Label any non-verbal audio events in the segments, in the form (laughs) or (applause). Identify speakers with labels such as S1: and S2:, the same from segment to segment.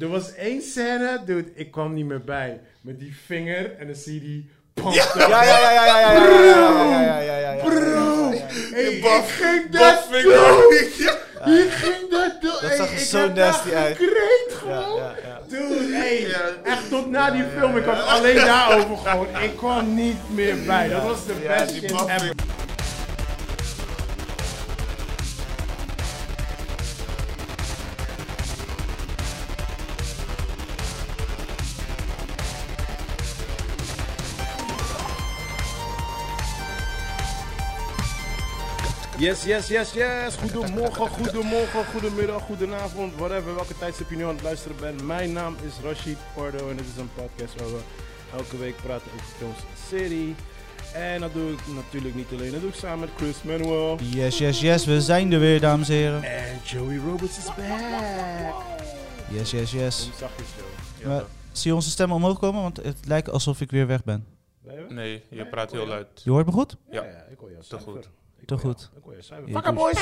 S1: Er was één scène, dude, ik kwam niet meer bij. Met die vinger en dan zie je die... pomp.
S2: Ja, ja, ja, ja, ja, ja, ja, ja, ja, ja, ja, ja, ja.
S1: Bro!
S2: Ja, ja, ja.
S1: Hey,
S3: Je baf-
S1: ik ging dat
S3: baf
S1: doen!
S3: vinger.
S1: (laughs) Ik ging dat doen! Hey,
S2: zag er
S1: ik
S2: zo
S1: heb daar
S2: nasty uit.
S1: gekreed
S2: Ja,
S1: gewoon!
S2: ja, ja.
S1: Dude, hey,
S3: Ja.
S1: echt tot na die film, ik had alleen daarover gewoon. Ik kwam niet meer bij. Dat was de
S2: Ja,
S1: beste
S2: die
S1: shit
S3: baf-
S1: ever. Yes, yes, yes, yes. Goedemorgen, goedemorgen, goedemiddag, goedenavond, whatever, welke tijdstip je nu aan het luisteren bent. Mijn naam is Rashid Pardo en dit is een podcast waar we elke week praten over films en serie. En dat doe ik natuurlijk niet alleen, dat doe ik samen met Chris Manuel.
S2: Yes, yes, yes, we zijn er weer, dames en heren.
S1: En Joey Roberts is back.
S2: Yes, yes, yes.
S1: Zachtjes, Joe.
S2: Maar zie je onze stemmen omhoog komen? Want het lijkt alsof ik weer weg ben.
S1: Blijven?
S3: Nee, Oh je praat heel luid.
S2: Je hoort me goed?
S3: Ja.
S1: ik hoor jou
S3: Te
S1: cijfer.
S3: goed.
S1: Ik
S2: Te
S1: hoor jou-
S2: goed.
S1: Ik hoor je
S2: Je
S1: cijfer.
S2: douche.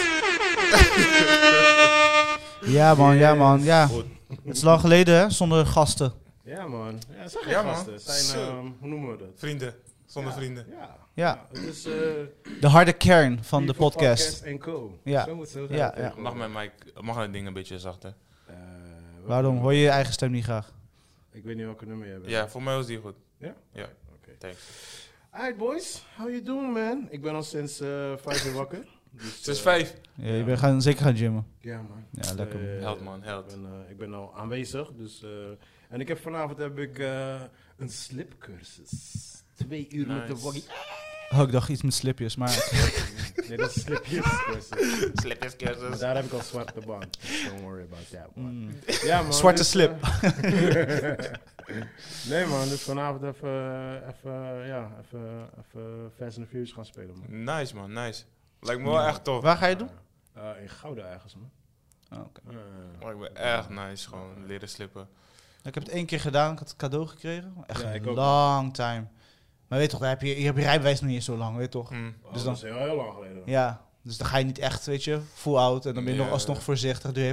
S2: Ja, man, ja, man, ja.
S3: Goed.
S2: Het is lang geleden, hè, zonder gasten.
S1: Ja man, ja, zijn geen
S3: Ja, man.
S1: gasten. Het Zijn,
S3: Zo.
S1: ehm, hoe noemen we dat?
S3: Vrienden. Zonder
S1: Ja.
S3: vrienden.
S1: Ja.
S2: Ja,
S1: Het is eh,
S2: de harde kern van de
S1: People
S2: podcast.
S1: en Co.
S2: Ja.
S1: Zo moet zo
S2: Ja,
S1: zijn.
S2: ja.
S3: Mag mijn mic, mag dat ding een beetje zachter?
S1: Eh, welke
S2: Waarom?
S1: nummer?
S2: Hoor je je eigen stem niet graag?
S1: Ik weet niet welke nummer je hebt.
S3: Ja, voor mij was die goed.
S1: Ja?
S3: Ja.
S1: Oké.
S3: Thanks.
S1: Alright boys, how you doing man? Ik ben al sinds eh vijf uur wakker. Dus,
S3: Het is
S1: eh,
S3: vijf.
S2: Ja, je bent gaan, zeker gaan gymmen.
S1: Ja man.
S2: Ja, lekker. man.
S1: Eh,
S3: Held man, held.
S1: Ik ben, eh, ik ben al aanwezig. Dus, eh, en ik heb vanavond heb ik eh, een slipcursus. Twee uur met de
S3: Nice.
S1: waggie. (laughs)
S3: (laughs)
S2: Oh, ik dacht iets met slipjes, (laughs) maar...
S1: Nee, dat is
S3: (laughs)
S1: slipjescursus.
S3: Slippers
S1: Maar
S3: cursus.
S1: daar heb ik al zwarte band. Don't worry about that one.
S2: Mm.
S1: Ja, man,
S2: Zwarte
S1: dus,
S2: slip.
S1: eh, (laughs) nee man, dus vanavond even, even, ja, even, even Fast and the Furious gaan spelen man.
S3: Nice man, nice. Lijkt me wel echt tof.
S2: Waar ga je doen?
S1: Eh, in Gouda ergens man.
S2: Oh, oké.
S1: Eh,
S3: Lijkt me echt nice. Gewoon leren slippen.
S2: Ik heb het één keer gedaan, ik had het cadeau gekregen. Echt
S1: Ja, ik
S2: een
S1: ook.
S2: long time. Maar weet toch, daar heb je, je hebt je rijbewijs nog niet eens zo lang, weet toch?
S3: Hm.
S1: oh,
S2: Dus
S1: dat is heel, heel lang geleden.
S2: Ja, dus dan ga je niet echt, weet je, full out. En dan ben je
S3: Ja.
S2: nog alsnog voorzichtig. Doe je (laughs)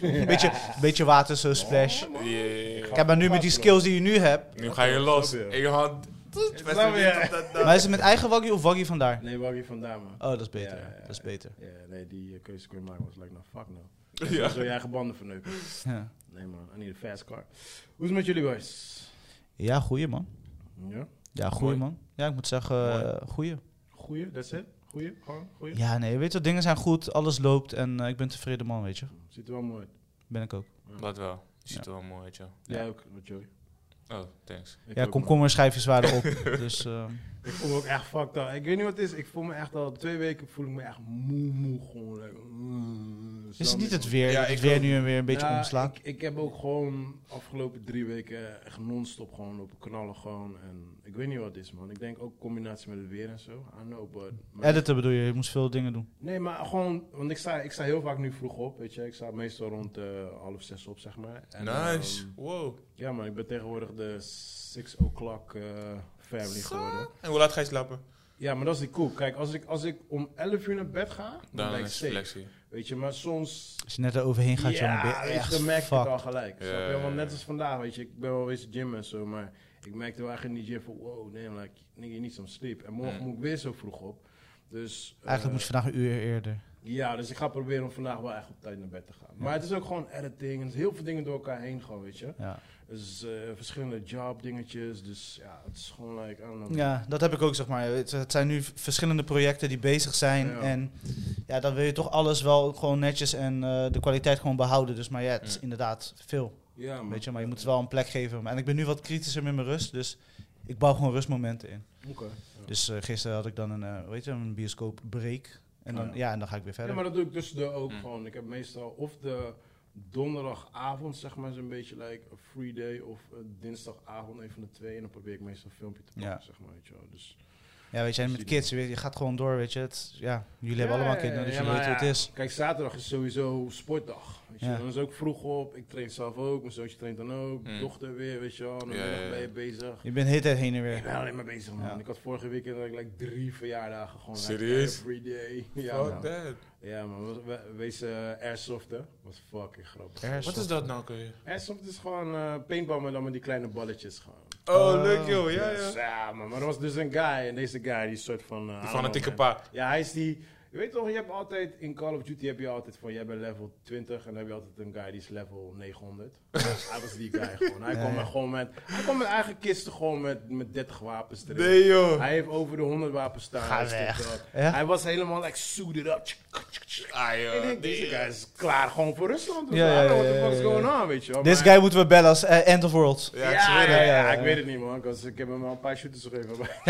S2: even... Beetje, beetje water, zo splash.
S3: Yeah, yeah, yeah.
S2: Kijk, maar nu met die skills die je nu hebt...
S3: Nu ga je los.
S1: Snap je?
S3: Ik had...
S1: Snap je?
S2: Maar is het met eigen waggie of waggie vandaar?
S1: Nee, waar je vandaan man.
S2: Oh, dat is beter.
S1: Ja, ja, ja.
S2: Dat is beter.
S1: Ja, nee, die eh, keuze kon je maken was like, nou fuck no.
S3: Ja.
S1: Zo je eigen banden verneuken.
S2: Ja,
S1: Nee man, I need a fast car. Hoe is het met jullie boys?
S2: ja goeie man.
S1: Ja?
S2: Ja, goeie
S3: Mooi.
S2: man. Ja, ik moet zeggen, eh, goeie.
S1: Goeie, that's it? Goeie, gewoon goeie?
S2: Ja, nee, weet je wat, dingen zijn goed, alles loopt en eh, ik ben tevreden man, weet je.
S1: Ziet er wel mooi uit.
S2: Ben ik ook.
S3: Dat wel. Je ziet er wel mooi uit, joh.
S1: Jij ook, met Joey.
S3: Oh, thanks.
S1: Ik
S2: Ja,
S1: ook, man.
S2: komkommerschijfjes waren op, dus... ehm,
S1: Ik voel me ook echt fucked up. Ik weet niet wat het is. Ik voel me echt al twee weken voel ik me echt moe, moe. Gewoon like, mm, zo
S2: Is het niet
S1: moe.
S2: het weer?
S3: Ja,
S2: dat
S3: ik
S2: het weer
S3: ook.
S2: nu weer een beetje
S1: Ja,
S2: omslaat.
S1: Ik, ik heb ook gewoon afgelopen drie weken echt non-stop gewoon lopen knallen gewoon. En ik weet niet wat het is man. Ik denk ook combinatie met het weer en zo. I know, but... maar-
S2: Editen bedoel je, je moest veel dingen doen.
S1: Nee, maar gewoon... Want ik sta, ik sta heel vaak nu vroeg op, weet je. Ik sta meestal rond eh, half zes op, zeg maar. En,
S3: Nice.
S1: ehm,
S3: Wow.
S1: ja man, ik ben tegenwoordig de six o'clock eh, family geworden.
S3: En hoe laat ga je slapen?
S1: Ja, maar dat is die koek. Kijk, als ik, als ik om 11 uur naar bed ga, dan,
S3: Dan
S1: ben ik
S3: is
S1: safe.
S3: flexie.
S1: Weet je, maar soms...
S2: Als je net eroverheen gaat, jongen, ben je
S1: ja, weet je,
S2: echt
S1: dan merk ik het al
S2: fucked.
S1: gelijk.
S3: Ja,
S1: snap je?
S3: ja, ja.
S1: Want net als vandaag, weet je, ik ben wel eens gym en zo, maar ik merkte wel echt in die gym van, wow, nee, like, nigga, je niet zo'n sleep. En morgen
S3: Mm.
S1: moet ik weer zo vroeg op. Dus, eh,
S2: Eigenlijk moest je vandaag een uur eerder.
S1: Ja, dus ik ga proberen om vandaag wel echt op tijd naar bed te gaan. Maar het is ook gewoon editing en het is heel veel dingen door elkaar heen gewoon, weet je.
S2: Ja.
S1: Dus eh, verschillende jobdingetjes, dus ja, het is gewoon like, I don't know.
S2: ja, dat heb ik ook, zeg maar. Het, het zijn nu v- verschillende projecten die bezig zijn.
S1: Ja.
S2: En ja, dan wil je toch alles wel gewoon netjes en eh, de kwaliteit gewoon behouden. Dus, maar ja, het is
S3: Ja.
S2: inderdaad veel,
S1: Ja, man.
S2: weet je. Maar je moet het wel een plek geven. En ik ben nu wat kritischer met mijn rust, dus ik bouw gewoon rustmomenten in.
S1: Oké.
S2: Dus eh, gisteren had ik dan een, eh weet je, een bioscoopbreak. En dan,
S1: Oh Ja.
S2: ja, en dan ga ik weer
S1: Ja,
S2: verder.
S1: maar dat doe ik tussendoor ook
S3: Mm.
S1: gewoon. Ik heb meestal of de donderdagavond, zeg maar, zo'n beetje like een free day, of eh, dinsdagavond, een van de twee. En dan probeer ik meestal een filmpje te pakken,
S2: Ja.
S1: zeg maar, weet je wel. Dus
S2: Ja, weet je, en met kids, weet je, je gaat gewoon door, weet je. Het, ja, jullie hebben
S1: Ja,
S2: allemaal kinderen, dus
S1: ja,
S2: je
S1: maar
S2: weet hoe het
S1: ja,
S2: is.
S1: Kijk, zaterdag is sowieso sportdag. Weet je,
S2: Ja.
S1: dan is ook vroeg op. Ik train zelf ook, mijn zoontje traint dan ook. Mijn
S3: Mm.
S1: dochter weer, weet je wel. Dan
S3: Ja, ja, ja.
S1: ben je bezig.
S2: Je bent de hele tijd heen en weer.
S1: Ik ben alleen maar bezig, man.
S2: Ja.
S1: Ik had vorige weekend had ik, like, drie verjaardagen gewoon. like,
S3: Serieus?
S1: everyday. Ja, nou.
S3: Fuck
S1: man.
S3: that.
S1: Ja, man. We- we- Wees eh airsoft, hè. Was fucking grappig.
S2: Er
S3: Wat is dat nou, kun je?
S1: Airsoft is gewoon eh paintball, maar dan met die kleine balletjes gewoon.
S3: Oh, leuk joh, ja,
S1: Dus,
S3: ja.
S1: ja, man. Maar er was dus een guy. En deze guy, die soort van... eh, I
S3: Die
S1: don't know,
S3: fanatieke
S1: man.
S3: pa.
S1: Ja, hij is die. Je weet toch, je hebt altijd in Call of Duty heb je altijd van, jij bent level 20 en dan heb je altijd een guy die is level 900.
S3: (laughs)
S1: hij was die guy gewoon. Hij
S2: Ja,
S1: kwam
S2: ja.
S1: met gewoon met, hij kwam met eigen kisten gewoon met, met 30 wapens erin.
S3: Nee joh.
S1: Hij heeft over de 100 wapens staan.
S2: Ga
S1: Hij is dit,
S2: weg.
S1: dat.
S2: Ja?
S1: Hij was helemaal like suited up. Tsk, tsk, tsk.
S3: Ah
S1: Ik
S3: joh.
S1: denk, deze
S3: die-
S1: guy is klaar gewoon voor Rusland.
S2: Ja,
S1: Ja,
S2: ja,
S1: I don't know what
S2: ja,
S1: the fuck is
S2: ja,
S1: going
S2: ja.
S1: on, weet je wel.
S2: Deze
S1: Maar-
S2: guy moeten we bellen als eh, End of World.
S3: Ja, ik
S1: ja,
S3: zweer
S1: ja,
S3: het.
S1: ja,
S2: ja,
S1: ik
S2: ja.
S1: weet het niet, man. 'cause ik heb hem al een paar shooters gegeven. Maar,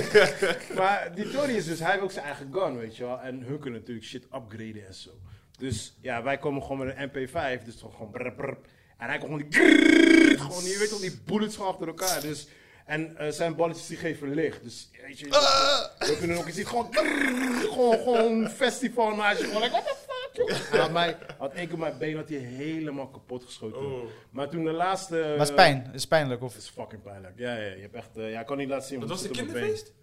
S1: (laughs) maar die Tony is dus, hij heeft ook zijn eigen gun, weet je wel. En hun kunnen natuurlijk shit upgraden en zo. Dus ja, wij komen gewoon met een MP5, dus toch gewoon brr, brr. En hij komt gewoon die grrrr, gewoon, je weet toch, die bullets gewoon achter elkaar. Dus, en eh, zijn balletjes die geven licht, dus weet je,
S2: Ah!
S1: we kunnen ook, je ziet gewoon, grrrr, gewoon, gewoon festival naast je, gewoon like, what the fuck, joh. Hij had, mij, had één keer mijn been had hij helemaal kapot geschoten.
S3: Oh.
S1: Maar toen de laatste...
S2: Maar het is pijn, het is pijnlijk. Of,
S1: Het is fucking pijnlijk. Ja, ja, je hebt echt... eh, ja, ik kan niet laten zien.
S3: Dat
S1: want
S3: was een
S1: het zit op mijn
S3: kinderfeest?
S1: been.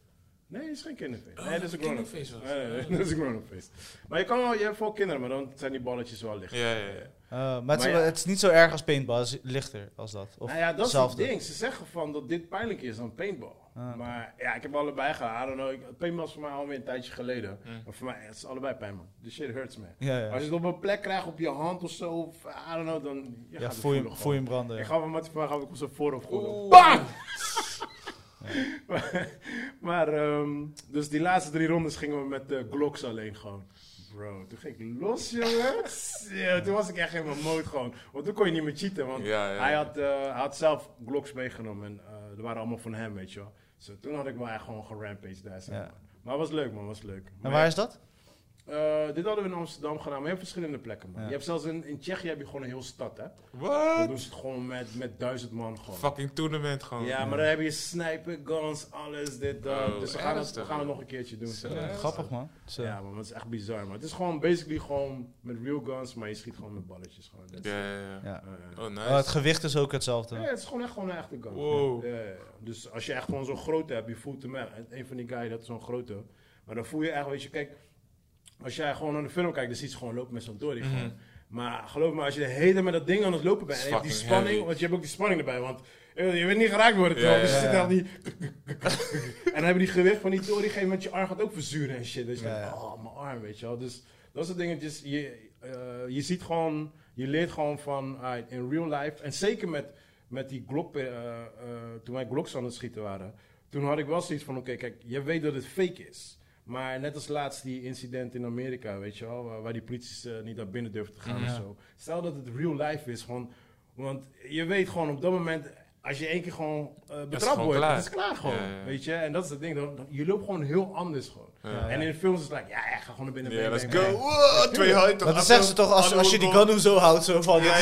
S1: Nee, het is geen kinderfeest.
S3: Oh,
S1: nee, dat is een grown-up
S3: kinderfeest was.
S1: Nee, nee, (laughs) nee, dat is een grown-up feest. Maar je kan wel... Je hebt veel kinderen, maar dan zijn die balletjes wel licht.
S3: Ja, ja, ja.
S2: eh, maar het, is-
S1: Maar ja.
S2: het is niet zo erg als paintball, het is lichter als dat. Of
S1: nou ja, dat
S2: hetzelfde. Ah,
S1: is het ding. Ze zeggen van dat dit pijnlijk is dan paintball.
S2: oké.
S1: Maar ja, ik heb allebei gehad. I don't know. Ik- Paintball is voor mij alweer een tijdje geleden.
S3: Mm.
S1: Maar voor mij het is allebei pijn, man. The shit hurts, man.
S2: Ja, ja.
S1: Als je het op een plek krijgt, op je hand of zo, of, I don't know, dan... Je
S2: ja,
S1: gaat het
S2: voel, je,
S1: voelen
S2: voel je hem
S1: gewoon.
S2: branden. ja.
S1: Ik ga van Mattie vragen of ik op zijn voorhoofd gewoon...
S3: Oeh.
S1: BAM! maar, (laughs) maar, ehm, dus die laatste drie rondes gingen we met de Glocks alleen gewoon. Bro, toen ging ik los, jongen. Ja, toen was ik echt in mijn mode gewoon. Want toen kon je niet meer cheaten, want
S3: Ja, ja.
S1: Hij, had, eh, hij had zelf Glocks meegenomen en eh er waren allemaal van hem, weet je wel. Dus toen had ik wel echt gewoon gerampaged daar. zeg
S2: Ja.
S1: maar. Maar het was leuk, man, was leuk.
S2: En
S1: Maar
S2: waar is dat?
S1: eh, dit hadden we in Amsterdam gedaan, maar je hebt verschillende plekken, man.
S2: Ja.
S1: Je hebt zelfs in, in Tsjechië heb je gewoon een heel stad, hè. Dan
S3: What?
S1: doen ze het gewoon met, met duizend man gewoon.
S3: Fucking tournament gewoon.
S1: Ja, maar dan heb je sniper, guns, alles, dit, dat.
S3: Oh,
S1: dus we gaan, het, we
S3: ernstig,
S1: gaan het
S3: ja.
S1: nog een keertje doen.
S3: Zo.
S1: Ja,
S3: Ja,
S2: Grappig man. Zo.
S1: Ja, man, het is echt bizar, man. Het is gewoon basically gewoon met real guns, maar je schiet gewoon met balletjes. Gewoon. Dat is-
S3: Ja, ja, ja.
S2: Ja.
S1: eh, eh.
S3: Oh,
S2: Oh, het
S3: nice.
S2: gewicht is ook
S1: Ja,
S2: hetzelfde.
S1: het is gewoon echt gewoon een echte gun.
S3: Wow.
S1: Ja, ja, ja. Dus als je echt gewoon zo'n grote hebt, je voelt hem echt. En Een van die guys, dat is zo'n grote. Maar dan voel je echt, weet je, kijk, als jij gewoon naar de film kijkt, dan ziet ze gewoon lopen met zo'n dory.
S3: Mhm.
S1: gewoon. Maar geloof me, als je de hele tijd met dat ding aan het lopen bent, en je hebt die
S3: Fucking
S1: spanning,
S3: heavy.
S1: want je hebt ook die spanning erbij, want eh, je weet niet geraakt worden.
S3: Ja,
S1: toch?
S3: ja,
S1: dus je
S2: ja.
S1: zit daar die. (laughs) en dan hebben die gewicht van die dory, gegeven moment je arm gaat ook verzuren en shit. Dus je
S2: Ja,
S1: denkt,
S2: ja.
S1: oh, mijn arm, weet je wel. Dus dat soort dingetjes. Je, eh, je ziet gewoon, je leert gewoon van alright, in real life. En zeker met, met die Glock, eh, eh, toen wij Glocks aan het schieten waren. Toen had ik wel zoiets van, oké, kijk, je weet dat het fake is. Maar net als laatst die incident in Amerika, weet je wel, waar, waar die politie eh, niet naar binnen durft te gaan
S3: Mhm.
S1: of zo. Stel dat het real life is, gewoon, want je weet gewoon op dat moment, als je één keer gewoon eh, betrapt
S3: gewoon
S1: wordt,
S3: klaar.
S1: het is klaar gewoon,
S3: Ja, ja, ja.
S1: weet je. En dat is het ding, dan, dan- je loopt gewoon heel anders gewoon.
S3: Ja.
S1: En in de films is het like, ja, ja, ga gewoon naar binnen.
S3: Ja,
S1: bang,
S3: let's
S1: bang,
S3: go.
S1: bang.
S3: Wow, twee handen.
S2: Maar dat zeggen ze toch als, als je die gun zo houdt, zo van... Ja,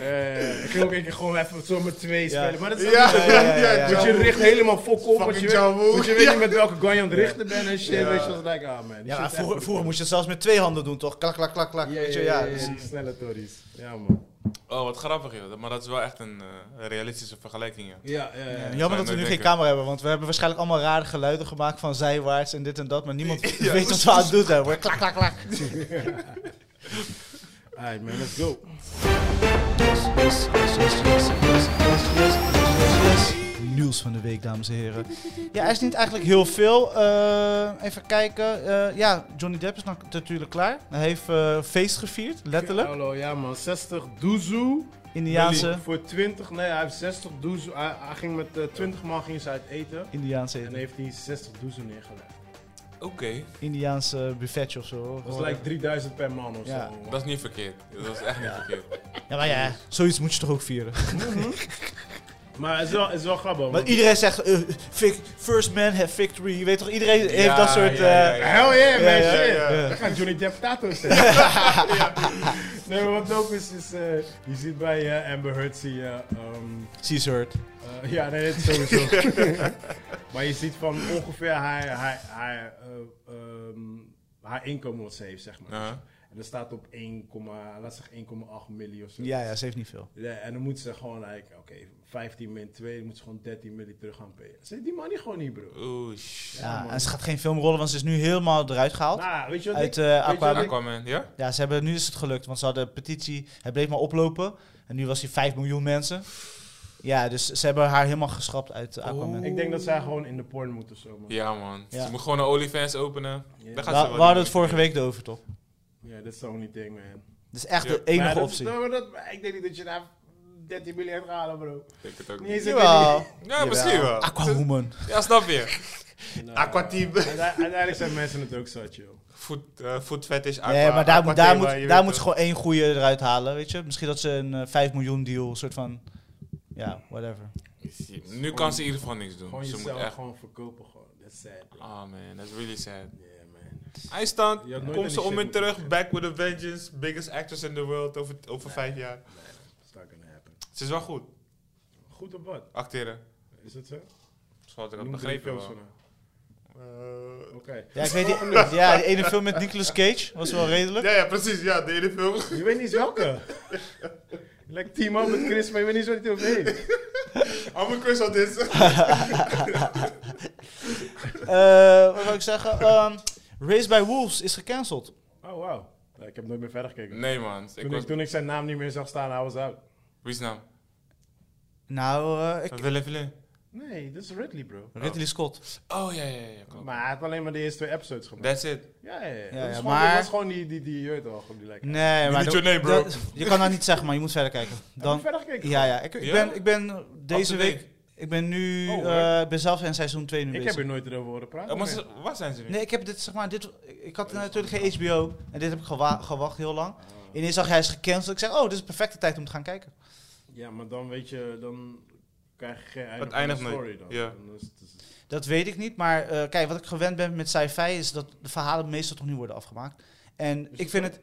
S1: Eh, ik ging ook een keer gewoon even zo met twee
S2: Ja.
S1: spelen, maar dat is
S3: Ja,
S1: ook niet zo.
S2: ja, ja, ja.
S1: Want je richt helemaal fok op, want
S3: Fucking
S1: je, weet,
S3: John Woo.
S1: want je weet niet met welke gun je aan het richten bent en shit,
S3: Ja.
S1: weet je, dat is like, ah man. die
S2: Ja,
S1: shit
S2: maar
S1: is echt
S2: vroeger,
S1: goed.
S2: vroeger moest je het zelfs met twee handen doen, toch? Klak, klak, klak, klak.
S1: Ja,
S2: weet je,
S1: ja, ja,
S2: dus-
S1: ja, die snelle tories. Ja, man.
S3: Oh, wat grappig joh. Maar dat is wel echt een eh, realistische vergelijking. Ja.
S1: Ja, ja, ja.
S2: Eh, Jammer dat we nu
S3: nooit
S2: geen
S3: denken.
S2: camera hebben, want we hebben waarschijnlijk allemaal rare geluiden gemaakt van zijwaarts en dit en dat, maar
S3: (laughs)
S2: niemand
S3: Ja,
S2: weet wat we aan het doen zijn. We're klak, klak, klak.
S1: Alright, man, let's go.
S2: Nieuws van de week, dames en heren. Ja, er is niet eigenlijk heel veel. Eh, even kijken. Eh, ja, Johnny Depp is na- natuurlijk klaar. Hij heeft eh, feest gevierd, letterlijk.
S1: Hallo, ja man, 60 doezoe.
S2: Indiaanse,
S1: Voor 20, nee, hij heeft 60 doezoe. Hij, hij ging met eh, 20 man ging ze uit eten.
S2: Indiaanse,
S1: En
S2: eten.
S1: heeft hij 60 doezoe neergelegd.
S3: Oké,
S2: Indiaanse buffetje of zo.
S1: Dat is like 3000 per man of
S2: Ja.
S1: zo.
S3: dat is niet verkeerd. Dat is echt niet verkeerd.
S2: Ja, maar ja, zoiets moet je toch ook vieren.
S1: Maar het is wel, het is wel grappig. man.
S2: Want iedereen zegt, eh, vic- first man have victory. Je weet toch, iedereen heeft dat soort...
S3: ja, ja,
S2: eh,
S3: ja.
S1: Hell yeah,
S2: Ja,
S1: man,
S2: ja,
S1: shit.
S2: ja.
S1: Dan gaat Johnny Depp tatoeages zetten. Nee, maar wat ook is, is eh, je ziet bij eh, Amber Heard, zie je, ehm,
S2: She's hurt.
S1: eh, ja, nee, dat is sowieso. maar je ziet van ongeveer haar, haar, haar, eh, ehm, haar inkomen wat ze heeft, zeg maar.
S3: Uh-huh.
S1: En dat staat op 1,8 laat zeggen 1,8 miljoen of zo.
S2: Ja, ja, ze heeft niet veel.
S1: Ja, en dan moet ze gewoon, like, oké, 15 min 2, dan moet ze gewoon 13 miljoen terug gaan payen. Ze heeft die money gewoon niet, bro.
S3: Oeh, shit.
S1: Ja,
S2: Ja,
S1: man.
S2: en ze gaat geen film rollen, want ze is nu helemaal eruit gehaald.
S1: Nou, weet je wat
S2: uit
S1: ik...
S2: eh, Aqua.
S1: wat ik-
S3: Aquaman, ja?
S2: Ja, ze hebben, nu is het gelukt, want ze hadden een petitie. Hij bleef maar oplopen. En nu was hij 5 miljoen mensen. Ja, dus ze hebben haar helemaal geschrapt uit eh, Aquaman.
S1: Ik denk dat zij gewoon in de porn moet of zo, man.
S3: Ja, man.
S2: Ja.
S3: Ze moet gewoon een OnlyFans openen.
S1: Ja.
S3: Daar
S2: We,
S3: gaat
S2: we
S3: ze wel
S2: hadden
S3: doen.
S2: het vorige week over, toch?
S1: Ja, dat is de only thing, man.
S2: Dat is echt
S3: Ja.
S2: de
S1: Maar
S2: enige
S1: dat-
S2: optie.
S1: dat- dat- ik denk niet dat je daar 13 miljoen gaat halen, bro.
S3: Ik denk het ook
S1: Niet
S3: niet.
S1: eens een
S2: Jawel.
S3: Ja, misschien wel.
S2: Aquawoman.
S3: Ja, snap je.
S1: miljoen. Nou,
S3: Aquateam. (laughs)
S1: uite- Uiteindelijk zijn mensen het ook zat, joh.
S3: Food, eh, food fetish, aqua,
S2: Nee, maar daar, moet, daar,
S3: aquathema, je
S2: moet, daar
S3: weet
S2: moet ze
S3: toch?
S2: gewoon één goede eruit halen, weet je. Misschien dat ze een eh, 5 miljoen deal, soort van... Ja, whatever.
S3: Nu kan ze in ieder geval niks doen.
S1: Gewoon
S3: ze moet
S1: jezelf
S3: echt...
S1: gewoon verkopen, gewoon. That's sad, bro.
S3: Ah man, that's really sad.
S1: Yeah, man. Je had
S3: IJsland,
S1: nooit aan
S3: komt
S1: die
S3: ze om
S1: shit
S3: en
S1: moeten
S3: terug. Back with a vengeance. Biggest actress in the world over, over vijf jaar.
S1: It's not gonna happen.
S3: Ze is wel goed.
S1: Goed op wat?
S3: Acteren.
S1: Is dat zo?
S3: Zoals ik had
S1: Noem drie
S3: begrepen
S1: films
S3: wel.
S1: van haar.
S3: Eh,
S1: Oké.
S2: Ja, ik weet die, ja, die ene film met Nicolas Cage was wel redelijk.
S3: Ja, ja, precies. Ja, de ene film. (laughs)
S1: Je weet niet eens welke. (laughs) Like team up met Chris, maar je weet niet eens wat hij over heeft.
S3: Allemaal Chris had dit.
S2: (laughs) Eh, wat wil ik zeggen? Ehm, Race by Wolves is gecanceld.
S1: Oh, wow. ik heb nooit meer verder gekeken.
S3: Nee, man. Ik
S1: toen,
S3: was...
S1: ik, toen ik zijn naam niet meer zag staan, I was out.
S3: Wie is nou?
S2: Nou, eh, ik,
S3: Willem Willem.
S1: Nee, dat is Ridley, bro.
S2: Ridley Scott.
S3: Oh, ja, ja, ja. klopt.
S1: Maar hij had alleen maar de eerste twee episodes gemaakt.
S3: That's it.
S1: Ja, ja, ja. Dat,
S2: Ja, ja,
S1: is gewoon,
S2: maar-
S1: dat was gewoon die, die, die, je weet wel, gewoon die lekker.
S2: Nee, maar...
S3: niet
S2: dat-
S3: your name, bro.
S2: dat- je kan dat niet zeggen, maar je moet verder kijken.
S1: Dan,
S2: Dan,
S1: verder gekeken?
S2: ja, ja. Ik, ik,
S3: Ja?
S2: ben, ik ben deze
S3: Up to date.
S2: week... Ik ben nu...
S1: Oh, hoor.
S2: eh, ik ben zelf in seizoen 2 nu
S1: Ik
S2: bezig.
S1: heb hier nooit over horen praten.
S3: Oh, maar
S1: man.
S3: ze- waar zijn ze nu?
S2: Nee, ik heb dit, zeg maar, dit, ik had natuurlijk geen HBO en dit heb ik gewa- gewacht heel lang. Ineens zag hij is gecanceld. Ik zeg, oh, dit is de perfecte tijd om te gaan kijken.
S1: Ja, maar dan weet je, dan krijg je geen einde
S3: Het
S1: van de
S3: eindigt nooit,
S1: story dan.
S3: ja.
S1: Dan is het- is-
S2: Dat weet ik niet, maar eh, kijk, wat ik gewend ben met sci-fi is dat de verhalen meestal toch niet worden afgemaakt. En
S1: dat
S2: ik vind
S1: zo?
S2: het,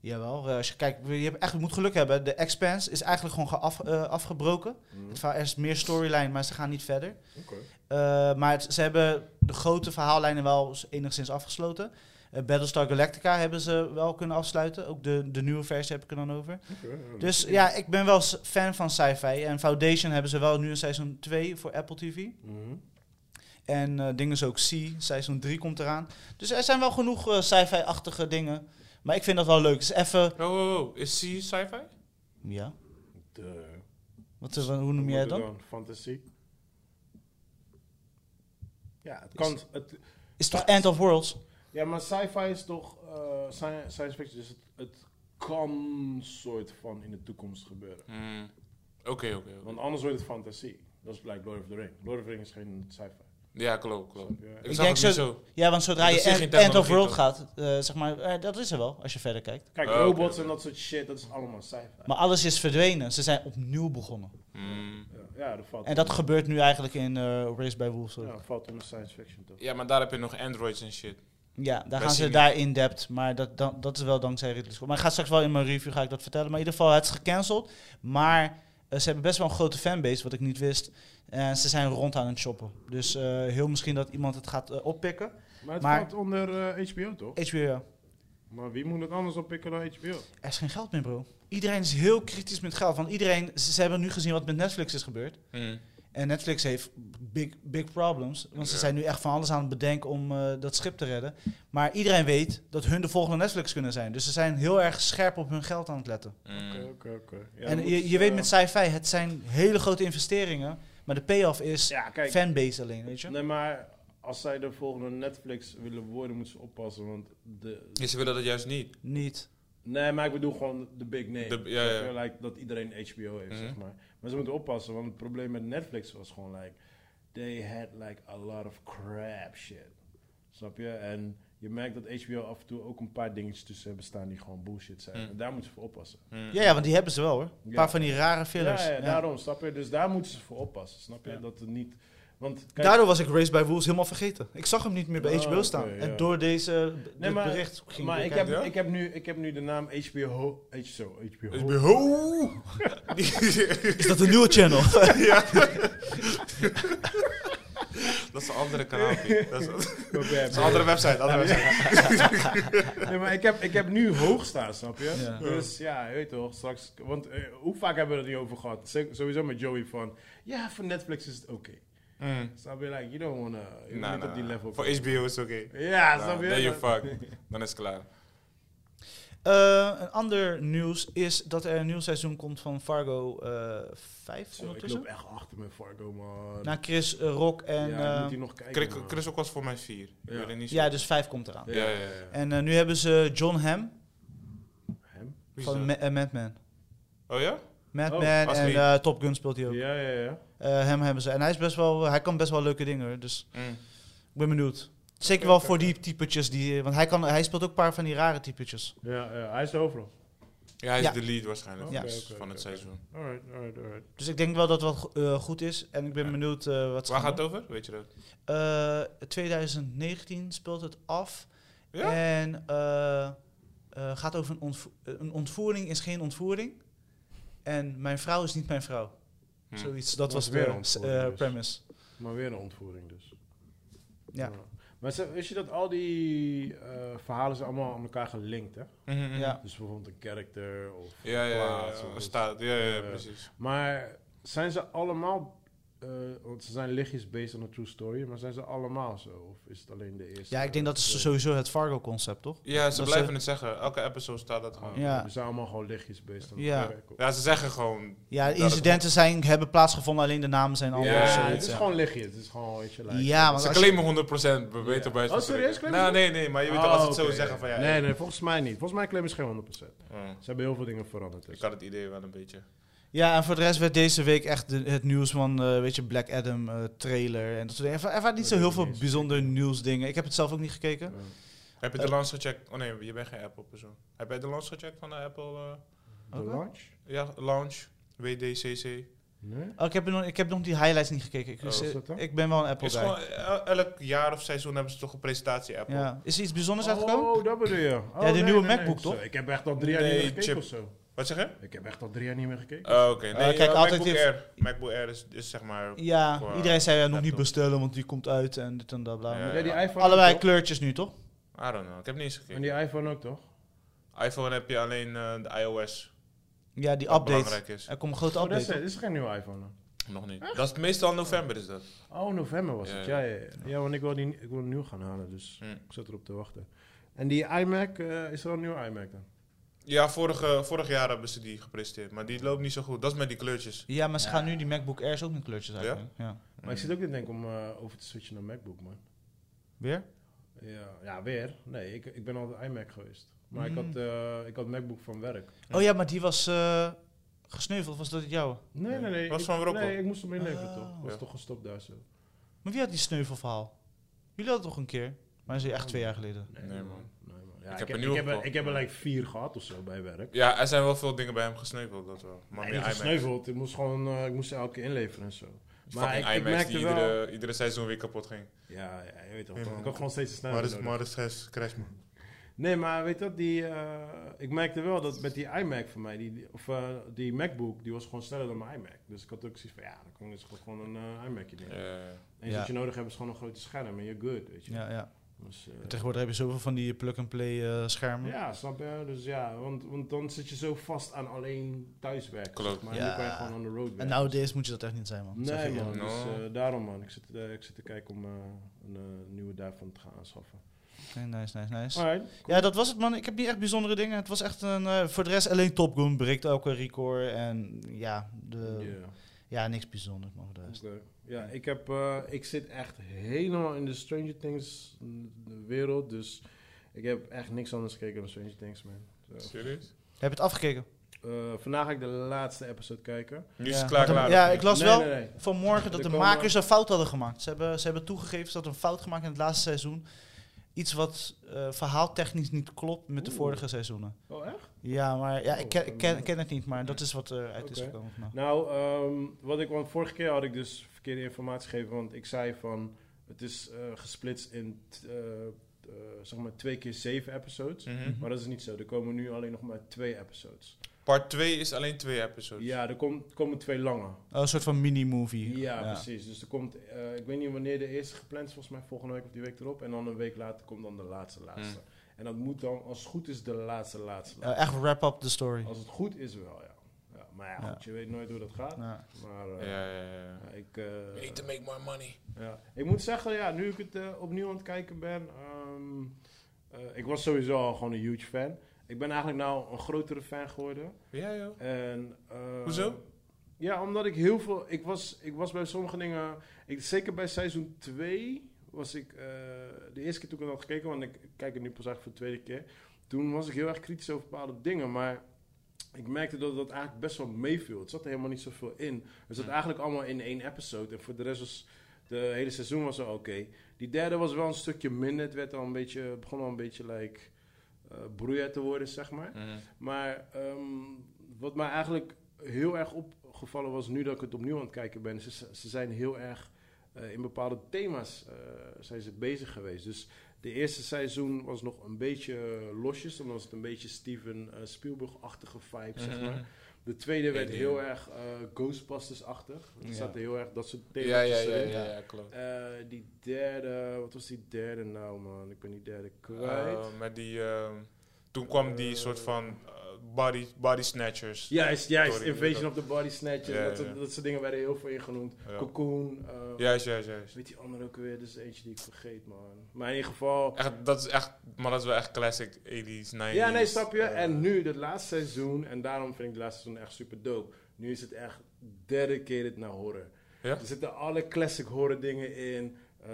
S2: jawel, eh, als je kijkt, je, hebt echt, je moet geluk hebben. De Expanse is eigenlijk gewoon geaf- eh, afgebroken.
S1: Hm?
S2: Het verhaal- er is meer storyline, maar ze gaan niet verder.
S1: Oké.
S2: Eh, maar het- ze hebben de grote verhaallijnen wel s- enigszins afgesloten. Eh, Battlestar Galactica hebben ze wel kunnen afsluiten. Ook de, de nieuwe versie heb ik er dan over.
S1: Oké.
S2: Dus ja, ik ben wel s- fan van sci-fi. En Foundation hebben ze wel nu een seizoen 2 voor Apple TV.
S1: Mhm.
S2: En eh, dingen zo ook C, seizoen 3 komt eraan. Dus er zijn wel genoeg eh, sci-fi-achtige dingen. Maar ik vind dat wel leuk. Het is even...
S3: Oh, oh, oh. Is ze sci-fi?
S2: Ja?
S1: De-
S2: Wat, eh, hoe noem jij het dan?
S1: Fantasie. Ja, het kan. Het,
S2: Is toch End of Worlds?
S1: ja, maar sci-fi is toch. eh, sci- science fiction is het. Het kan soort van in de toekomst gebeuren.
S3: Hmm. Oké, oké. oké.
S1: Want anders wordt het fantasie. Dat is blijkbaar Lord of the Ring. Lord of the Ring is geen sci-fi.
S3: Ja, klopt, klopt.
S1: Ja.
S3: Ik,
S2: Ik
S3: zag
S2: denk
S3: het niet
S2: zo-
S3: zo.
S2: Ja, want zodra
S3: Er
S2: je
S3: is hier geen
S2: End, End of
S3: technologie
S2: World
S3: toch?
S2: gaat, eh, zeg maar, eh, dat is er wel, als je verder kijkt.
S1: Kijk,
S3: Oh, oké,
S1: robots
S3: oké.
S1: en dat soort shit, dat is allemaal sci-fi.
S2: Maar alles is verdwenen. Ze zijn opnieuw begonnen.
S3: Hmm.
S1: Ja, ja, dat valt.
S2: En dat gebeurt nu eigenlijk in eh, Race by Wolves. ook.
S1: ja, dat valt onder science fiction toch?
S3: Ja, maar daar heb je nog androids en shit.
S2: Ja, daar
S3: Bij
S2: gaan ze
S3: Sydney.
S2: daar in depth. Maar dat, dan, dat is wel dankzij Ridley Scott. Maar ik ga straks wel in mijn review ga ik dat vertellen. Maar in ieder geval, het is gecanceld. Maar eh, ze hebben best wel een grote fanbase, wat ik niet wist. En ze zijn rond aan het shoppen. Dus eh, heel misschien dat iemand het gaat eh, oppikken.
S1: Maar het
S2: Maar-
S1: valt onder eh, HBO toch?
S2: HBO, ja.
S1: Maar wie moet het anders oppikken dan HBO?
S2: er is geen geld meer, bro. Iedereen is heel kritisch met geld. Want iedereen, ze, ze hebben nu gezien wat met Netflix is gebeurd.
S3: Hmm.
S2: En Netflix heeft big, big problems. Want ze
S3: Ja.
S2: zijn nu echt van alles aan het bedenken om eh, dat schip te redden. Maar iedereen weet dat hun de volgende Netflix kunnen zijn. Dus ze zijn heel erg scherp op hun geld aan het letten.
S3: Hmm.
S1: Oké, oké, oké. Ja, eh, dan
S2: en
S1: moeten
S2: je,
S1: ze-
S2: je weet met sci-fi, het zijn hele grote investeringen. Maar de payoff is
S1: Ja, kijk.
S2: fanbase alleen, weet je?
S1: Nee, maar als zij de volgende Netflix willen worden, moeten ze oppassen. Want de.
S3: Ja, ze willen dat juist niet.
S2: Niet.
S1: Nee, maar ik bedoel gewoon de big name.
S3: De- ja, ja.
S1: Zeg maar, like, dat iedereen HBO heeft,
S3: Mhm.
S1: zeg maar. Maar ze moeten oppassen, want het probleem met Netflix was gewoon, like, they had like a lot of crap shit. Snap je? En je merkt dat HBO af en toe ook een paar dingetjes tussen hebben staan die gewoon bullshit zijn.
S3: Mm.
S1: En daar moeten ze voor oppassen.
S3: Hmm.
S2: Ja, ja, want die hebben ze wel hoor. Een
S1: Ja.
S2: paar van die rare fillers.
S1: Ja, ja,
S2: Ja.
S1: daarom, snap je? Dus daar moeten ze voor oppassen, snap je?
S2: Ja.
S1: Dat er niet... Want kijk,
S2: Daardoor was ik Race by Wolves helemaal vergeten. Ik zag hem niet meer bij
S1: Oh,
S2: HBO staan.
S1: oké, ja.
S2: En door deze dit
S1: Nee, maar-
S2: bericht ging
S1: maar
S2: weer
S1: ik heb,
S2: kijken.
S1: ik, heb nu, ik heb nu de naam HBO... Ho- H- zo, HBO.
S3: Is bij Dus ho! (laughs)
S2: Is dat een nieuwe channel?
S1: (laughs)
S3: Dat is een andere kanaal.
S1: (laughs)
S3: Piet. Dat is, dat is
S1: Ho-
S3: een andere website. Andere website.
S1: Nee, maar ik heb, ik heb nu hoog staan, snap je?
S2: Ja.
S1: Dus ja, je weet toch, straks... Want eh, hoe vaak hebben we het niet over gehad? Z- Sowieso met Joey van... Ja, voor Netflix is het oké.
S3: Mm.
S1: Snap je? Like, you don't wanna... Je moet
S3: Nah,
S1: niet op die
S3: nah.
S1: level
S3: Nou, Voor HBO is het oké.
S1: Ja,
S3: Nou,
S1: snap je?
S3: then you fuck. Dan is het klaar.
S2: Eh, een ander nieuws is dat er een nieuw seizoen komt van Fargo eh 5
S1: Zo, ik
S2: ondertussen.
S1: loop echt achter mijn Fargo, man.
S2: Na Chris eh, Rock en...
S1: ja, ik
S2: Ja,
S1: moet die nog kijken,
S3: Chris,
S1: man.
S3: Chris ook was voor mij vier. Ik
S1: Ja.
S3: weet het niet zo.
S2: ja dus 5 komt eraan.
S1: Ja,
S3: Ja,
S1: ja,
S3: ja,
S1: ja.
S2: En eh, nu hebben ze John Hamm
S1: Hem?
S3: Wie is
S2: van
S3: dat?
S2: Ma- eh, Mad Men.
S3: Oh ja?
S2: Mad
S1: Oh,
S2: Men
S3: als
S2: en
S3: lead.
S2: eh, Top Gun speelt hij ook.
S1: Ja, ja, ja.
S2: Eh, hem hebben ze. En hij, is best wel, hij kan best wel leuke dingen. hoor. Dus
S1: Hmm.
S3: Mm.
S2: ik ben benieuwd. Zeker
S3: Oké,
S2: wel
S3: oké,
S2: voor die typetjes. Die, eh, want hij, kan, hij speelt ook een paar van die rare typetjes.
S1: Ja, ja, hij is de overal.
S3: Ja, hij is
S2: Ja.
S3: de lead waarschijnlijk
S2: Ja.
S3: van het-
S1: Oké, oké,
S3: van het
S1: oké.
S3: seizoen.
S1: Alright, alright, alright.
S2: Dus ik denk wel dat dat eh, goed is. En ik ben
S3: Ja.
S2: benieuwd eh, wat ze
S3: Waar
S2: gaan
S3: gaat het over? Weet je dat?
S2: Eh, 2019 speelt het af.
S3: Ja?
S2: En eh, eh, gaat over een, ontvo- eh, een ontvoering is geen ontvoering. En mijn vrouw is niet mijn vrouw.
S3: Hm.
S2: Zoiets,
S1: Dat
S2: dat was
S1: is weer
S2: de
S1: een ontvoering
S2: eh,
S1: dus.
S2: premise.
S1: Maar weer een ontvoering dus.
S2: Ja.
S1: Maar ze- wist je dat al die eh, verhalen zijn allemaal aan elkaar gelinkt, hè?
S3: Mhm, mhm.
S2: Ja.
S1: Dus bijvoorbeeld een character of...
S3: Ja, ja, ja,
S1: plaats
S3: ja,
S1: of
S3: een
S1: iets.
S3: staat. Ja, ja, ja,
S1: Eh,
S3: precies.
S1: Maar zijn ze allemaal... eh, want ze zijn lichtjes based on a true story, maar zijn ze allemaal zo? Of is het alleen de eerste?
S2: ja, ik denk dat is
S1: zo.
S2: sowieso het Fargo-concept, toch?
S3: Ja, ze
S2: dat
S3: blijven
S2: ze-
S3: het zeggen. Elke episode staat dat gewoon.
S2: Ja.
S1: We Oh, zijn allemaal gewoon lichtjes based on a
S2: Ja.
S1: true story.
S3: Ja, ze zeggen gewoon.
S2: Ja,
S3: dat het-
S2: incidenten zijn, hebben plaatsgevonden, alleen de namen zijn
S1: Ja,
S2: anders.
S1: het
S2: zoiets,
S1: is
S2: ja.
S1: gewoon lichtjes. Het is gewoon, weet je, like-
S2: Ja, want
S3: Ze
S2: Ah, als je-
S3: claimen 100% we weten bij
S1: Oh, serieus? Claimen
S3: Nou,
S1: ze?
S3: nee, nee, maar je weet
S1: Oh,
S3: toch als ze het zo
S1: oké,
S3: zeggen van ja.
S1: Nee, nee, volgens mij niet. Volgens mij claim is geen 100%. Ze
S3: Oh,
S1: hebben heel veel dingen veranderd. Dus.
S3: Ik had het idee wel een beetje.
S2: ja, en voor de rest werd deze week echt de- het nieuws van, eh, weet je, Black Adam eh, trailer en dat soort dingen. Er wa- Er waren niet
S1: Dat
S2: zo heel
S1: weet ik
S2: veel
S1: niet.
S2: bijzondere nieuwsdingen. Ik heb het zelf ook niet gekeken.
S3: Heb je
S1: Eh.
S3: de launch gecheckt? Oh nee, je bent geen Apple persoon. Heb jij de launch gecheckt van de Apple? eh,
S1: De
S2: Oké.
S1: launch?
S3: ja, launch. WDCC.
S1: Nee.
S2: Oh, ik, heb nog, ik heb nog die highlights niet gekeken. Ik,
S3: Oh,
S2: is-
S1: wat is dat dan?
S2: ik ben wel een Apple
S3: Is
S2: guy.
S3: gewoon, el- elk jaar of seizoen hebben ze toch een presentatie Apple.
S2: Ja. Is er iets bijzonders uitgekomen?
S1: Oh, dat bedoel je. Oh,
S2: Ja, de nieuwe MacBook, toch?
S1: Zo, ik heb echt al drie jaar niet
S3: Nee,
S1: meer gekeken
S3: chip.
S1: of zo.
S3: Wat zeg je?
S1: Ik heb echt al drie jaar niet meer gekeken.
S3: Oh, oké. Nee,
S2: kijk,
S3: ja,
S2: altijd
S3: MacBook
S2: heeft-
S3: Air. MacBook Air is, is zeg maar...
S2: Ja,
S3: Qua
S2: iedereen zei ja, nog
S3: laptop.
S2: niet bestellen, want die komt uit en dit en dat. Bla, bla.
S3: Ja,
S1: ja, die iPhone
S2: Allebei
S1: ook, toch?
S2: kleurtjes nu, toch?
S3: I don't know. Ik heb niet eens gekeken.
S1: En die iPhone ook, toch?
S3: iPhone heb je alleen eh, de iOS.
S2: Ja, die
S3: Wat
S2: update.
S3: belangrijk is.
S2: Er komt een grote
S1: Oh, dat is,
S2: update.
S1: dat is geen nieuwe iPhone. dan.
S3: Nog niet. Dat is meestal november is dat.
S1: Oh, november was
S3: Ja,
S1: het. Ja, ja,
S3: ja.
S1: ja. ja want ik wil, die, ik wil een nieuw gaan halen, dus
S3: Hm.
S1: ik zat erop te wachten. En die iMac, eh, is er al een nieuwe iMac dan?
S3: Ja, vorige, vorig jaar hebben ze die gepresenteerd. Maar die loopt niet zo goed. Dat is met die kleurtjes.
S2: Ja, maar ze gaan nu die MacBook Airs ook met kleurtjes
S3: Ja?
S2: uitbrengen. Ja.
S1: Maar ik zit ook te denken om eh, over te switchen naar MacBook, man.
S2: Weer?
S1: Ja, ja weer. Nee, ik, ik ben altijd iMac geweest. Maar
S2: Mm.
S1: ik, had, eh, ik had MacBook van werk.
S2: Oh ja, maar die was eh, gesneuveld. Was dat het jouwe?
S1: Nee, nee, nee.
S3: Was
S1: ik,
S3: van Rocco.
S1: Nee, ik moest hem inleveren,
S2: Ah.
S1: toch? Was
S3: Ja.
S1: toch gestopt daar zo?
S2: Maar wie had die sneuvelverhaal? Jullie hadden het toch een keer? Maar dat is echt twee jaar geleden.
S3: Nee, man.
S1: Nee, man.
S3: Ik
S1: Ja, ik, heb,
S3: heb een
S1: ik,
S3: nieuwe
S1: heb er,
S3: gekocht.
S1: ik heb er like vier gehad of zo bij werk.
S3: Ja, er zijn wel veel dingen bij hem gesneuveld, dat wel. Maar
S1: Maar
S3: meer
S1: niet
S3: iMac.
S1: gesneuveld. Ik moest, gewoon, eh, ik moest ze elke keer inleveren en zo. Maar ik,
S3: Fucking
S1: ik
S3: iMac
S1: merkte
S3: die
S1: wel...
S3: iedere, iedere seizoen weer kapot ging.
S1: Ja, ja, je weet toch.
S3: Ja, man.
S1: ik had gewoon steeds sneller
S3: maar is,
S1: nodig.
S3: maar is stress, crash man.
S1: Nee, maar weet dat, die, eh, ik merkte wel dat met die iMac van mij, die- die, of eh, die MacBook, die was gewoon sneller dan mijn iMac. Dus ik had ook zoiets van, ja, dan kan ik dus gewoon een eh, iMacje nemen.
S3: Ja.
S1: En
S2: Ja.
S1: wat je nodig hebt is gewoon een grote scherm en you're good, weet je.
S2: Ja, ja.
S1: Dus, eh,
S2: Tegenwoordig heb je zoveel van die plug-and-play eh, schermen.
S1: ja, snap je? Dus ja, want, want dan zit je zo vast aan alleen thuiswerken.
S3: Klopt.
S1: zeg maar
S2: Ja.
S1: nu kan je gewoon on the road
S2: En
S1: werken.
S2: nowadays moet je dat echt niet zijn, man. Zeg
S1: nee
S2: ik je.
S1: man, dus
S3: No.
S1: eh, daarom man. Ik zit, eh, ik zit te kijken om eh, een eh, nieuwe daarvan te gaan aanschaffen.
S2: Oké, nice, nice, nice.
S1: Alright.
S2: Ja, dat was het, man. Ik heb niet echt bijzondere dingen. Het was echt een... eh, voor de rest alleen Top Gun breekt elke record. En ja, de,
S1: Ja.
S2: ja niks bijzonders, man. Voor de rest.
S1: Oké. Ja, ik, heb, eh, ik zit echt helemaal in de Stranger Things mm, wereld. Dus ik heb echt niks anders gekeken dan Stranger Things, man. Zo.
S3: Serieus?
S2: Heb je het afgekeken?
S1: Eh, vandaag ga ik de laatste episode kijken.
S3: Nu is
S2: Ja.
S3: het klaar,
S2: Want,
S3: klaar.
S2: Ja,
S3: of niet?
S2: ik las
S1: Nee,
S2: wel
S1: nee, nee.
S2: vanmorgen dat
S1: Er
S2: de
S1: komen-
S2: makers een fout hadden gemaakt. Ze hebben, ze hebben toegegeven dat ze hadden een fout gemaakt in het laatste seizoen. iets wat eh, verhaaltechnisch niet klopt met de
S1: Oeh.
S2: vorige seizoenen.
S1: Oh, echt?
S2: Ja, maar ja,
S1: Oh,
S2: ik ken,
S1: dat
S2: ik ken,
S1: ben-
S2: ken het niet, maar dat is wat eruit is
S1: Oké.
S2: gekomen. vandaag.
S1: Nou, ehm, wat ik, want vorige keer had ik dus verkeerde informatie gegeven, want ik zei van, het is eh, gesplitst in, t- eh, eh, zeg maar, twee keer zeven episodes.
S3: Mhm.
S1: Maar dat is niet zo, er komen nu alleen nog maar twee episodes.
S3: Part 2 is alleen twee episodes.
S1: Ja, er kom- komen twee lange.
S2: Oh, een soort van mini-movie.
S1: Ja, precies. Dus er komt, eh, ik weet niet wanneer de eerste gepland is, volgens mij volgende week of die week erop. En dan een week later komt dan de laatste laatste. En dat moet dan, als het goed is, de laatste laatste
S2: Eh,
S1: laatste.
S2: echt wrap up the story.
S1: Als het goed is wel, ja. ja maar ja,
S2: Ja.
S1: goed, je weet nooit hoe dat gaat.
S2: Ja.
S1: Maar eh,
S3: Ja, ja, ja.
S1: ja, ik, eh,
S3: make more money.
S1: ja. ik moet zeggen, ja, nu ik het eh, opnieuw aan het kijken ben, ehm, eh, ik was sowieso al gewoon een huge fan. Ik ben eigenlijk nou een grotere fan geworden.
S3: Ja, joh.
S1: En, eh,
S3: Hoezo?
S1: Ja, omdat ik heel veel. Ik was, ik was bij sommige dingen. Ik, zeker bij seizoen 2 was ik. eh, de eerste keer toen ik het had gekeken, want ik kijk het nu pas eigenlijk voor de tweede keer. Toen was ik heel erg kritisch over bepaalde dingen. Maar ik merkte dat dat eigenlijk best wel meeviel. Het zat er helemaal niet zoveel in. Het zat
S3: Hm.
S1: eigenlijk allemaal in één episode. En voor de rest was. De hele seizoen was wel oké. Die derde was wel een stukje minder. Het werd al een beetje, het begon al een beetje like, eh broeier te worden, zeg maar.
S3: Mhm.
S1: Maar ehm, wat mij eigenlijk heel erg opgevallen was nu dat ik het opnieuw aan het kijken ben, ze, ze zijn heel erg eh, in bepaalde thema's eh, zijn ze bezig geweest. Dus de eerste seizoen was nog een beetje eh, losjes, dan was het een beetje Steven eh, Spielberg-achtige vibe, zeg
S3: Mhm.
S1: maar. De tweede werd
S3: Alien.
S1: heel erg eh, Ghostbusters-achtig. Er
S2: Ja.
S1: zaten heel erg dat soort thema's
S3: Ja, ja, ja,
S1: erin.
S3: ja, ja, klopt.
S1: Eh, die derde, wat was die derde nou man? Ik ben die derde kwijt.
S3: Eh, met die, ehm, toen kwam die
S1: Eh,
S3: soort van eh, body, body snatchers.
S1: Juist, juist.
S3: Sorry,
S1: Invasion
S3: dat-
S1: of the Body Snatchers.
S3: Ja,
S1: dat, soort-
S3: ja.
S1: dat soort dingen werden heel veel ingenoemd.
S3: Ja.
S1: Cocoon. eh,
S3: Juist, juist, juist.
S1: Weet die andere ook weer? Dat is eentje die ik vergeet, man. Maar in ieder geval...
S3: Echt, dat is echt, maar dat is wel echt classic 80s, 90s.
S1: Ja, nee, snap je?
S3: eh,
S1: en nu, het laatste seizoen. En daarom vind ik het laatste seizoen echt super dope. Nu is het echt derde keer dit naar horror.
S3: Ja?
S1: Er zitten alle classic horror dingen in. Eh,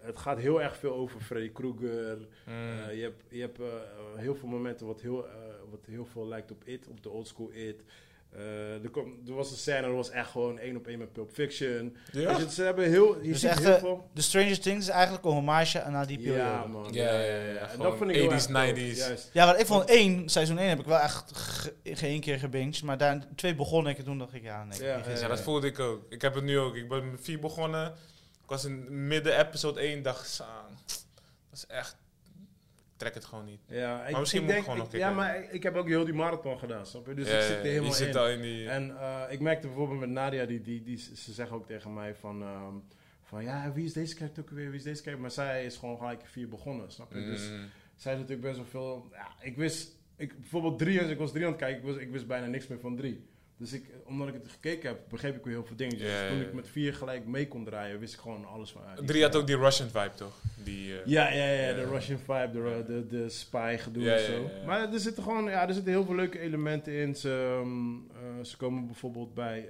S1: het gaat heel erg veel over Freddy Krueger.
S3: mm,
S1: Eh, je hebt, je hebt eh, eh, heel veel momenten wat heel, eh, wat heel veel lijkt op It, op de old school It. Eh, er, kwam- er was een scène, dat was echt gewoon één op één met Pulp Fiction.
S3: ja?
S1: Dus het- ze hebben heel, je
S2: Dus
S1: ziet
S2: echt,
S1: heel
S2: eh,
S1: veel.
S2: De Stranger Things is eigenlijk een hommage aan die periode.
S1: Ja,
S2: Ja,
S1: man.
S3: Ja, ja, ja, ja.
S1: En dat
S3: Gewoon
S1: vond ik heel
S3: 80s,
S1: erg dope.
S3: 90s.
S1: Juist.
S2: want ik vond één, seizoen 1 heb ik wel echt ge- geen keer gebinged. Maar daar twee begon ik en toen dacht ik, ja, nee.
S1: Ja,
S2: ik-
S1: ja,
S3: Ja, dat voelde ik ook. Ik heb het nu ook. Ik ben met 4 begonnen. Ik was in midden episode 1, dacht saan. Dat is echt... Ik trek het gewoon niet.
S1: Ja, ik,
S3: Maar misschien
S1: ik
S3: moet
S1: denk,
S3: ik gewoon nog
S1: ik- Ja,
S3: kijken.
S1: maar ik- ik heb ook heel die marathon gedaan, snap je? Dus
S3: Ja,
S1: ik zit
S3: ja,
S1: er
S3: ja,
S1: helemaal
S3: je
S1: in.
S3: zit al in die...
S1: En eh, ik merkte bijvoorbeeld met Nadia, die, die, die, ze zeggen ook tegen mij van, ehm, van ja, wie is deze character ook weer, wie is deze character? Maar zij is gewoon gelijk vier begonnen, snap je? Dus
S3: Mm.
S1: zij is natuurlijk best wel veel, ja, ik wist, ik, bijvoorbeeld drie, als ik was drie aan het kijken, ik wist, ik wist bijna niks meer van drie. Dus ik, omdat ik het gekeken heb, begreep ik weer heel veel dingen. Dus
S3: Ja, ja,
S1: toen
S3: ja.
S1: ik met vier gelijk mee kon draaien, wist ik gewoon alles van. ah, die-
S3: Drie had ook die Russian vibe, toch? Die, eh,
S1: Ja, ja, ja, de
S3: Ja.
S1: Russian vibe, de, ru- de, de spy gedoe
S3: Ja,
S1: en
S3: ja,
S1: zo.
S3: ja, ja.
S1: Maar er zitten gewoon, ja, er zitten heel veel leuke elementen in. Ze, ehm, eh, ze komen bijvoorbeeld bij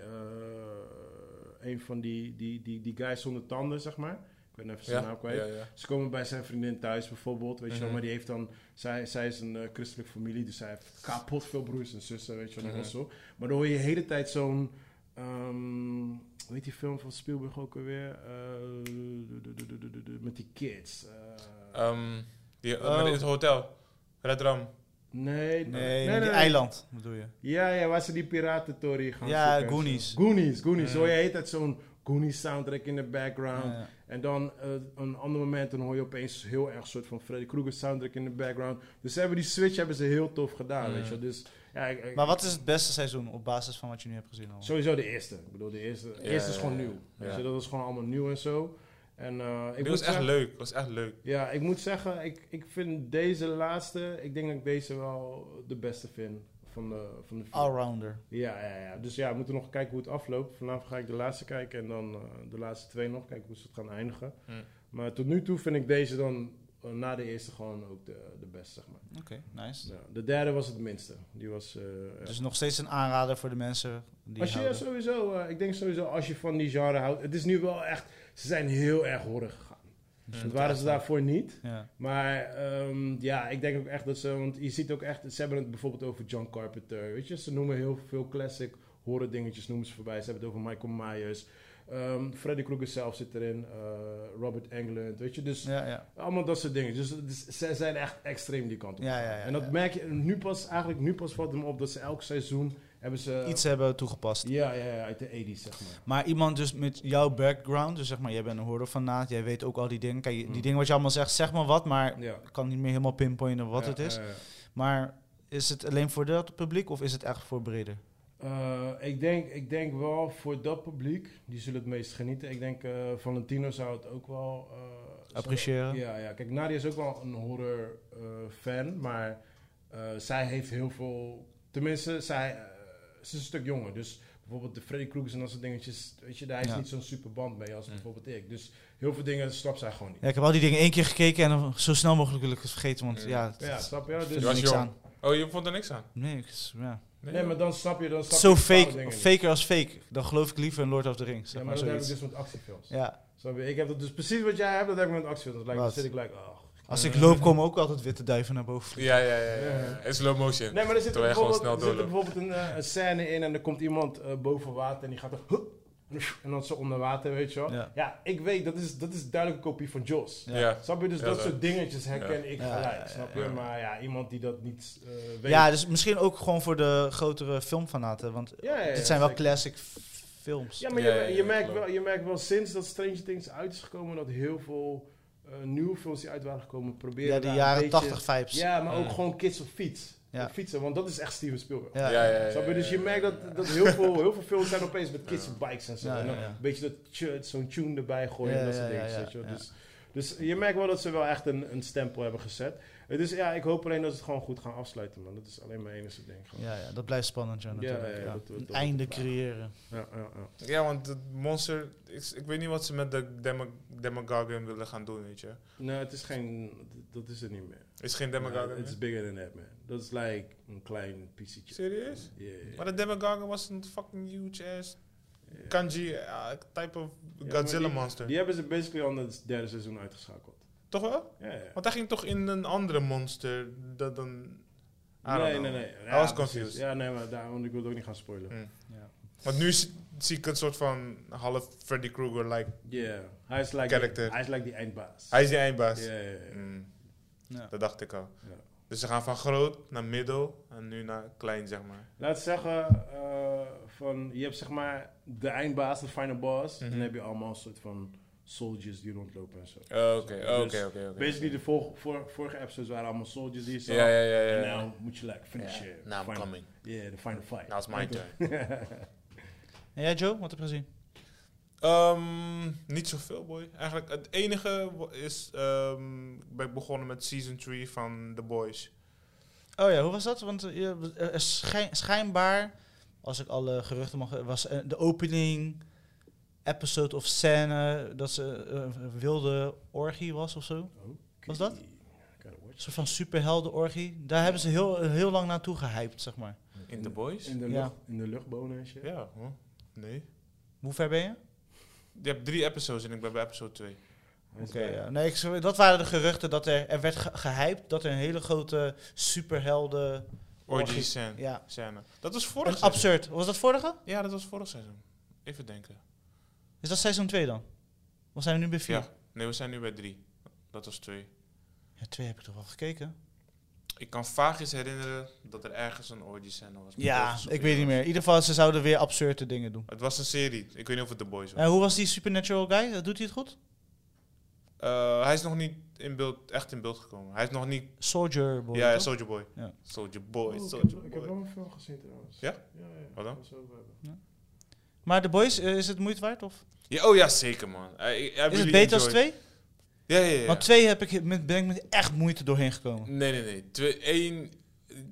S1: eh, een van die, die, die, die guys zonder tanden, zeg maar. Ik ben even zijn naam kwijt.
S3: ja, ja.
S1: Ze komen bij zijn vriendin thuis bijvoorbeeld, weet je wel.
S3: Mhm.
S1: Maar die heeft dan, zij, zij is een eh, christelijke familie, dus zij heeft kapot veel broers en zussen, weet je wel. en
S3: Mhm.
S1: zo. Maar dan hoor je de hele tijd zo'n, ehm, hoe heet die film van Spielberg ook alweer? Eh, du- du- du- du- du- du- du- met die kids. eh.
S3: Ehm, die,
S2: Oh.
S3: met het hotel. Red Ram.
S1: nee,
S2: Nee, die eiland bedoel je.
S1: Ja, ja, waar ze die piratentorie gaan
S2: Ja,
S1: zoeken en
S2: Goonies. Mhm.
S1: zo. Goonies, Goonies.
S3: Ja.
S1: Zo hoor je de hele tijd zo'n Goonies soundtrack in de background.
S2: Ja, ja.
S1: En dan eh, een ander moment, dan hoor je opeens heel erg een soort van Freddy Krueger soundtrack in de background. Dus ze hebben die switch hebben ze heel tof gedaan,
S3: Ja.
S1: weet je wel. Dus, ja, ik- ik-
S2: Maar wat is het beste seizoen op basis van wat je nu hebt gezien al?
S1: Sowieso de eerste. Ik bedoel, de eerste, de
S3: Ja,
S1: eerste is
S3: ja,
S1: gewoon
S3: ja.
S1: nieuw.
S3: Ja.
S1: Weet je, dat is gewoon allemaal nieuw en zo. En, eh, ik
S3: Die
S1: moet
S3: was echt
S1: zeggen-
S3: leuk. was echt leuk.
S1: Ja, ik moet zeggen, ik, ik vind deze laatste, ik denk dat ik deze wel de beste vind van de, van de vier.
S2: Allrounder.
S1: Ja, ja, ja. Dus ja, we moeten nog kijken hoe het afloopt. Vanavond ga ik de laatste kijken en dan eh, de laatste twee nog. Kijken hoe ze het gaan eindigen.
S3: Hmm.
S1: Maar tot nu toe vind ik deze dan eh, na de eerste gewoon ook de, de beste, zeg maar.
S2: Oké, nice.
S1: Ja, de derde was het minste. Die was... eh, ja.
S2: Dus nog steeds een aanrader voor de mensen die
S1: als je
S2: houden.
S1: sowieso... eh, ik denk sowieso als je van die genre houdt... Het is nu wel echt... Ze zijn heel erg horror gegaan. Dus
S3: Mm.
S1: Dat waren ze daarvoor niet.
S2: Ja.
S1: Maar ehm, ja, ik denk ook echt dat ze... Want je ziet ook echt... Ze hebben het bijvoorbeeld over John Carpenter. Weet je, ze noemen heel veel classic horen dingetjes noemen ze voorbij. Ze hebben het over Michael Myers. Ehm, Freddy Krueger zelf zit erin. eh, Robert Englund, weet je. Dus
S2: Ja, ja.
S1: allemaal dat soort dingen. Dus, het is- zij zijn echt extreem die kant op.
S2: Ja, ja, ja,
S1: en dat
S2: ja.
S1: merk je nu pas, eigenlijk nu pas valt het me op dat ze elk seizoen hebben ze...
S2: Iets hebben toegepast.
S1: Ja, ja, ja, uit de 80s zeg maar.
S2: Maar iemand dus met jouw background, dus zeg maar, jij bent een hoorder van naad, jij weet ook al die dingen. Kijk, die
S1: Hmm.
S2: dingen wat je allemaal zegt, zeg maar wat, maar
S1: Ja.
S2: ik kan niet meer helemaal pinpointen wat
S1: Ja,
S2: het is.
S1: ja, ja.
S2: Maar is het alleen voor dat publiek of is het echt voor breder?
S1: Eh, ik, denk, ik denk wel voor dat publiek, die zullen het meest genieten. Ik denk eh, Valentino zou het ook wel... eh, zou-
S2: Appreciëren?
S1: Ja, ja, kijk, Nadia is ook wel een horror eh, fan, maar eh, zij heeft heel veel... Tenminste, zij, eh, ze is een stuk jonger, dus bijvoorbeeld de Freddy Krueger's en dat soort dingetjes, weet je, daar heeft
S2: Ja.
S1: niet zo'n super band mee als
S3: Hm.
S1: bijvoorbeeld ik. Dus heel veel dingen snapt zij gewoon niet.
S2: Ja, ik heb al die dingen één keer gekeken en dan zo snel mogelijk wil ik het vergeten, want
S3: Ja.
S2: ja, het-
S1: Ja, snap je?
S2: het
S1: Dus,
S2: is niks
S3: jong.
S2: aan.
S3: Oh, je vond er niks aan?
S2: Nee, ik is- ja.
S1: nee, maar dan snap je... Dan snap
S2: Zo
S1: je bepaalde dingen
S2: fake,
S1: niet.
S2: faker als fake. Dan geloof ik liever in Lord of the Rings, zeg
S1: Ja, maar
S2: maar
S1: dat heb ik
S2: zoiets.
S1: dus met actiefilms.
S2: Ja,
S1: Snap je? Ik heb dat dus precies wat jij hebt, dat heb ik met actiefilms. Like, dan
S2: Wat?
S1: zit ik like, oh.
S2: als ik loop komen ook altijd witte duiven naar boven.
S3: Ja, ja, ja. ja,
S1: Ja.
S3: ja. In slow motion.
S1: Nee, maar er zit,
S3: Terwijl je gewoon
S1: bijvoorbeeld,
S3: snel
S1: er zit
S3: doorloopt.
S1: bijvoorbeeld een, eh, een scène in en er komt iemand eh, boven water en die gaat dan... "Huh," en dan zo onder water, weet je wel.
S2: Ja.
S1: Ja, ik weet, dat is, dat is duidelijk een kopie van Jaws.
S2: Ja.
S3: Ja.
S1: Snap je? Dus
S3: Ja,
S1: dat
S3: dat-
S1: soort dingetjes herken ik
S2: Ja,
S1: gelijk,
S2: ja,
S1: snap je?
S3: ja.
S1: Maar ja, iemand die dat niet eh, weet...
S2: Ja, dus misschien ook gewoon voor de grotere filmfanaten, want
S1: Ja, ja, ja,
S2: dit zijn wel
S1: zeker.
S2: classic f- films.
S1: Ja, maar
S3: Ja,
S1: je,
S3: ja, ja,
S1: je, merkt
S3: klopt.
S1: wel, je merkt wel sinds dat Stranger Things uit is gekomen... dat heel veel eh, nieuwe films die uit waren gekomen proberen...
S2: Ja, de
S1: daar
S2: jaren
S1: een beetje-
S2: 80 vibes. Ja,
S1: Ja, maar ook
S3: Mm.
S1: gewoon kids op fiets.
S2: Ja.
S1: Op fietsen, want dat is echt Steven Spielberg.
S2: ja,
S3: ja,
S2: ja.
S3: ja,
S1: Snap je? Dus je merkt dat, dat heel, veel, heel veel films zijn opeens met kids op bikes en zo.
S2: Ja,
S1: en dan
S2: ja, ja.
S1: een beetje dat tje- zo'n tune erbij gooien
S2: Ja,
S1: en dat
S2: ja,
S1: soort
S2: ja,
S1: dingen.
S2: ja,
S1: weet je wel.
S2: ja.
S1: dus, dus je merkt wel dat ze wel echt een, een stempel hebben gezet. Eh, Dus ja, ik hoop alleen dat ze het gewoon goed gaan afsluiten, man. Dat is alleen mijn enige ding. gewoon.
S2: ja, dat blijft spannend, ja,
S1: Ja,
S2: natuurlijk.
S1: ja,
S2: ja.
S1: dat- dat-
S2: Een
S1: dat-
S2: einde
S1: dat-
S2: creëren.
S1: Ja, ja, ja.
S3: Ja, want het monster... Ik, ik weet niet wat ze met de demo, Demogorgon willen gaan doen, weet je.
S1: Nee, Nou, het is geen... Dat is het niet meer.
S3: Is geen
S1: Nee,
S3: Demogorgon
S1: It's
S3: meer?
S1: bigger than that, man. Dat is like een klein piecetje.
S3: Serieus?
S1: Yeah, yeah,
S3: Maar de Demogorgon was een fucking huge ass
S1: yeah.
S3: kanji eh, type of
S1: Ja,
S3: Godzilla
S1: maar die-
S3: monster.
S1: Die hebben ze basically al het derde seizoen uitgeschakeld.
S3: Toch wel?
S1: Ja, ja.
S3: Want hij ging toch in een andere monster dat dan... I don't
S1: Nee,
S3: know.
S1: nee, nee. Ja,
S3: I
S1: precies.
S3: was confused.
S1: Ja, nee, maar daar, want ik wil het ook niet gaan spoilen.
S3: Mm.
S2: Ja.
S3: Want nu zie, zie ik een soort van half Freddy Krueger, like...
S1: Yeah, hij is like
S3: Character.
S1: Die, hij is like die eindbaas.
S3: Hij is die eindbaas.
S1: Ja, ja, ja.
S3: Mm,
S2: Ja.
S3: Dat dacht ik al.
S1: Ja.
S3: Dus ze gaan van groot naar middel en nu naar klein, zeg maar.
S1: Laat zeggen, eh, van, je hebt zeg maar de eindbaas, de final boss. En
S3: Mhm.
S1: dan heb je allemaal een soort van soldiers die rondlopen en zo.
S3: Oh, Oké,
S1: Dus
S3: oké, oké. oké.
S1: Basically, de vol- vor- vorige episodes waren allemaal soldiers die je zag.
S3: Ja, ja, ja. ja,
S1: En
S3: ja.
S1: nou moet je like finish
S3: Ja.
S1: it.
S3: Now I'm
S1: Final-
S3: coming. Nou.
S1: Yeah, the final fight. (laughs)
S3: Now it's my turn.
S2: En jij, Joe, wat heb je gezien?
S3: Ehm, niet zoveel, boy. Eigenlijk het enige wa- is... ehm, ik ben begonnen met season 3 van The Boys.
S2: Oh ja, hoe was dat? Want eh, je- er is schijn- schijnbaar, als ik alle geruchten mag, was eh, de opening episode of scène dat ze eh, een wilde orgie was of zo.
S1: Oké.
S2: Was dat?
S1: Gotta watch.
S2: Een soort van superheldenorgie. Daar hebben ze heel, eh, heel lang naartoe gehyped, zeg maar.
S3: In The Boys?
S1: In de,
S2: Ja.
S1: lucht, in de luchtbonen en shit.
S3: Ja, hoor. Nee.
S2: Hoe ver ben je?
S3: Je hebt drie episodes en ik ben bij episode 2.
S1: Hij is
S2: Oké,
S1: bij-
S2: ja. nee, ik, zou- dat waren de geruchten dat er, er werd ge- gehyped dat er een hele grote superhelden...
S3: Orgy
S2: Orgy.
S3: scène.
S2: Ja,
S3: scène. Dat was vorig
S2: een
S3: seizoen.
S2: absurd. Was dat vorige?
S3: Ja, dat was vorig seizoen. Even denken.
S2: Is dat seizoen 2 dan? Of zijn we nu bij 4?
S3: Ja. Nee, we zijn nu bij drie. Dat was twee.
S2: Ja, twee heb ik toch wel gekeken?
S3: Ik kan vaagjes herinneren dat er ergens een orgy scène was. met
S2: Ja,
S3: orgies op
S2: ik
S3: de
S2: weet niet
S3: jongens.
S2: meer. In ieder geval, ze zouden weer absurde dingen doen.
S3: Het was een serie. Ik weet niet of het The Boys was.
S2: En hoe was die Supernatural guy? Doet hij het goed?
S3: Eh, hij is nog niet in beeld, echt in beeld gekomen. Hij is nog niet...
S2: Soldier Boy.
S3: ja,
S2: toch?
S3: Soldier Boy.
S2: Ja.
S3: Soldier Boy,
S1: Oh, ik, heb,
S3: Soldier
S1: ik heb
S3: Boy.
S1: wel een film gezien trouwens.
S3: Ja?
S1: Ja, ja.
S3: Wat dan?
S1: Dat is over hebben.
S2: Maar The Boys, eh, is het moeite waard? Of?
S3: Ja, oh ja, zeker man. I- I- I
S2: Is
S3: really
S2: het beter als
S3: enjoyed-
S2: 2?
S3: Ja, ja, ja.
S2: Want 2 heb ik met, ben ik met echt moeite doorheen gekomen.
S3: Nee, nee, nee. Twee, één...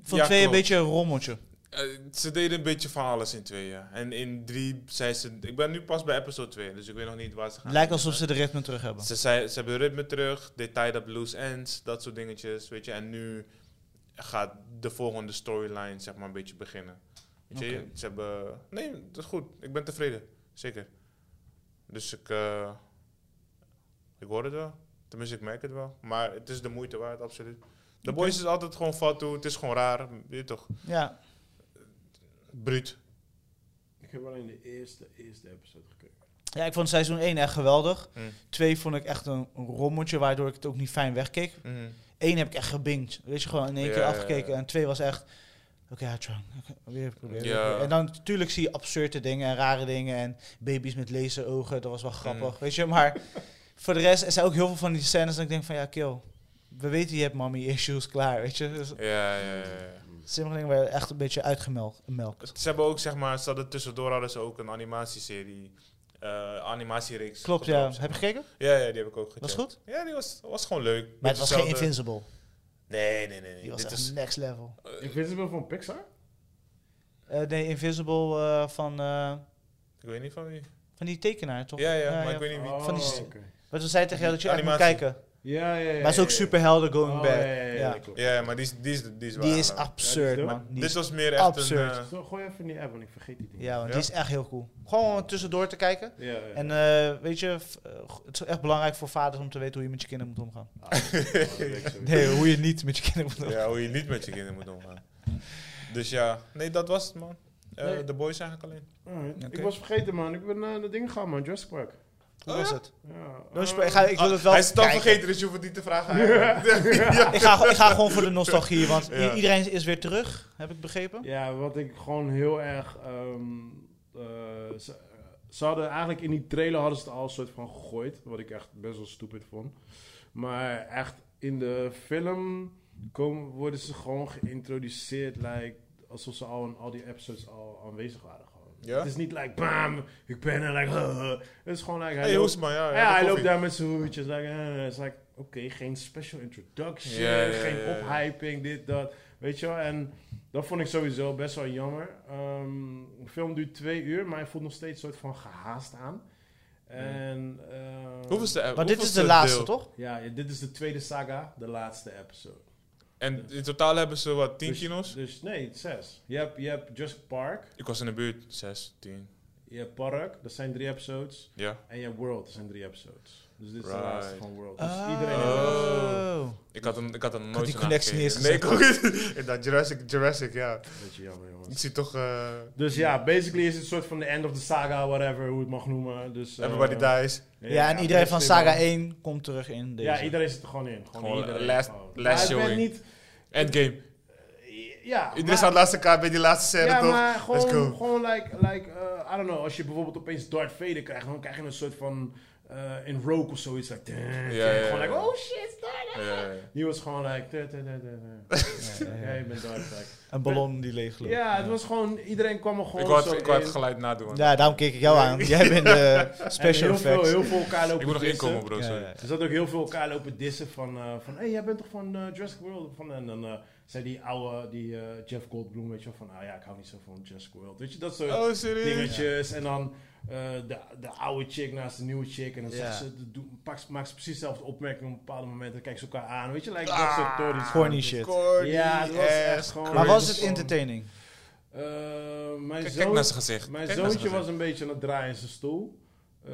S2: Van
S3: ja,
S2: 2 een
S3: klopt.
S2: beetje een rommeltje.
S3: Eh, ze deden een beetje van alles in twee, ja. En in drie zei ze... Ik ben nu pas bij episode 2, dus ik weet nog niet waar ze gaan.
S2: Lijkt alsof ze de ritme terug hebben.
S3: Ze, zei, ze hebben ritme terug, they tied up loose ends, dat soort dingetjes, weet je. En nu gaat de volgende storyline, zeg maar, een beetje beginnen. Weet je,
S2: Oké.
S3: ze hebben... Nee, dat is goed. Ik ben tevreden. Zeker. Dus ik... eh, ik hoor het wel. Tenminste, ik merk het wel. Maar het is de moeite waard, absoluut. De
S2: Oké.
S3: boys is altijd gewoon fatu, het is gewoon raar, weet je toch.
S2: Ja,
S3: Bruut.
S1: Ik heb alleen de eerste, eerste episode gekeken.
S2: Ja, ik vond seizoen 1 echt geweldig.
S3: Mm.
S2: 2 vond ik echt een rommeltje, waardoor ik het ook niet fijn wegkeek.
S3: Mhm.
S2: 1 heb ik echt gebinged. Weet je, gewoon in één
S3: Ja,
S2: keer
S3: ja, ja.
S2: afgekeken. En 2 was echt... Oké, I tried. Oké, weer proberen. weer
S3: Ja.
S2: proberen. En dan natuurlijk zie je absurde dingen en rare dingen. En baby's met laserogen, dat was wel
S3: Mm.
S2: grappig. Weet je, maar voor de rest er zijn ook heel veel van die scènes... dat ik denk van, ja, kill. We weten, je hebt mommy issues, klaar, weet je. Dus
S3: Ja, ja, ja, ja.
S2: sommige dingen werden echt een beetje uitgemelkt. melkt.
S3: Dus Ze hebben ook, zeg maar, ze hadden tussendoor hadden ze ook een animatieserie, eh animatiereeks.
S2: Klopt, ja.
S3: gedropt,
S2: Heb
S3: zeg
S2: je gekeken?
S3: maar. Ja, ja, die heb ik ook gecheckt.
S2: Was goed?
S3: Ja, die was, was gewoon leuk.
S2: Maar
S3: Beetje
S2: het was geen
S3: hetzelfde-
S2: Invincible.
S3: Nee, nee, nee. nee.
S2: Die was
S3: Dit
S2: echt
S3: is,
S2: next level.
S1: Invincible van Pixar?
S2: Eh, nee, Invisible eh, van, eh,
S3: ik weet niet van wie.
S2: van die tekenaar, toch?
S3: Ja, ja, maar ik weet niet wie.
S2: Van die
S1: Oh,
S2: st-
S1: oké.
S2: Wat we zeiden tegen jou, dat je echt moet
S3: Animatie.
S2: kijken. Maar
S1: Ja, ja, ja.
S2: het is ook superhelden going
S1: Oh,
S2: back.
S1: ja, ja, ja,
S2: Ja.
S1: dat klopt.
S3: Ja, ja, maar die is, die is, die is wel
S2: Die is
S3: aan-
S2: absurd,
S1: Ja, die is
S2: man. Die
S3: Dit
S2: is,
S3: was meer echt
S2: absurd.
S3: een... eh,
S1: Zo, gooi even in die app, want ik vergeet die dingen.
S2: ja, man,
S3: Ja.
S2: die is echt heel cool. Gewoon om tussendoor te kijken.
S1: Ja, ja.
S2: En eh, weet je, v- eh, go- het is echt belangrijk voor vaders om te weten hoe je met je kinderen moet omgaan.
S1: Ah, dat is wel leuk, sorry.
S2: (laughs) Nee, hoe je niet met je kinderen moet omgaan.
S3: eh, ja, hoe je niet met je kinderen moet
S2: (laughs)
S3: omgaan. Dus ja, nee, dat was het, man. Eh,
S1: Nee.
S3: De boys eigenlijk alleen.
S1: Alright.
S2: Oké.
S1: Ik was vergeten, man. Ik ben eh, naar dat ding gegaan, man. Jurassic Park.
S2: Hoe
S3: Oh,
S2: was
S3: ja?
S2: het?
S1: Ja.
S2: No,
S1: eh,
S2: sp- ik, ga, ik wil het wel
S3: Hij is dan
S2: kijken.
S3: vergeten, dus je hoeft het niet te vragen. eigenlijk.
S2: (laughs) Ik ga, ik ga gewoon voor de nostalgie, want i-
S3: Ja.
S2: iedereen is weer terug, heb ik begrepen.
S1: Ja, wat ik gewoon heel erg... ehm, eh, ze, ze hadden eigenlijk in die trailer hadden ze het al een soort van gegooid. Wat ik echt best wel stupid vond. Maar echt in de film komen, worden ze gewoon geïntroduceerd. Like, alsof ze al in al die episodes al aanwezig waren. Gewoon.
S3: Ja?
S1: Het is niet like, bam, ik ben er. Like, (laughs) Het is gewoon like... hij
S3: Hey,
S1: loopt-
S3: Hoesman, ja.
S1: Ja, hij
S3: de
S1: loopt
S3: koffie.
S1: daar met zijn hoedjes. Like, eh, it's like, oké, geen special introduction,
S3: Ja, ja, ja,
S1: geen
S3: ja, ja.
S1: ophyping, dit, dat. Weet je wel, en dat vond ik sowieso best wel jammer. Ehm, de film duurt twee uur, maar hij voelt nog steeds een soort van gehaast aan. En, ehm,
S3: Hoeveelste,
S2: Maar dit is
S3: hoeveelste
S2: de laatste,
S3: deel?
S2: toch?
S1: ja, ja, dit is de tweede saga, de laatste episode.
S3: En in totaal hebben ze wat, 10
S1: Dus-
S3: kino's?
S1: Dus nee, zes. Je hebt, je hebt Just Park,
S3: Ik was in de buurt, 6, 10.
S1: je hebt Park, dat zijn drie episodes.
S3: Ja,
S1: En je hebt World, dat zijn drie episodes. Dus dit is de
S3: Right.
S1: laatste van World. Dus
S2: Ah.
S1: iedereen heeft
S3: Oh. ik had hem, ik had hem nooit
S2: die
S3: zo
S2: connectie niet
S3: nagekeken. Nee,
S2: eens
S3: ik (laughs) ook niet. Inderdaad, Jurassic, Jurassic, ja.
S1: een beetje jammer, jongens.
S3: Ik zie toch... eh
S1: Dus ja, basically is het een soort van de end of the saga, whatever, hoe je het mag noemen. Dus, eh,
S3: everybody dies.
S2: Ja, en iedereen van
S1: basically
S2: Saga
S1: wel.
S2: 1 komt terug in deze.
S1: Ja, iedereen zit er gewoon in. Gewoon,
S3: Gewoon
S1: iedereen.
S3: last-
S1: gewoon.
S3: last
S1: Maar ik ben
S3: showing.
S1: niet...
S3: Endgame.
S1: Ja,
S3: Iedereen
S1: maar-
S3: staat laatst elkaar bij die laatste scène,
S1: ja,
S3: toch?
S1: maar
S3: Let's
S1: gewoon,
S3: go.
S1: gewoon like, like eh, I don't know, als je bijvoorbeeld opeens Darth Vader krijgt, dan krijg je een soort van, eh, in Rogue of zoiets, like, dun, dun,
S3: ja, ja.
S1: gewoon like, oh shit, Darth
S3: Ja, ja, ja.
S1: Die was gewoon like, dun, dun, dun, dun, dun.
S3: (laughs)
S2: Ja, ja,
S1: ja,
S2: ja.
S1: je bent Darth, like.
S2: Een ballon die leegloopt.
S1: Ja, het was gewoon, iedereen kwam er gewoon
S3: Ik wou
S1: zo
S3: het, ik wou
S1: in.
S3: het geluid nadoen.
S2: Ja, daarom keek ik jou aan. Jij
S1: (laughs)
S2: bent de
S1: En
S2: special
S1: heel veel,
S2: effects.
S1: heel veel elkaar lopen
S3: Ik moet nog
S1: dissen.
S3: inkomen, bro.
S2: Ja,
S3: sorry.
S2: ja, ja.
S1: Er zat ook heel veel elkaar lopen dissen van, eh, van hey, jij bent toch van eh, Jurassic World? Van, en dan eh, zei die oude, die eh, Jeff Goldblum, weet je wel, van, nou ja, ik hou niet zo van Jurassic World. Weet je, dat soort
S3: Oh, serieus?
S1: dingetjes. En dan eh, de, de oude chick naast de nieuwe chick. En dan
S2: Ja.
S1: zegt ze, de- doe- pak, maakt ze precies dezelfde opmerking op een bepaald moment. Dan kijken ze elkaar aan, weet je, like, dat
S3: Ah,
S1: soort tories.
S2: Corny shit.
S3: Corny
S1: Ja, het was echt
S3: ass
S1: gewoon-
S2: Maar
S3: cringe.
S2: was het
S1: Gewoon-
S2: entertaining?
S1: Eh, mijn
S3: Kijk,
S1: zoon-
S3: kijk naar zijn gezicht.
S1: Mijn
S3: Kijk naar zijn
S1: zoontje
S3: gezicht.
S1: was een beetje aan het draaien in zijn stoel. Eh,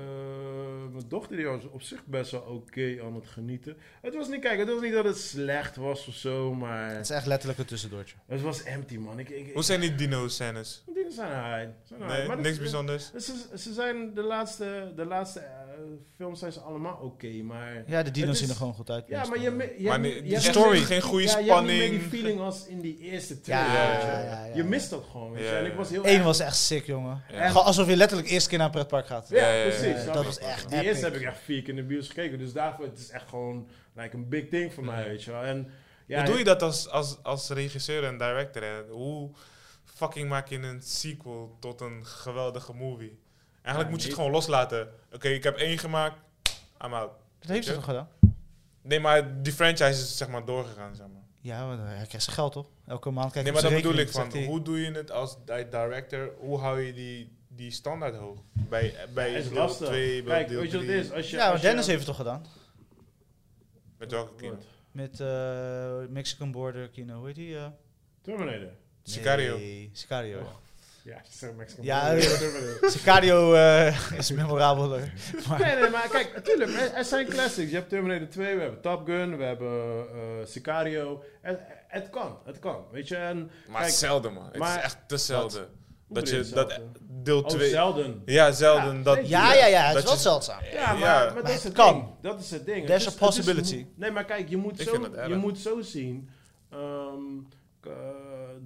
S1: mijn dochter die was op zich best wel oké aan het genieten. Het was niet, kijk, het was niet dat het slecht was of zo, maar
S2: Het is echt letterlijk een tussendoortje.
S1: het was empty, man. Ik, ik,
S3: Hoe zijn die dino-scènes?
S1: ik- dingen zijn high. Zijn high.
S3: Nee,
S1: Maar dat-
S3: niks bijzonders.
S1: Ze, ze zijn de laatste, de laatste eh, films zijn ze allemaal oké, maar...
S2: Ja, de
S1: Het
S2: dino's
S1: is-
S2: zien er gewoon goed uit.
S1: Ja, maar je, mi- je,
S3: Maar
S1: hebt-
S3: nee,
S1: je
S3: die
S1: hebt-
S3: story,
S1: ja,
S3: geen goede
S1: je hebt niet meer
S3: spanning.
S1: die feeling als in die eerste
S2: Ja,
S1: trailer.
S3: Ja,
S1: weet je.
S2: ja, ja, ja,
S1: Je
S2: ja.
S1: mist dat gewoon, weet je.
S3: Ja, ja,
S1: En ik was heel
S2: Eén
S1: erg-
S2: was echt sick, jongen.
S3: Ja.
S2: Gewoon alsof je letterlijk eerst keer naar een pretpark gaat.
S1: Ja,
S3: Ja, ja, ja.
S1: precies.
S2: Ja,
S1: snap
S2: dat
S1: je?
S2: was echt
S1: Die eerste
S2: epic.
S1: heb ik echt vier keer in de bios gekeken. Dus daarvoor het is echt gewoon like, een big ding voor mij, weet je wel. En, ja,
S3: Hoe doe je dat als, als, als regisseur en director? Hè? Hoe fucking maak je een sequel tot een geweldige movie? Eigenlijk
S1: Ja,
S3: moet je
S1: niet-
S3: het gewoon loslaten. Oké, ik heb één gemaakt, I'm out.
S2: Dat heeft ze toch gedaan?
S3: Nee, maar die franchise is zeg maar doorgegaan, zeg maar.
S2: Ja, maar hij krijgt zijn geld, toch? Elke maand krijgt
S3: nee, maar
S2: hij
S3: dat
S2: zijn
S3: bedoel ik
S2: rekening,
S3: van,
S2: zegt hij.
S3: hoe doe je het als di- director? Hoe hou je die, die standaard hoog? Bij, bij
S1: Het is
S3: deel
S1: lastig.
S3: 2, bij
S1: Kijk,
S3: deel
S1: weet je wat
S3: 3.
S1: het is? Als je,
S2: Ja,
S1: als
S2: want Dennis
S1: je,
S2: heeft het toch gedaan?
S3: Met welke kino?
S2: Met eh, Mexican Border Kino, hoe heet die? eh?
S1: Terminator.
S3: Sicario.
S2: Nee, Sicario.
S1: Oh. Ja, ze zeggen Mexican
S2: Ja,
S1: Border,
S2: ja.
S1: Terminator.
S2: Sicario eh, (laughs) is memorabeler.
S1: (laughs) Nee, nee, maar kijk, natuurlijk, er, er zijn classics. Je hebt Terminator 2, we hebben Top Gun, we hebben eh, Sicario. Het, het kan, het kan, weet je. En
S3: Maar
S1: Kijk,
S3: zelden, man. Het
S1: maar-
S3: is echt te zelden. Dat
S1: bedoel
S3: je
S1: je
S3: dat
S1: zelden?
S3: deel
S1: Oh,
S3: 2.
S1: zelden.
S3: ja, zelden.
S1: Ja,
S3: dat,
S1: zeker.
S2: Ja, ja, ja, het
S3: Dat
S2: is wel
S3: je-
S2: zeldzaam.
S1: Ja, maar,
S3: Ja.
S1: maar dat is het
S2: kan.
S1: ding. Dat is het ding.
S2: There's
S1: Het
S2: a
S1: is- het is-
S2: possibility.
S1: nee, maar kijk, je moet,
S3: Ik
S1: zo,
S3: vind dat erg.
S1: je moet zo zien. ehm, k- eh,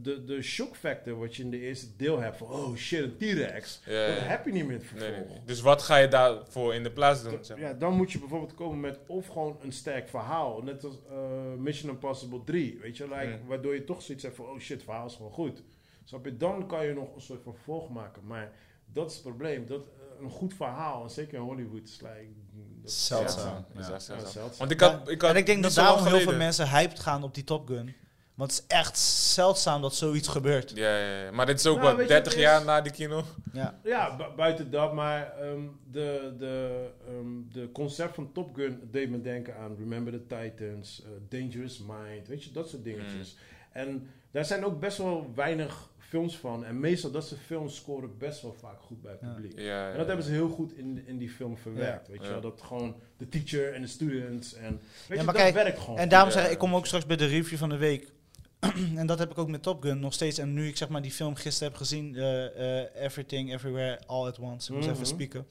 S1: de, de shock factor wat je in de eerste deel hebt van oh shit, een T-Rex.
S3: Ja, ja,
S1: Dat
S3: ja.
S1: heb je niet meer in het vervolg.
S3: nee, nee, nee. Dus wat ga je daarvoor in de plaats doen? Zeg maar?
S1: Ja, dan moet je bijvoorbeeld komen met of gewoon een sterk verhaal. Net als eh, Mission Impossible 3. Weet je, like,
S3: Mm.
S1: waardoor je toch zoiets hebt van: oh shit, het verhaal is gewoon goed. Snap je? Dan kan je nog een soort van vervolg maken. Maar dat is het probleem. Dat, eh, een goed verhaal, en zeker in Hollywood, is like, dat is
S2: Zeldzaam.
S3: Dat is echt
S1: Ja,
S3: zeldzaam.
S1: zeldzaam.
S3: Want ik had, ik had
S2: en ik denk
S3: niet
S2: dat
S3: zo lang
S2: daarom heel veel
S3: geleden-
S2: mensen hyped gaan op die Top Gun. Want het is echt zeldzaam dat zoiets gebeurt.
S3: Ja, ja, ja, maar dit is ook
S1: Nou, weet
S3: wat
S1: je, het
S3: 30
S1: is-
S3: jaar na die kino.
S2: Ja.
S1: Ja, bu- buiten dat, maar ehm, de, de, ehm, de concept van Top Gun deed me denken aan Remember the Titans, eh, Dangerous Mind, weet je, dat soort dingetjes.
S3: Mm.
S1: En daar zijn ook best wel weinig films van. En meestal dat soort films scoren best wel vaak goed bij het
S2: Ja.
S1: publiek.
S3: Ja, ja,
S1: En dat hebben ze heel goed in, in die film verwerkt, weet je
S3: Ja.
S1: wel. Dat gewoon de teacher en de students en, weet je,
S2: Ja, maar
S1: dat
S2: kijk,
S1: werkt gewoon.
S2: En daarom
S3: Ja.
S2: zeg ik, ik kom ook straks bij de review van de week. (clears throat) en dat heb ik ook met Top Gun nog steeds. En nu ik zeg maar die film gisteren heb gezien, eh, eh, Everything, Everywhere, All at Once. Ik moest
S1: Mhm.
S2: even spieken.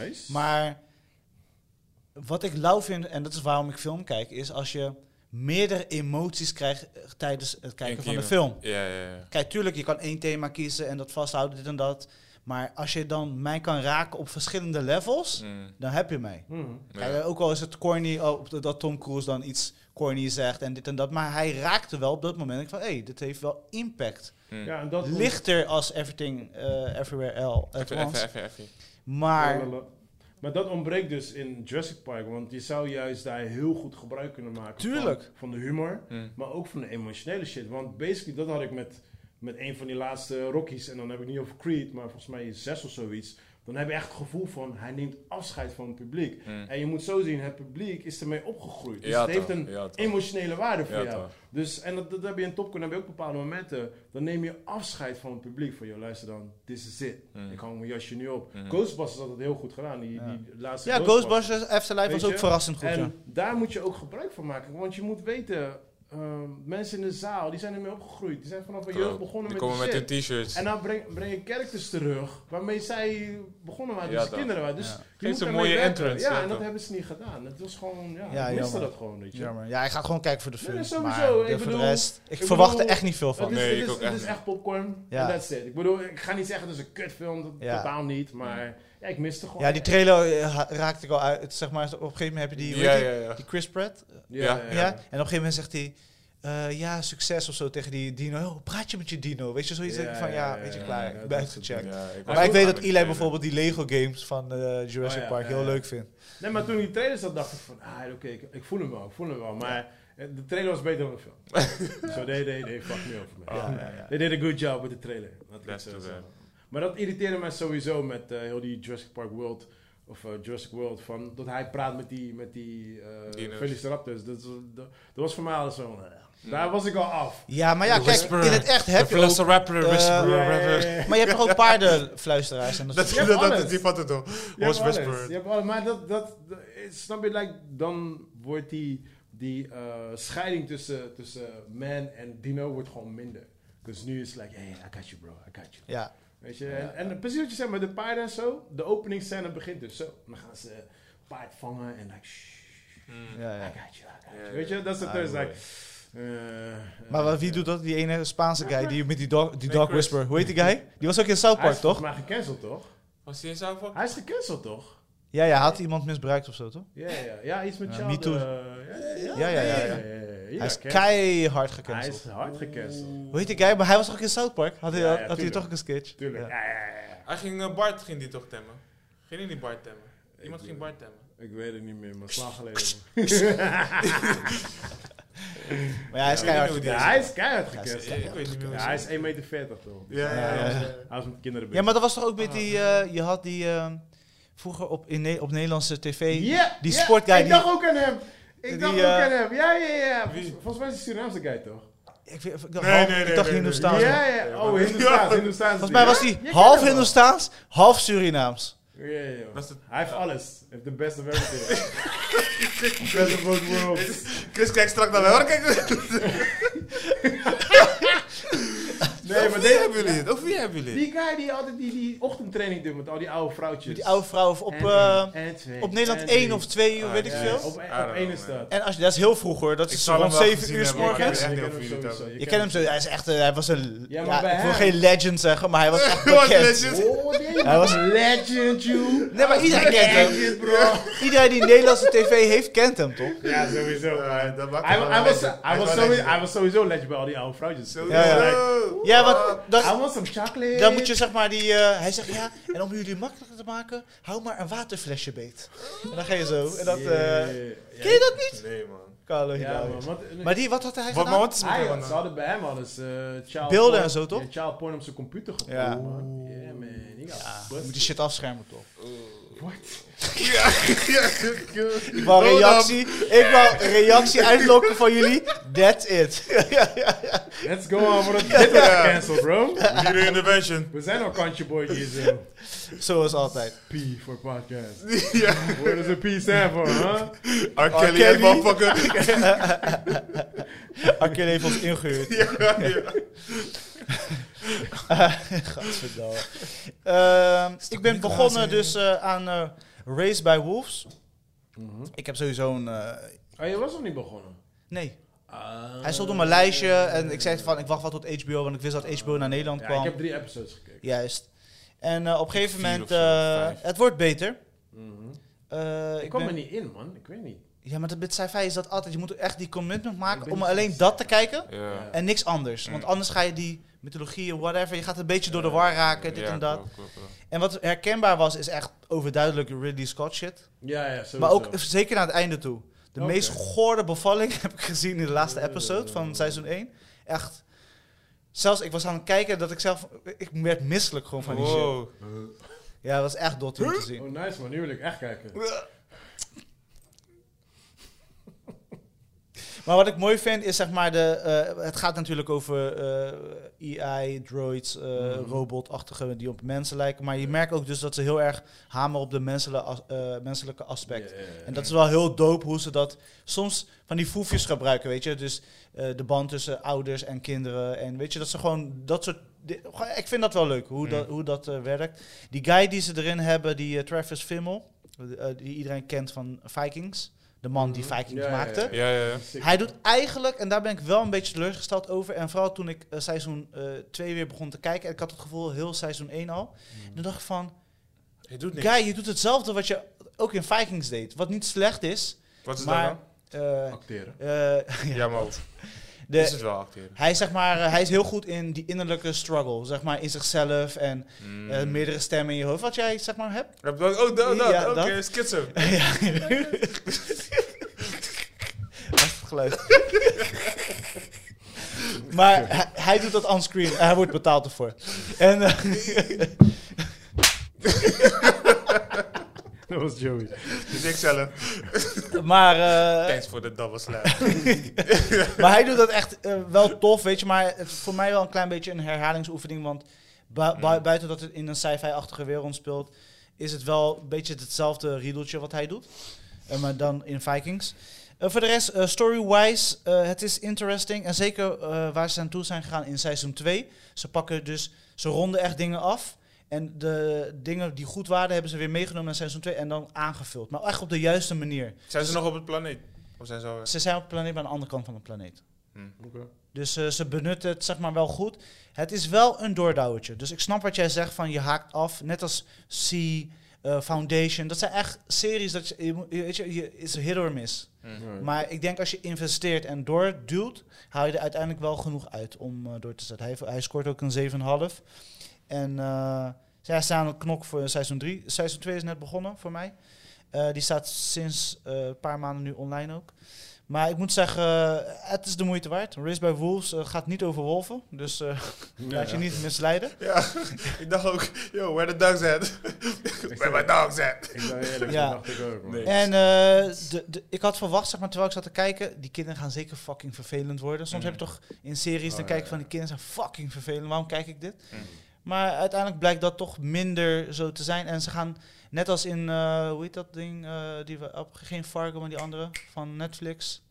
S1: nice.
S2: Maar wat ik lauw vind, en dat is waarom ik film kijk, is als je meerdere emoties krijgt eh, tijdens het kijken van de film.
S3: Ja, ja, ja.
S2: Kijk, tuurlijk, je kan één thema kiezen en dat vasthouden, dit en dat. Maar als je dan mij kan raken op verschillende levels,
S3: Mm,
S2: dan heb je mij.
S1: Mhm.
S3: ja.
S2: Kijk, ook al is het corny, oh, dat Tom Cruise dan iets corny zegt en dit en dat. Maar hij raakte wel op dat moment. Ik van, hé, hey, dit heeft wel impact.
S3: Mm.
S1: ja, en dat
S2: Lichter als Everything, eh, Everywhere, L, at
S3: Even, even,
S2: once.
S3: even, even.
S2: Maar,
S1: Lalala. Maar dat ontbreekt dus in Jurassic Park, want je zou juist daar heel goed gebruik kunnen maken
S2: Tuurlijk.
S1: Van, van de humor,
S3: Mm.
S1: maar ook van de emotionele shit. Want basically, dat had ik met, met een van die laatste Rockies, en dan heb ik niet over Creed, maar volgens mij zes of zoiets. Dan heb je echt het gevoel van, hij neemt afscheid van het publiek.
S3: Mm.
S1: En je moet zo zien, het publiek is ermee opgegroeid. Dus
S3: Ja,
S1: het heeft
S3: toch.
S1: een
S3: Ja, toch.
S1: emotionele waarde voor
S3: Ja,
S1: jou.
S3: toch.
S1: Dus, en dat, dat heb je in Top Gun, heb je ook bepaalde momenten. Dan neem je afscheid van het publiek. Van, joh, luister dan, this is it.
S3: Mm.
S1: Ik hang mijn jasje nu op.
S3: Mm.
S1: Ghostbusters had het heel goed gedaan. Die, die laatste
S2: ja, Ghostbusters Afterlife
S1: Weet
S2: was ook
S1: je?
S2: verrassend goed.
S1: En
S2: ja.
S1: daar moet je ook gebruik van maken. Want je moet weten, ehm, mensen in de zaal, die zijn ermee opgegroeid. Die zijn vanaf een jeugd begonnen
S3: Oh, Die
S1: met
S3: komen
S1: die
S3: met
S1: shit.
S3: hun t-shirts.
S1: en dan breng, breng je characters terug, waarmee zij begonnen waren,
S3: Ja,
S1: dus
S3: toch.
S1: kinderen waren. Dus
S2: Ja.
S1: je
S3: Geef
S1: moet
S3: ze een
S1: daarmee
S3: mooie
S1: werken.
S3: entrance,
S1: Ja,
S3: ja,
S1: en dat
S3: toch.
S1: hebben ze niet gedaan. Het was gewoon, ja,
S2: Ja,
S1: ik miste
S2: jammer.
S1: dat gewoon, weet je.
S2: Jammer. Ja, ik ga gewoon kijken voor de film.
S1: Nee, sowieso. Ik
S2: Maar de- voor de
S1: bedoel-
S2: rest, ik,
S1: ik
S2: verwacht er
S1: bedoel-
S2: echt niet veel van.
S1: Het is,
S3: Nee,
S1: het
S3: ik
S1: is,
S3: ook
S1: het
S3: echt
S1: is echt popcorn.
S2: Ja.
S1: En that's it. Ik bedoel, ik ga niet zeggen dat is een kutfilm. Dat,
S2: Ja.
S1: Totaal niet. Maar ja, ik miste gewoon.
S2: Ja, die trailer eh, ha- raakte ik al uit. Zeg maar, op een gegeven moment heb je die, hoe
S3: ja,
S2: heet
S3: ja, ja.
S2: die, die Chris Pratt.
S3: Ja.
S2: Ja. en op een gegeven moment zegt hij... eh, ja, succes of zo tegen die dino. Oh, praat je met je dino? Weet je, zoiets
S1: Ja,
S2: denk ik van,
S1: ja,
S2: ja,
S1: ja,
S2: weet je,
S1: ja,
S2: klaar.
S1: ja,
S2: ik
S1: dat
S2: ben
S1: is
S2: uitgecheckt.
S1: het,
S3: Ja, ik was
S2: Maar ik
S3: ook
S2: weet
S3: aan
S2: dat
S3: met
S2: Eli
S3: die
S2: bijvoorbeeld die Lego games van eh, Jurassic
S1: Oh ja,
S2: Park
S1: ja,
S2: heel
S1: ja.
S2: leuk vindt.
S1: Nee, maar toen die trailer zat, dacht ik van, ah, oké, ik, ik voel hem wel, ik voel hem wel. Maar eh, de trailer was beter dan de film.
S3: (laughs)
S1: Zo, nee, nee, nee, fuck me over me.
S3: Oh,
S1: Ja.
S3: ja, ja.
S1: They did a good job met de trailer. laat ik het
S3: That's
S1: zo
S3: too bad.
S1: zeggen. Maar dat irriteerde mij sowieso met eh, heel die Jurassic Park World, of eh, Jurassic World, van, dat hij praat met die, met die eh,
S3: Dino's.
S1: Velociraptors. Dat, is- dat, dat was voor mij al zo, eh, daar was ik al af.
S2: Ja, maar ja,
S3: De
S2: kijk,
S3: Whisperer.
S2: in het echt
S3: De
S2: heb je ook...
S3: Velociraptor,
S2: eh,
S1: Ja,
S3: Whisperer,
S1: ja, ja,
S3: Raptor.
S1: ja.
S2: Maar je hebt toch ook paardenfluisteraars en dat
S3: Dat,
S2: soort
S1: Je
S3: dat,
S1: hebt
S3: dat
S1: alles.
S3: is die van het hoor.
S1: Je hebt
S3: Horse
S1: alles.
S3: Whisperer.
S1: Je hebt alles. Maar dat, dat, dat- snap je, like, dan wordt die, die eh, scheiding tussen, tussen man en dino wordt gewoon minder. Dus nu is het like, hey, I got you bro, I got you.
S2: Ja,
S1: Weet je, en, en precies wat je zegt met de paarden en zo, de openingsscène begint dus zo. Dan gaan ze paard vangen en like, shh,
S3: Mm.
S2: ja,
S1: I
S2: ja.
S1: got you, I got
S3: Ja,
S1: you.
S3: ja.
S1: Weet je, dat is het
S2: Ah,
S1: dus,
S2: mooi.
S1: like... eh,
S2: Maar
S1: eh,
S2: wat- wie doet dat? Die ene Spaanse guy, die met die dog, die
S3: Nee,
S2: dog
S3: Chris.
S2: whisperer. Hoe heet die guy? Die was ook in South
S1: Hij
S2: Park,
S1: is volgens
S2: toch?
S1: mij gecanceld, toch?
S3: Was hij in Zuidvoort?
S1: Hij is gecanceld, toch?
S2: Ja, ja, had iemand misbruikt of zo, toch?
S1: Ja, ja, ja. Ja, iets met eh,
S2: Ja,
S1: jou.
S2: me too. Ja, ja, ja, ja. Hij is
S1: cancel.
S2: keihard
S1: Hij is
S2: gecanceld.
S1: hard gecanceld.
S3: Mm.
S2: Hoe heet die guy? Maar hij was ook in South Park. Had hij,
S1: Ja, ja,
S2: had hij
S1: tuurlijk.
S2: toch ook een sketch?
S1: Tuurlijk.
S2: Ja.
S1: Ja, ja, ja, ja.
S3: Hij ging eh, Bart ging die toch temmen? Ging hij niet Bart temmen? Iemand
S1: Ik-
S3: ging Bart temmen.
S1: Ik weet het niet meer, maar het is lang geleden. (laughs)
S2: Maar ja, hij is
S3: Ja, ik
S2: keihard
S3: weet
S1: man.
S3: niet hoe
S2: gecanceld.
S1: Ja, hij is keihard
S2: Ja,
S1: gekend.
S3: Ik weet niet meer hoe
S1: Ja, hij is 1,40 meter toch?
S3: Ja,
S2: ja, ja.
S1: Hij was met kinderen
S2: Ja,
S1: bezig.
S2: maar dat was toch ook met die... eh, je had die... eh, vroeger op, in Ne- op Nederlandse tv...
S1: Ja,
S2: die
S1: ja,
S2: sportguy
S1: Ik
S2: die-
S1: dacht ook aan hem.
S2: die,
S1: Ik dacht ook
S2: eh,
S1: aan hem. Ja, ja, ja.
S3: Wie?
S1: Volgens mij is het Surinaamse guy toch?
S2: Ik, weet- ik dacht,
S3: Nee,
S2: half,
S3: nee,
S2: ik
S3: nee,
S2: dacht
S3: nee,
S2: Hindoestaans.
S1: Ja,
S3: Staans.
S1: ja. Oh, Hindoestaans. Hindoestaans.
S2: Volgens mij was
S1: Ja, je
S2: hij
S1: kent
S2: half
S1: hem wel.
S2: Hindoestaans, half Surinaams.
S1: Ja, ja, ja.
S3: Dat is het-
S1: Hij heeft alles. Hij heeft the best of everything.
S2: (laughs)
S1: best of both worlds.
S3: Chris, kijk straks naar mij hoor. Kijk.
S1: Nee, Nee, maar
S3: wie
S1: deze-
S3: hebben jullie het? Of wie hebben jullie het?
S1: Die guy die altijd die, die ochtendtraining doet met al die oude vrouwtjes.
S2: Met die oude vrouw of op,
S1: En-
S2: eh,
S1: en twee,
S2: op Nederland
S1: en
S2: 1
S1: drie.
S2: of 2 uur,
S3: Ah,
S2: weet ik
S1: Ja,
S3: yes.
S1: Op,
S2: veel.
S3: I don't
S1: op één
S3: know,
S1: is dat.
S2: En als je, dat is heel vroeg hoor, dat
S3: Ik
S2: is
S3: zal hem
S2: rond
S3: wel
S2: 7
S3: gezien
S2: uur s
S3: hebben, maar ik
S2: morgens.
S3: weet
S1: Ja,
S3: echt niet
S1: ik
S3: of
S1: ken
S3: jullie
S1: hem
S3: het
S1: sowieso.
S3: hebben.
S2: Je kent hem zo, hij is echt, eh, hij was een,
S1: Ja,
S2: ja,
S1: maar bij
S2: ik wil
S1: hem-
S2: geen legend zeggen, maar hij
S1: (laughs)
S2: was echt
S3: (laughs) Wat
S2: bekend.
S3: legend.
S1: Oh, nee,
S2: Hij was-
S1: legend, you.
S2: Nee, maar iedereen kent hem.
S1: Legend, bro.
S2: Iedereen die Nederlandse tv heeft, kent hem toch?
S1: Ja, sowieso.
S3: Ja, dat maakt
S1: Hij
S3: hem
S1: wa-
S3: wel
S1: hij was-
S3: legend.
S1: hij was
S3: is wel
S1: sowieso-
S3: legend.
S1: hij was sowieso legend bij al die oude vrouwtjes.
S2: Ja, ja.
S3: Sowieso.
S2: Ja, want dat,
S1: I want some chocolate.
S2: Dan moet je zeg maar die. eh, hij zegt ja, en om jullie makkelijker te maken, hou maar een waterflesje beet. En dan ga je zo. En dat. eh, ken je dat niet?
S3: Nee, man.
S2: Carlo
S1: Ja,
S2: Hidalgo.
S1: man. want- eh,
S2: Maar die, wat had nou hij
S3: Wat, maar
S2: gedaan?
S3: wat is het
S1: Hij,
S3: met hem
S1: ze
S3: dan?
S1: hadden bij hem alles. eh child
S2: Beelden
S1: porn-
S2: en zo, toch?
S1: Ja, child porn op zijn computer gevonden,
S2: Ja.
S1: man. Yeah, man. He got
S2: Ja, je
S1: busted.
S2: moet die shit afschermen toch?
S3: Ja, ja, ja.
S2: Ik wou
S3: Hold
S2: reactie, ik wou reactie uitlokken van jullie. That's it. (laughs) ja, ja, ja.
S1: Let's go on,
S2: (laughs)
S1: bro. Dit wordt
S3: Ja.
S1: gecanceld, bro.
S3: up. We need an intervention.
S1: We zijn al kantje boytjes. eh.
S2: Zoals altijd.
S1: P voor
S2: (laughs)
S1: podcast.
S3: ja.
S1: Where does a P stand for, huh?
S3: R. Kelly,
S2: Oh, Kelly.
S3: en
S2: (laughs)
S3: motherfucker.
S2: Akil heeft ons
S1: (laughs)
S2: ingehuurd.
S3: ja, ja.
S2: Eh, (laughs) Gadverdamme. Ehm, ik ben begonnen dus eh, aan eh, Race by Wolves.
S1: Mhm.
S2: Ik heb sowieso een... eh,
S1: Oh, je was nog niet begonnen.
S2: nee,
S1: Ah.
S2: Hij stond op mijn lijstje en ik zei van ik wacht wel tot HBO, want ik wist dat HBO naar Nederland
S1: Ja,
S2: kwam.
S1: ik heb drie episodes gekeken.
S2: Juist. En eh, op een gegeven
S3: Vier
S2: moment,
S3: of zo,
S2: eh,
S3: vijf.
S2: het wordt beter.
S1: Mhm.
S2: Eh,
S1: Ik
S2: ik
S1: kwam
S2: ben-
S1: er niet in, man. Ik weet niet.
S2: Ja, maar dat met sci-fi is dat altijd. Je moet echt die commitment
S1: Ik
S2: maken
S1: ben
S2: om
S1: niet
S2: alleen
S1: zo-
S2: dat te kijken
S1: Ja.
S2: en niks anders.
S3: Mm.
S2: Want anders ga je die mythologieën, whatever, je gaat een beetje door de war raken, dit en dat. En wat herkenbaar was, is echt overduidelijk Ridley Scott shit.
S1: Ja, ja, sowieso.
S2: Maar ook eh, zeker naar het einde toe. De
S1: Oké.
S2: meest goorde bevalling (laughs) heb ik gezien in de laatste episode van
S1: Eh.
S2: seizoen 1. Echt. Zelfs ik was aan het kijken dat ik zelf... Ik werd misselijk gewoon van die shit.
S3: Wow.
S2: Ja, dat was echt dot om te zien.
S1: Oh, nice, man. Nu wil ik echt kijken.
S2: Maar wat ik mooi vind is zeg maar de... eh, het gaat natuurlijk over eh AI, droids, eh,
S1: Mhm.
S2: robotachtige die op mensen lijken. Maar je merkt ook dus dat ze heel erg hameren op de menselijke, as- eh, menselijke aspect.
S1: Ja, ja, ja.
S2: En dat is wel heel dope hoe ze dat soms van die foefjes gebruiken, weet je. Dus eh, de band tussen ouders en kinderen. En weet je, dat ze gewoon dat soort... di- gewoon- ik vind dat wel leuk, hoe
S1: Mhm.
S3: Mm.
S2: dat, hoe dat eh, werkt. Die guy die ze erin hebben, die eh, Travis Fimmel, eh, die iedereen kent van Vikings. De man die
S1: Mhm.
S2: Vikings
S1: Ja, ja, ja.
S2: maakte.
S3: Ja, ja, ja.
S1: Sick.
S2: Hij doet eigenlijk, en daar ben ik wel een beetje teleurgesteld over. En vooral toen ik eh, seizoen 2 weer begon te kijken. En ik had het gevoel heel seizoen 1 al.
S1: Mhm.
S2: Toen dacht ik van,
S3: Hij Mhm. doet niks.
S2: guy, je doet hetzelfde wat je ook in Vikings deed. Wat niet slecht is,
S3: Wat is
S2: maar...
S3: dat
S2: eh,
S1: Acteren.
S2: eh,
S3: dan?
S2: (laughs) ja.
S3: Ja, dus, eh, maar is
S2: De-
S3: het wel acteren?
S2: hij, is zeg maar, eh, hij is heel goed in die innerlijke struggle, zeg maar, in zichzelf en
S3: Mm.
S2: eh, meerdere stemmen in je hoofd, wat jij zeg maar hebt.
S3: Oh, dat, oh, dat, dat.
S2: Ja,
S3: oké, (laughs)
S2: dat.
S3: schizo.
S2: ja. Lastig geluid. maar hij, hij doet dat onscreen, en hij wordt betaald ervoor. En, eh,
S1: (laughs) Dat was Joey.
S3: Dus ik zelf.
S2: maar, eh,
S3: Thanks voor de double (laughs) slap.
S2: maar hij doet dat echt eh, wel tof, weet je, maar het is voor mij wel een klein beetje een herhalingsoefening, want bui- bui- buiten dat het in een sci-fi-achtige wereld speelt, is het wel een beetje hetzelfde riedeltje wat hij doet, Eh, maar dan in Vikings. Eh, voor de rest, eh, story-wise, eh, het is interesting. En zeker eh, waar ze aan toe zijn gegaan in seizoen 2. Ze pakken dus, ze ronden echt dingen af. En de dingen die goed waren, hebben ze weer meegenomen naar seizoen 2 en dan aangevuld. Maar echt op de juiste manier.
S3: Zijn ze nog op het planeet? Of zijn ze al weg?
S2: Ze zijn op het planeet, maar aan de andere kant van de planeet.
S1: Oké.
S2: Dus eh, ze benutten het zeg maar wel goed. Het is wel een doordouwertje. Dus ik snap wat jij zegt van je haakt af. Net als C, eh, Foundation. Dat zijn echt series dat je, je, moet- je- weet je, je is hit or miss.
S1: Alright.
S2: Maar ik denk als je investeert en doorduwt, haal je er uiteindelijk wel genoeg uit om eh, door te zetten. Hij, heeft- hij scoort ook een 7,5. En eh zij staan op knok voor seizoen 3. Seizoen 2 is net begonnen voor mij. Eh, die staat sinds eh, een paar maanden nu online ook. Maar ik moet zeggen, eh, het is de moeite waard. Race by Wolves eh, gaat niet over wolven, dus eh, laat je niet misleiden.
S3: Ja, (laughs) ik dacht ook, yo, where the dogs at? (laughs) where my dogs at?
S1: Ik ben eerlijk,
S2: Ja.
S1: dat dacht ik ook, man.
S3: Nee.
S2: En eh, de, de, ik had verwacht, zeg maar, terwijl ik zat te kijken, die kinderen gaan zeker fucking vervelend worden. Soms
S3: Mm.
S2: heb je toch in
S1: Oh,
S2: series, dan
S1: ja,
S2: kijk je
S1: ja.
S2: van die kinderen zijn fucking vervelend, waarom kijk ik dit?
S3: Mm.
S2: Maar uiteindelijk blijkt dat toch minder zo te zijn. En ze gaan, net als in, eh, hoe heet dat ding, eh, die we, op, geen Fargo, maar die andere, van Netflix.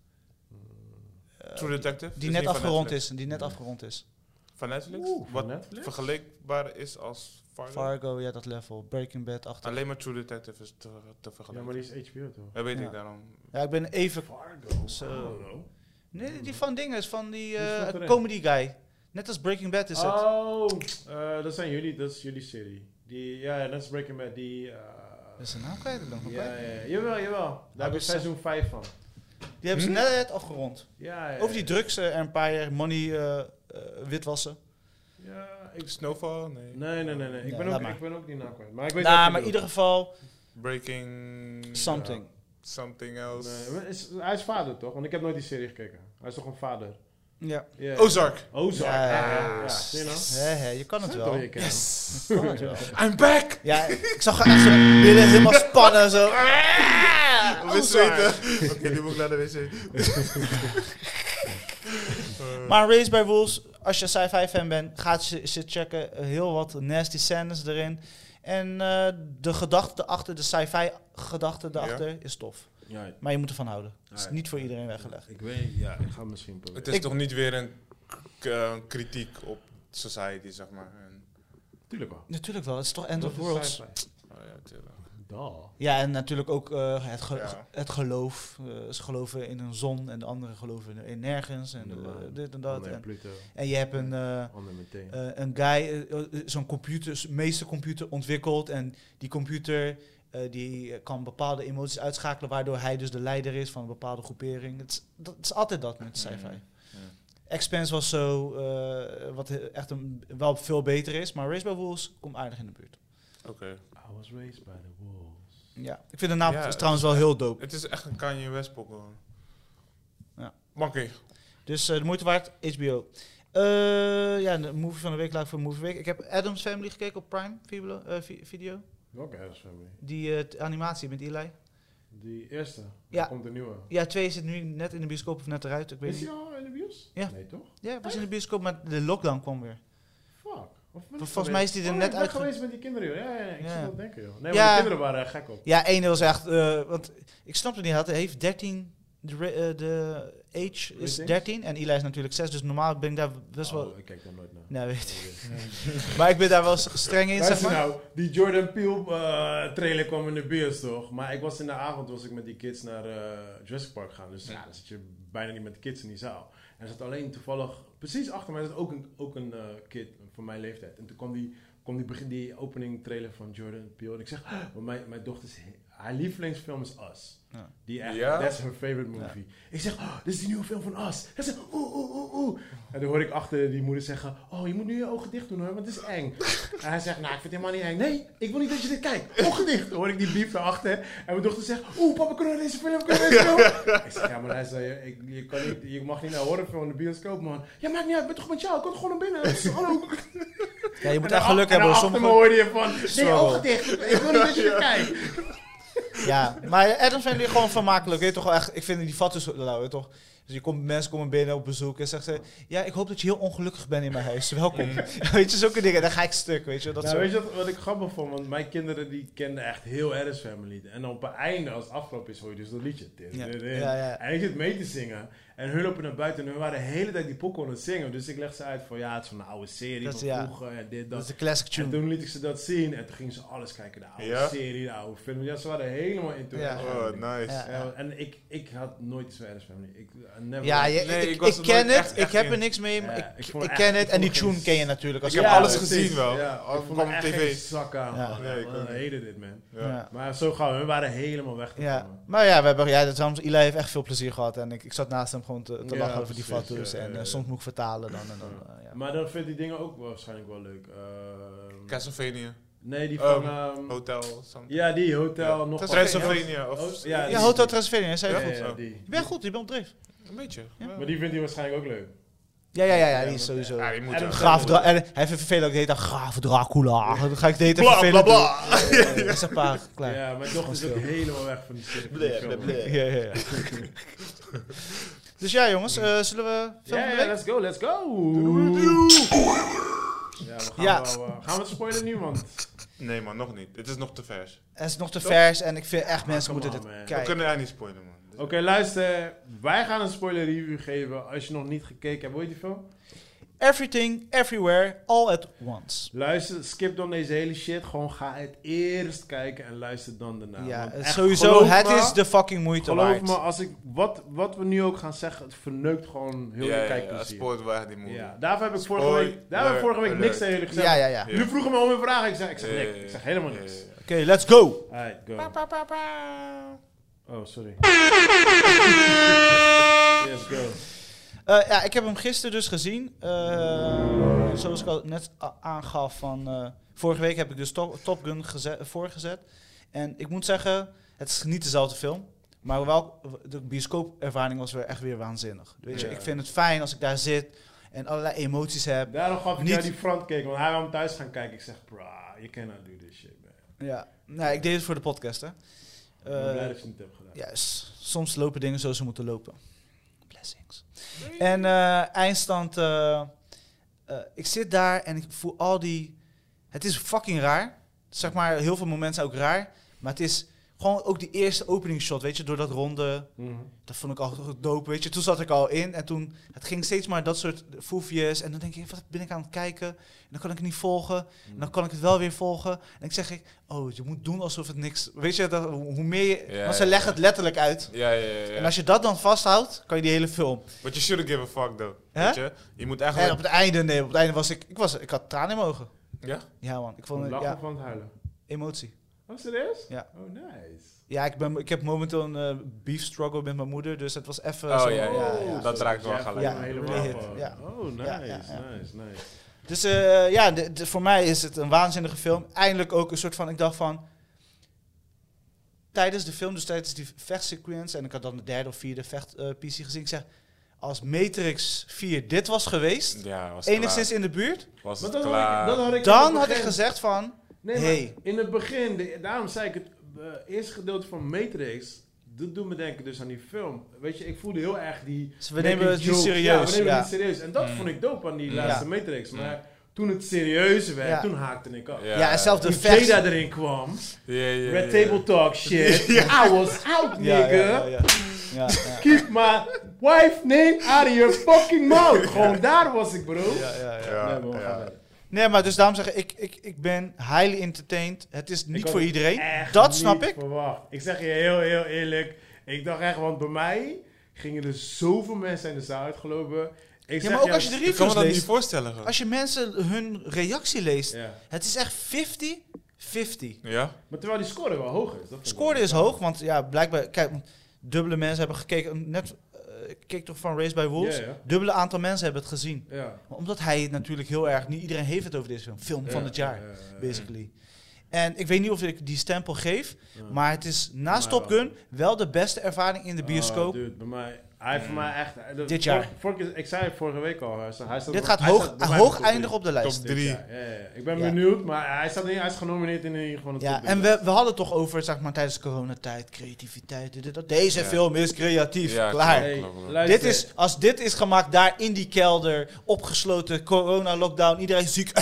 S2: Eh,
S3: Mm. True Detective?
S2: die
S3: Is
S2: net
S3: niet van
S2: afgerond
S3: Netflix. Mm.
S2: is, die net
S3: Ja.
S2: afgerond is.
S3: van Netflix.
S1: Oeh, van
S3: wat
S1: Netflix?
S3: vergelijkbaar is als Fargo.
S2: Fargo, ja, dat level. Breaking Bad, achter.
S3: Alleen maar True Detective is te, te
S1: Ja,
S3: vergelijken.
S1: maar die is HBO toch?
S3: dat weet
S2: Ja.
S3: ik daarom.
S2: Ja, ik ben even...
S1: Fargo. Oh.
S2: Zo.
S1: Hallo.
S3: Mm.
S2: Nee, die van dingen is van die
S1: Die is
S2: eh,
S1: van terecht.
S2: comedy guy. Net als Breaking Bad is het.
S1: Oh, eh, dat zijn jullie, dat is jullie serie. Die, ja, dat is Breaking Bad. Die, eh,
S2: Dat is een naam kwijt, ik ben van
S1: ja,
S2: kwijt.
S1: ja, ja. jawel, jawel. Daar heb ik
S2: dus zeg-
S1: seizoen 5 van.
S2: Die hebben ze
S3: Hm?
S2: net net afgerond.
S1: Ja, ja, ja.
S2: Over die drugs eh, empire, money, eh, eh, witwassen.
S1: Ja, ik...
S3: Snowfall? Nee.
S1: Nee, nee, nee, nee. Ik,
S2: Ja,
S1: ben
S2: laat
S1: ook,
S2: maar.
S1: ik ben ook die naam kwijt. Maar ik weet wat
S2: nou,
S1: je
S2: maar in
S1: bedoelt.
S2: ieder geval
S3: Breaking...
S2: something.
S3: Something else.
S1: Nee, maar is, hij is vader toch? Want ik heb nooit die serie gekeken. Hij is toch een vader?
S2: Ja.
S1: Ja.
S3: Ozark!
S1: Ozark.
S2: Ja, ja,
S1: Ah,
S2: Oh, ja.
S1: ja, zie je nou?
S2: Hè, hè, je kan het
S1: Zo
S2: wel.
S1: door je
S2: Je
S1: kent.
S2: kan het wel.
S3: I'm back!
S2: Ja, ik zag haar echt zo billen helemaal spannen. Zo.
S3: Wist weten. (laughs) Oké, nu moet ik naar de wc. Eh,
S2: Maar Race by Wolves, als je sci-fi fan bent, ga ze ze checken. Eh, Heel wat nasty scènes erin. En eh, de gedachte erachter, de sci-fi gedachte erachter, is tof.
S1: (laughs) Ja,
S2: Maar je moet ervan houden. Het is
S1: Ja.
S2: niet voor iedereen weggelegd.
S1: ik weet, ja, ik ga misschien proberen.
S3: het is
S2: Ik-
S3: toch niet weer een k- eh, kritiek op society, zeg maar. En,
S1: Tuurlijk wel.
S2: Natuurlijk wel, het is toch End of Worlds.
S3: oh ja, tuurlijk.
S1: Da.
S2: Ja, en natuurlijk ook eh, het, ge-
S3: Ja.
S2: het geloof. Eh, ze geloven in een zon en de anderen geloven in- in nergens. En eh, dit en dat.
S1: Andere
S2: En,
S1: Oh, Pluto,
S2: en je hebt een, eh,
S1: ander meteen.
S2: eh, een guy, eh, eh, zo'n computer, zo'n meestercomputer ontwikkeld. En die computer eh, die kan bepaalde emoties uitschakelen, waardoor hij dus de leider is van een bepaalde groepering. Het is, dat, het is altijd dat met sci-fi.
S3: Mm, ja.
S2: Expense was zo, eh, wat he- echt een, wel veel beter is, maar Race by Wolves komt aardig in de buurt.
S3: Oké.
S1: I was raised by the wolves.
S2: Ja. Ik vind de naam
S3: Ja,
S2: is trouwens wel heel dope.
S3: Het is echt een Kanye West pokken. man.
S2: Ja.
S3: Monkey.
S2: Dus eh, de moeite waard, HBO. Eh, ja, de movie van de week, laat ik voor de movie week. Ik heb Adam's Family gekeken op Prime Video. eh, vi- video.
S1: Welke Adams Family?
S2: Die eh, t- animatie met Eli.
S1: Die eerste.
S2: Ja.
S1: Ja. komt de nieuwe.
S2: Ja, twee zit nu net in de bioscoop of net eruit. Ik weet
S1: Is die
S2: niet.
S1: al in de bios?
S2: Ja.
S1: Nee, toch?
S2: Ja, was in de bioscoop, maar de lockdown kwam weer.
S1: Fuck. Of ben ik
S2: Volgens mij
S1: geweest?
S2: is die er
S1: Oh,
S2: net
S1: ik ben
S2: uitge-
S1: geweest met die kinderen, joh. Ja, ja, ja, ik
S2: Ja.
S1: zit wel te denken, joh. Nee,
S2: Ja.
S1: maar de kinderen waren er gek op.
S2: Ja, ene was echt. eh, want ik snapte niet. Hij heeft 13. De, ra- eh, de age is
S1: Ratings?
S2: 13 en Eli is natuurlijk 6. Dus normaal ben ik daar best wel.
S1: Oh, ik kijk daar nooit naar.
S2: Nee, weet ik. Maar ik ben daar wel s- streng in, zeg
S1: Luister
S2: maar.
S1: nou, die Jordan Peele eh, trailer kwam in de bios toch? Maar ik was in de avond was ik met die kids naar eh Jurassic Park gaan. Dus ja, dan zit je bijna niet met de kids in die zaal. En er zat alleen toevallig, precies achter mij zat ook een, ook een eh, kid van mijn leeftijd. En toen kwam die, kwam die, begin, die opening trailer van Jordan Peele. En ik zeg, "Ah, want mijn, mijn dochters, haar lievelingsfilm is Us.
S2: Ja.
S1: Die echt,
S3: Ja?
S1: that's her favorite movie. Ik zeg, oh, dit is die nieuwe film van Us. En ze, oeh, oeh, oeh, oeh. En dan hoor ik achter die moeder zeggen, oh, je moet nu je ogen dicht doen hoor, want het is eng. en hij zegt, nou, ik vind het helemaal niet eng. Nee, ik wil niet dat je dit kijkt. Ogen dicht. Dan hoor ik die biep daarachter. En mijn dochter zegt, oeh, papa, kunnen we naar deze film, kunnen we naar deze film? ik zeg, ja, maar luister, je, ik, je, kan niet, je mag niet naar horrorfilm in de bioscoop, man. Ja, maakt niet uit, ik ben toch met jou, ik kom gewoon naar binnen. Dus, Hallo.
S2: Ja, je moet
S1: En
S2: echt geluk
S1: dan
S2: hebben. hoor.
S1: achter me
S2: Sommige,
S1: hoorde je
S2: (laughs)
S1: van, nee,
S2: Struggle.
S1: ogen dicht. Ik wil niet
S2: (laughs)
S1: dat je dit kijkt.
S2: ja, maar Adam's Family gewoon vermakelijk. Weet je toch wel echt. Ik vind die vat dus lauw, weet je toch. Dus je komt, mensen komen binnen op bezoek en zeggen ze... Ja, ik hoop dat je heel ongelukkig bent in mijn huis. Welkom. (laughs) weet je, zulke dingen. Dan ga ik stuk, weet je. wel. Dat
S1: nou,
S2: soort-
S1: weet je wat, wat ik grappig vond? Want mijn kinderen die kenden echt heel Addis Family. En op het einde, als het afgelopen is, hoor je dus dat liedje.
S2: Ja. Ja, ja.
S1: En ik zit mee te zingen. En hun lopen naar buiten en hun waren de hele tijd die popcorn aan het zingen. Dus ik leg ze uit van, ja, het is van een oude serie
S2: Dat is-
S1: van
S2: ja.
S1: vroeger en dit,
S2: dat is
S1: dat.
S2: de classic
S1: En
S2: tune.
S1: toen liet ik ze dat zien en toen gingen ze alles kijken. De oude
S3: Ja?
S1: serie, de oude film. Ja, ze waren helemaal into
S2: Ja.
S1: Addis
S3: Oh,
S1: Family.
S3: nice.
S2: Ja.
S1: Ja, en ik, ik had nooit iets van Addis Family. Ik, I never
S2: Ja, je-
S3: Nee,
S2: ik,
S3: ik
S2: ik,
S3: was er nooit
S2: ken het.
S3: echt-
S2: ik
S3: echt
S2: heb
S3: in.
S2: er niks mee. maar
S1: Ja,
S2: ik,
S1: ik
S2: ik,
S1: vond echt-
S2: ken het.
S1: ik
S2: en die
S1: vond
S2: tune
S1: geen-
S2: ken je natuurlijk. Als
S3: Ik
S2: je
S3: heb
S2: hem
S3: alles
S2: hebt.
S1: precies.
S3: gezien wel.
S1: Ja,
S3: Al
S1: ik vond
S3: kwam
S1: het
S3: op
S1: echt
S3: tv.
S1: geen zak aan.
S2: Ja.
S1: man.
S3: Ja, ik
S1: Man,
S3: ook
S1: I hated it, man.
S3: Ja.
S2: Ja.
S1: Maar zo gauw, we waren helemaal weg.
S2: Ja,
S1: ervan.
S2: maar ja, we hebben, ja, dat is, Eli heeft echt veel plezier gehad. En ik, ik zat naast hem gewoon te, te
S1: Ja,
S2: lachen over die
S1: precies,
S2: foto's.
S1: ja, ja,
S2: en eh,
S1: ja.
S2: soms moet ik vertalen dan. En dan eh, ja.
S1: Maar dan vindt die dingen ook waarschijnlijk wel leuk. Ehm,
S3: Castlevania.
S1: nee, die van...
S3: Ehm,
S1: ehm,
S3: Hotel. Something.
S1: ja, die hotel. Nog wat-
S3: Transylvania.
S1: Oh,
S3: Of,
S1: ja,
S2: ja,
S1: die-
S2: Hotel Transylvania,
S1: Ja,
S2: zei je
S1: ja,
S2: goed.
S1: ja,
S3: goed.
S1: die.
S2: Je bent goed, je bent op dreef.
S3: Een beetje.
S2: Ja.
S3: Ja.
S1: Maar die vindt hij waarschijnlijk ook leuk.
S2: Ja, ja, ja,
S1: Ja,
S2: ja, die is
S1: maar-
S2: sowieso.
S3: Ja, eh, die moet
S1: Adam
S3: wel.
S2: Graaf Dra- en hij heeft een vervelend ook de hele tijd, Graaf Dracula. Dan ga ik de hele
S3: Bla, bla,
S2: tijd vervelend
S3: bla.
S2: doen. Ja, Dat is een paar, klaar. Ja,
S1: Ja, mijn dochter is ook
S2: Gewoon stil.
S1: helemaal weg van die serie. van die
S3: Bleh,
S1: film,
S3: bleh,
S1: man.
S3: bleh.
S2: ja, ja. Dus ja, jongens, eh, zullen we film
S1: Ja,
S2: van de
S1: ja,
S2: week?
S1: let's go, let's go. Ja, we gaan,
S2: Ja.
S1: Wel, eh, gaan we het spoilen nu, want...
S3: Nee man, nog niet. Het is nog te vers.
S2: Het is nog te vers en ik vind echt mensen
S1: come
S2: moeten
S1: on,
S2: dit
S1: man.
S3: We
S2: kijken.
S3: kunnen daar niet spoilen man. Dus-
S1: Oké, luister. Wij gaan een spoiler review geven als je nog niet gekeken hebt. Wil je die film?
S2: Eh, Everything, everywhere, all at once.
S1: Luister, skip dan deze hele shit. Gewoon ga het eerst kijken en luister dan daarna.
S2: ja,
S1: Want
S2: het-
S1: echt,
S2: sowieso,
S1: geloof
S2: het
S1: me-
S2: is de fucking moeite
S1: Geloof
S2: waard.
S1: me, als ik, wat, wat we nu ook gaan zeggen, het verneukt gewoon heel
S3: Ja,
S1: je
S3: ja, ja,
S1: kijkplezier. Ja,
S3: spoort wel echt die movie.
S1: daarvoor heb ik vorige
S3: Spoiler
S1: week, daar heb ik vorige week niks tegen jullie gezegd.
S2: Ja, ja, ja.
S3: Ja.
S1: Nu vroegen me om een vraag, ik zeg, ik zeg
S3: Ja,
S1: niks.
S3: ja,
S1: Ik zeg helemaal
S3: ja,
S1: niks.
S3: ja, ja.
S2: Oké, let's go!
S1: Alright, go. Oh, sorry. Yes, go.
S2: Eh, ja, ik heb hem gisteren dus gezien. Eh, zoals ik al net a- aangaf van... eh, vorige week heb ik dus Top, Top Gun geze- voorgezet. En ik moet zeggen, het is niet dezelfde film. Maar wel, de bioscoopervaring was weer echt weer waanzinnig. Weet je,
S1: Ja.
S2: ik vind het fijn als ik daar zit en allerlei emoties heb.
S1: Daarom gaf ik
S2: Niet-
S1: jou die frontcake, want hij wou hem thuis gaan kijken. Ik zeg, brah, you cannot do this nou shit, man.
S2: Ja, nou, ik deed het voor de podcast, hè.
S1: Ik ben blij dat
S2: Eh,
S1: je het niet hebt gedaan.
S2: Ja, s- soms lopen dingen zoals ze moeten lopen. Blessings. En eh, eindstand, eh, eh, ik zit daar en ik voel al die... Het is fucking raar. Zeg maar, heel veel momenten zijn ook raar. Maar het is gewoon ook die eerste openingsshot, weet je, door dat ronde.
S1: Mhm.
S2: Dat vond ik al zo dope, weet je. Toen zat ik al in en toen... Het ging steeds maar dat soort foefjes. En dan denk ik, wat ben ik aan het kijken? En dan kan ik het niet volgen. En
S3: Mm.
S2: dan kan ik het wel weer volgen. En ik zeg ik, oh, je moet doen alsof het niks... Weet je, dat, hoe meer je...
S3: Ja,
S2: want ze
S3: ja,
S2: leggen
S3: ja.
S2: het letterlijk uit.
S3: Ja, ja, ja. ja.
S2: En als je dat dan vasthoudt, kan je die hele film.
S3: But you shouldn't give a fuck, though.
S2: Hè?
S3: Weet je? je moet
S2: En op
S3: eigenlijk...
S2: het einde, nee, op het einde was ik, ik, was, ik had tranen in mijn ogen.
S3: Ja?
S2: Ja man,
S1: Van
S2: ik vond
S1: het
S2: het,
S1: lachen
S2: ja,
S1: of van het huilen?
S2: emotie.
S1: Oh, serieus?
S2: Ja.
S1: Oh, nice.
S2: Ja, ik, ben, ik heb momenteel een eh, beef struggle met mijn moeder, dus het was even
S3: Oh,
S2: zo.
S3: ja, ja,
S1: Oh,
S3: Dat
S1: zo,
S3: raakt wel
S1: jij
S3: gelijk.
S1: voelt hem
S2: Ja,
S1: helemaal
S2: hit,
S1: gewoon.
S2: ja.
S1: Oh, nice,
S2: Ja, ja, ja.
S1: nice, nice.
S2: Dus eh, ja, de- de- voor mij is het een waanzinnige film. Eindelijk ook een soort van, ik dacht van... Tijdens de film, dus tijdens die vechtsequence... en ik had dan de derde of vierde vechtpiece gezien. Ik zeg, als Matrix 4 dit was geweest...
S3: Ja, was het
S2: enigszins in de buurt...
S3: klaar. Was
S1: Maar
S3: het
S1: dat
S3: klaar.
S1: had ik, dat had ik in
S2: dan
S1: het
S2: had ik
S1: begin.
S2: gezegd van...
S1: Nee, maar
S2: Hey.
S1: in het begin, de- daarom zei ik het eh, eerste gedeelte van Matrix. Dat doet me denken dus aan die film. Weet je, ik voelde heel erg die.
S2: Dus we nemen het niet
S1: joke. Ja, we
S2: serieus.
S1: nemen
S2: Ja.
S1: het niet serieus. En dat
S3: Mm.
S1: vond ik dope aan die
S3: Mm.
S1: laatste Matrix. Maar toen het serieus werd,
S2: Ja.
S1: toen haakte ik af.
S2: Ja, en zelfs de
S1: Toen
S2: vers-
S1: Jada erin kwam,
S3: Ja, ja, ja,
S1: Red
S3: ja.
S1: Table Talk shit. I was out, nigga.
S2: (laughs) Ja, ja, ja, ja. Ja,
S1: (laughs)
S2: ja.
S1: Keep my wife name out of your fucking
S2: (laughs)
S1: mouth. Gewoon daar was ik, bro.
S2: Ja, ja, ja.
S3: Ja,
S1: Nee, maar we gaan
S3: ja.
S1: verder.
S2: Nee, maar dus daarom zeg ik, ik, ik, ik ben highly entertained. Het is niet
S1: had
S2: voor
S1: het
S2: iedereen.
S1: echt
S2: Dat snap
S1: niet
S2: ik.
S1: Verwacht. Ik zeg je heel, heel eerlijk. Ik dacht echt, want bij mij gingen er zoveel mensen in de zaal uitgelopen. Ik
S2: Ja,
S1: zeg
S2: maar ook
S1: je-
S2: als je de
S3: Ik kan me
S2: reviews
S3: dat niet
S2: leest.
S3: voorstellen. gewoon.
S2: Als je mensen hun reactie leest.
S1: Ja.
S2: Het is echt 50-50.
S3: Ja?
S1: Maar terwijl die score wel hoog is. Dat vind ik
S2: Scoorde
S1: wel.
S2: is hoog, want ja, blijkbaar... Kijk, want dubbele mensen hebben gekeken. Net, eh, ik keek toch van Race by Wolves.
S1: Ja, ja.
S2: Dubbele aantal mensen hebben het gezien.
S1: Ja.
S2: Omdat hij het natuurlijk heel erg... Niet iedereen heeft het over deze film. Film van
S1: Ja,
S2: het jaar.
S1: ja, ja, ja.
S2: basically. En ik weet niet of ik die stempel geef,
S1: Ja.
S2: maar het is naast
S1: Maar
S2: Top Gun wel de beste ervaring in de bioscoop.
S1: Oh, dude, bij mij, hij heeft voor mij echt... eh, de-
S2: Dit jaar.
S1: vorige- vorige keer- ik zei het vorige week al. Hij staat, hij staat
S2: Dit
S1: bij-
S2: gaat
S1: hij
S2: hoog,
S1: staat bij mij in de
S2: hoog
S1: top drie.
S2: eindigen op de lijst.
S3: Top
S1: Dit
S3: 3.
S1: jaar, Ja, ja, ja. Ik ben
S2: Ja.
S1: benieuwd, maar hij, staat in, hij is genomineerd in ieder geval. in de top
S2: Ja,
S1: drie.
S2: en we, we hadden toch over, zeg maar, tijdens coronatijd, creativiteit, dit, dit, dat. Deze
S3: Ja.
S2: film is creatief,
S3: Ja,
S2: klaar.
S1: Hey,
S3: Klopt, klopt.
S1: luister.
S2: Dit is, als dit is gemaakt daar in die kelder, opgesloten, corona-lockdown, iedereen ziek, (laughs)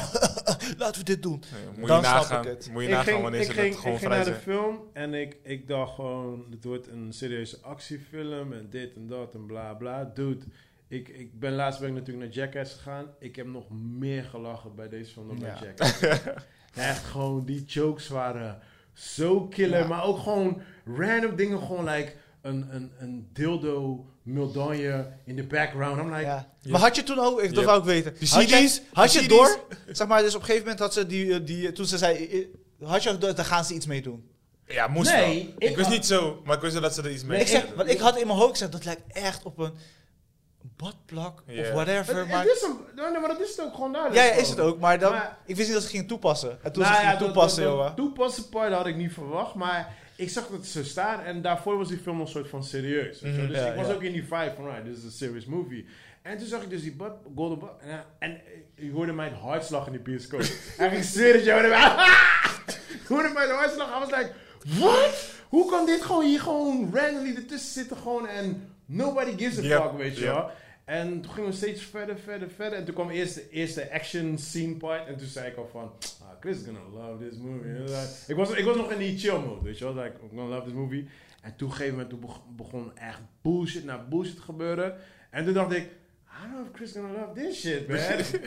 S2: laten we dit doen.
S3: Nee, Moet je
S2: Dan snap
S3: nagaan.
S2: ik het.
S3: Moet je
S1: ik
S3: nagaan
S1: ging,
S3: wanneer
S1: ik
S3: ze
S1: ging-
S3: dat gewoon
S1: ik ging naar
S3: vrij
S1: de
S3: zijn.
S1: film en ik, ik dacht gewoon, het wordt een serieuze actiefilm en dit en dat en bla bla. Dude, ik, ik ben laatst ben ik natuurlijk naar Jackass gegaan. Ik heb nog meer gelachen bij deze film dan bij
S2: Ja.
S1: Jackass.
S2: (laughs)
S1: Echt gewoon, die jokes waren zo killer.
S2: Ja.
S1: Maar ook gewoon random dingen, gewoon like een, een, een dildo medaille in de background. I'm like,
S2: Ja.
S3: Ja.
S2: Maar had je toen ook, ik, dat
S3: Ja.
S2: wou ik weten,
S3: Die
S2: had, jij-
S3: CD's?
S2: had je
S3: Die
S2: het
S3: CD's?
S2: door, zeg maar, dus op een gegeven moment had ze die, eh, die toen ze zei, eh, had je ook door, daar gaan ze iets mee doen.
S3: Ja, moest
S1: Nee,
S3: wel.
S1: ik
S3: Ik wist
S1: had-
S3: niet zo, maar ik wist wel dat ze er iets mee
S2: ik zeg,
S3: deden.
S2: want ik had in mijn hoofd gezegd, dat lijkt echt op een badplak
S3: Ja.
S2: of whatever.
S1: het,
S2: maar
S1: het is een, nee, maar dat is het ook gewoon duidelijk.
S2: ja, ja,
S1: gewoon.
S2: is het ook, maar, dan,
S1: Maar-
S2: ik wist niet dat ze gingen toepassen. En toen ze
S1: Nou
S2: gingen
S1: ja, dat-
S2: toepassen,
S1: dat- dat
S2: jongen.
S1: Toepassen part had ik niet verwacht, maar ik zag dat ze staan en daarvoor was die film een soort van serieus. weet je wel.
S3: Mhm.
S1: Dus
S2: Ja,
S1: ik was
S2: ja.
S1: ook in die vibe van, right, this is a serious movie. En toen zag ik dus die bad, Golden Bud en, eh, en eh, je hoorde mijn hartslag in die
S2: (laughs)
S1: bioscoop. en ik zweer het je, hoorde (laughs) mij, ik hoorde mijn hartslag. I was like, what? Hoe kan dit gewoon hier gewoon randomly ertussen zitten gewoon en nobody gives a
S3: Yep,
S1: fuck, weet je
S3: yep.
S1: wel. En toen gingen we steeds verder, verder, verder. En toen kwam eerst de eerste action scene part. En toen zei ik al van, ah, Chris is gonna love this movie. En, eh, Ik was, ik was nog in die chill mode, weet je wel. Like, I'm gonna love this movie. En toen, gegeven moment, toen beg- begon echt bullshit na bullshit gebeuren. En toen dacht ik, I don't know if Chris gonna love this shit,
S2: (laughs)
S1: man.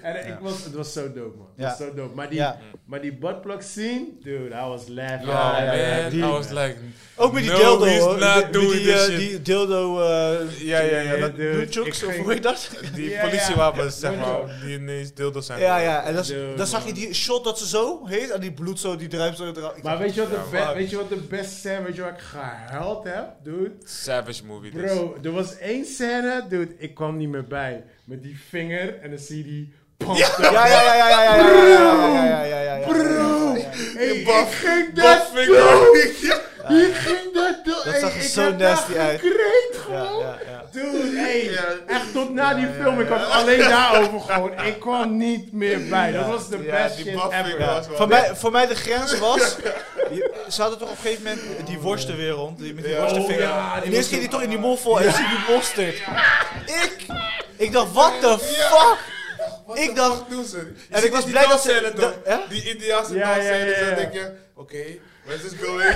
S1: en ik was, het was zo dope, man. Het was
S2: Ja.
S1: zo dope. Maar die,
S2: Ja.
S1: maar die buttplug scene, dude, I was laughing.
S2: Ja,
S1: I
S2: ja,
S1: was
S2: ja,
S3: man,
S2: die-
S3: I was like...
S2: Ook met die
S3: no,
S2: dildo,
S3: he's
S2: hoor.
S3: not
S2: Met
S3: doing
S2: die,
S3: this
S2: eh,
S3: shit.
S2: die dildo... eh
S3: Ja, ja, ja.
S1: Ja,
S3: Dat,
S1: dude,
S2: nunchucks,
S1: ik
S2: of
S1: ging-
S2: hoe heet dat?
S3: die
S1: Ja, ja.
S3: politiewapens, zeg
S1: Ja.
S3: maar, die ineens dildo's zijn.
S2: Ja, ja. En dat, is-
S1: Dude,
S2: dan zag
S1: man.
S2: je die shot dat ze zo heet. En die bloed zo, die druipt zo eraf. Ik
S1: Maar
S2: dacht,
S1: weet je wat de,
S3: Ja,
S1: be-
S3: maar-
S1: weet je wat de beste scène, weet je waar ik gehuild heb, dude?
S3: Savage movie. dus.
S1: Bro, er was één scène, dude, ik kwam niet meer bij. Met die vinger en dan zie je die... pump
S2: Ja, ja, ja, ja, ja, ja, ja, ja, ja, ja, ja, ja, ja.
S1: Bro! Hey, ik ging dat
S3: Buff
S2: (laughs)
S1: doen!
S3: finger.
S1: Ik ging dat doen!
S2: Dat
S1: Hey,
S2: zag er
S1: ik
S2: zo
S1: heb daar
S2: nasty uit.
S1: gekreed,
S2: Ja,
S1: gewoon!
S2: ja, ja.
S1: Dude, hey,
S3: Ja.
S1: echt tot na die film, ik had het
S2: (laughs)
S1: alleen daarover gewoon. Ik kwam niet meer bij. Dat was de
S2: Ja,
S1: best
S3: die
S1: shit
S3: buff
S1: ever.
S3: finger was wel-
S2: Voor mij, voor mij de grens was... je- Ze hadden toch op een gegeven moment die worsten weer rond. Die, met die
S3: Ja.
S2: worstenvinger.
S1: Oh, ja, die
S2: en eerst
S1: was
S2: ging die
S1: zo-
S2: toch in die mond vol en zie die mosterd. Ik... Ik dacht, what the fuck?
S3: Wat
S2: Ik
S3: de
S2: dacht-
S3: fuck doen ze? Je
S2: ik
S3: ziet
S2: was
S3: die
S2: blij dat ze-
S3: dansscène
S2: dat-
S3: toch?
S2: hè?
S3: Die Indiaanse
S1: Ja, ja,
S3: dansscène,
S1: ja, ja.
S3: dan denk je, oké, where's this going?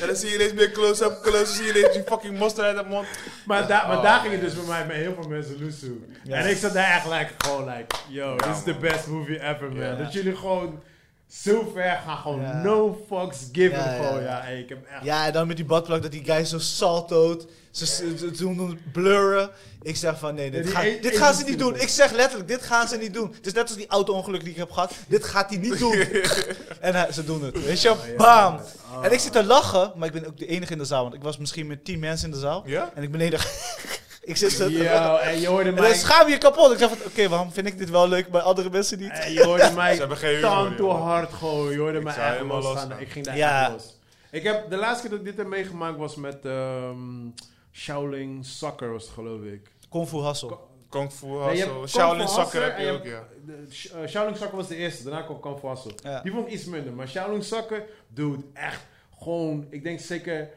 S3: en dan zie je ineens meer close-up, close-up, zie je ineens die fucking monster uit de mond.
S1: Maar, daar- maar
S3: Oh,
S1: daar ging het dus voor mij met heel veel mensen loesoe. En ik zat daar echt like, gewoon like, yo, this is the best movie ever, man.
S3: Ja.
S1: Dat jullie gewoon zo ver gaan, gewoon
S2: Ja.
S1: no fucks given.
S2: Ja, ja,
S1: gewoon,
S2: ja.
S1: ja, hey, ik heb echt...
S2: Ja, en dan met die badplak dat die guy zo saltoot. Ze- Ze ze doen het blurren. Ik zeg van nee, dit,
S1: Ja, die
S2: ga-
S1: e-
S2: dit gaan ze
S1: e-
S2: niet doen. Ik zeg letterlijk, dit gaan ze niet doen. Het is net als die auto-ongeluk die ik heb gehad. Dit gaat hij
S1: (laughs)
S2: niet doen. en hij- ze doen het. Weet
S1: Oh,
S2: je, wel? bam. En ik zit te lachen, maar ik ben ook de enige in de zaal. Want ik was misschien met tien mensen in de zaal.
S3: Ja?
S2: En ik ben de enige. (laughs) ik zit zo te lachen.
S1: Yo, en je hoorde
S2: En dan
S1: mij...
S2: schaam je je kapot. Ik zeg van, oké, waarom vind ik dit wel leuk, maar andere mensen niet?
S1: en je hoorde
S3: (laughs)
S1: mij
S3: Ze hebben geen humor,
S1: tanto
S3: jongen.
S1: hard gewoon. Je hoorde mij
S3: zou
S1: echt
S3: helemaal
S1: losgaan.
S3: losgaan.
S1: Ik ging daar
S2: Ja.
S1: echt los. Ik heb, de laatste keer dat ik dit heb meegemaakt was met ehm, Shaolin Soccer, was het, geloof ik.
S2: Kung Fu Hassel.
S3: Kung Fu
S1: Nee, je
S3: Hustle,
S1: hebt
S3: Shaolin
S1: Kung Fu
S3: Soccer heb
S1: Hustle en
S3: je ook, ja.
S1: de- Sh- eh, Shaolin Soccer was de eerste, daarna kwam Kung Fu Hustle.
S2: Ja.
S1: Die vond ik iets minder, maar Shaolin Soccer, dude, echt gewoon, ik denk zeker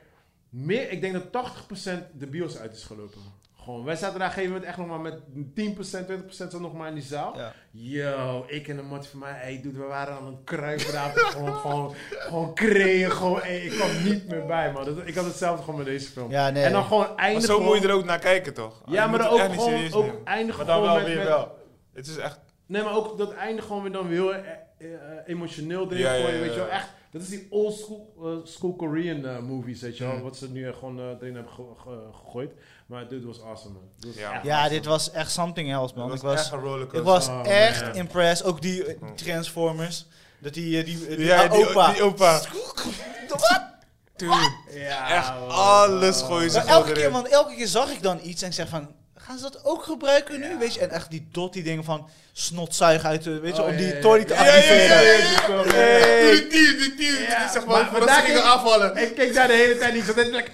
S1: meer, ik denk dat 80% de bios uit is gelopen. Gewoon, wij zaten daar op een gegeven moment echt nog maar met 10%, 20% zo nog maar in die zaal.
S2: Ja.
S1: Yo, ik en een mat van mij, hey, dude, we waren aan het kruipen daar, (laughs) gewoon, gewoon, gewoon creëren, gewoon, hey, ik kwam niet meer bij, man. Dat- ik had hetzelfde gewoon met deze film.
S2: Ja, nee.
S1: En dan gewoon
S3: Maar
S1: eindig
S3: zo moet je
S1: gewoon-
S3: er ook naar kijken, toch? Je
S1: Ja, maar
S3: moet
S1: dan
S3: het
S1: ook
S3: echt niet
S1: gewoon,
S3: serieus
S1: ook
S3: nemen.
S1: eindig
S3: Maar dan
S1: gewoon
S3: wel
S1: met-
S3: weer
S1: met-
S3: wel. Het is echt...
S1: Nee, maar ook dat einde gewoon weer dan weer heel eh, eh, emotioneel erin
S3: Ja, ja,
S1: gooien,
S3: ja,
S1: weet je wel.
S3: ja.
S1: Echt, dat is die old school, eh, school Korean eh, movies, weet je
S3: Hmm.
S1: wel. Wat ze nu eh, gewoon eh, erin hebben ge- ge- gegooid. Maar dit was awesome, man. Dit was
S3: Ja.
S1: echt
S2: Ja,
S1: awesome.
S2: dit was echt something else, man.
S3: Het
S2: ik
S3: was
S2: was
S3: echt een rollercoaster.
S2: Ik was
S1: Oh,
S2: echt
S1: man.
S2: impressed. Ook die eh, die Transformers. Dat die, eh, die, eh, die,
S3: Ja,
S2: ah,
S3: die
S2: opa.
S3: opa. Die opa.
S2: Wat?
S3: Dude,
S1: Ja,
S3: echt
S1: man.
S3: alles gooien ze
S2: Maar
S3: gewoon
S2: elke keer,
S3: erin.
S2: man, elke keer zag ik dan iets en ik zeg van... Gaan ze dat ook gebruiken nu? Weet je, en echt die dot, die dingen van snotzuig uit, eh, weet je,
S1: Oh,
S2: om
S1: ja, ja,
S2: die
S1: ja.
S2: Tony te
S3: Ja, ja, ja, ja,
S2: activeren.
S3: ja, ja.
S2: Hey.
S3: Die tier, die tier,
S1: Ja,
S3: die
S1: maar
S3: zeg maar, voordat
S1: vandaag
S3: ze gingen
S1: ging-
S3: afvallen.
S1: Ik keek daar de hele tijd niet. Ik zat net like,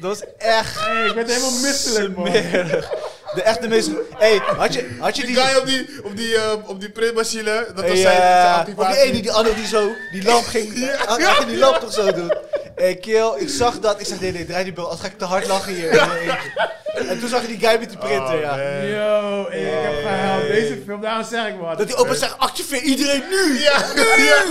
S2: Dat was echt
S1: hey, ik werd helemaal misselijk, man.
S2: smerig. De echte meest... Hé, had je, had je
S3: Die
S2: die...
S3: guy op die, op die, eh, op die printmachine, dat was zijn, zijn
S2: Ja, of die
S3: activatie.
S2: ene, die andere die zo, die lamp
S3: (laughs)
S2: ging, had had je die lamp toch zo doen. Hé, kill, ik zag dat, ik zeg nee, nee, draai die bel, als ga ik te hard lachen hier. En toen zag je die guy met die printer,
S3: Oh,
S2: ja.
S3: man.
S1: Yo, hey, ik heb gehuild.
S3: Hey.
S1: Deze film, daarom zeg ik man.
S2: Dat die opa zegt, activeer iedereen nu!
S3: Ja, ja.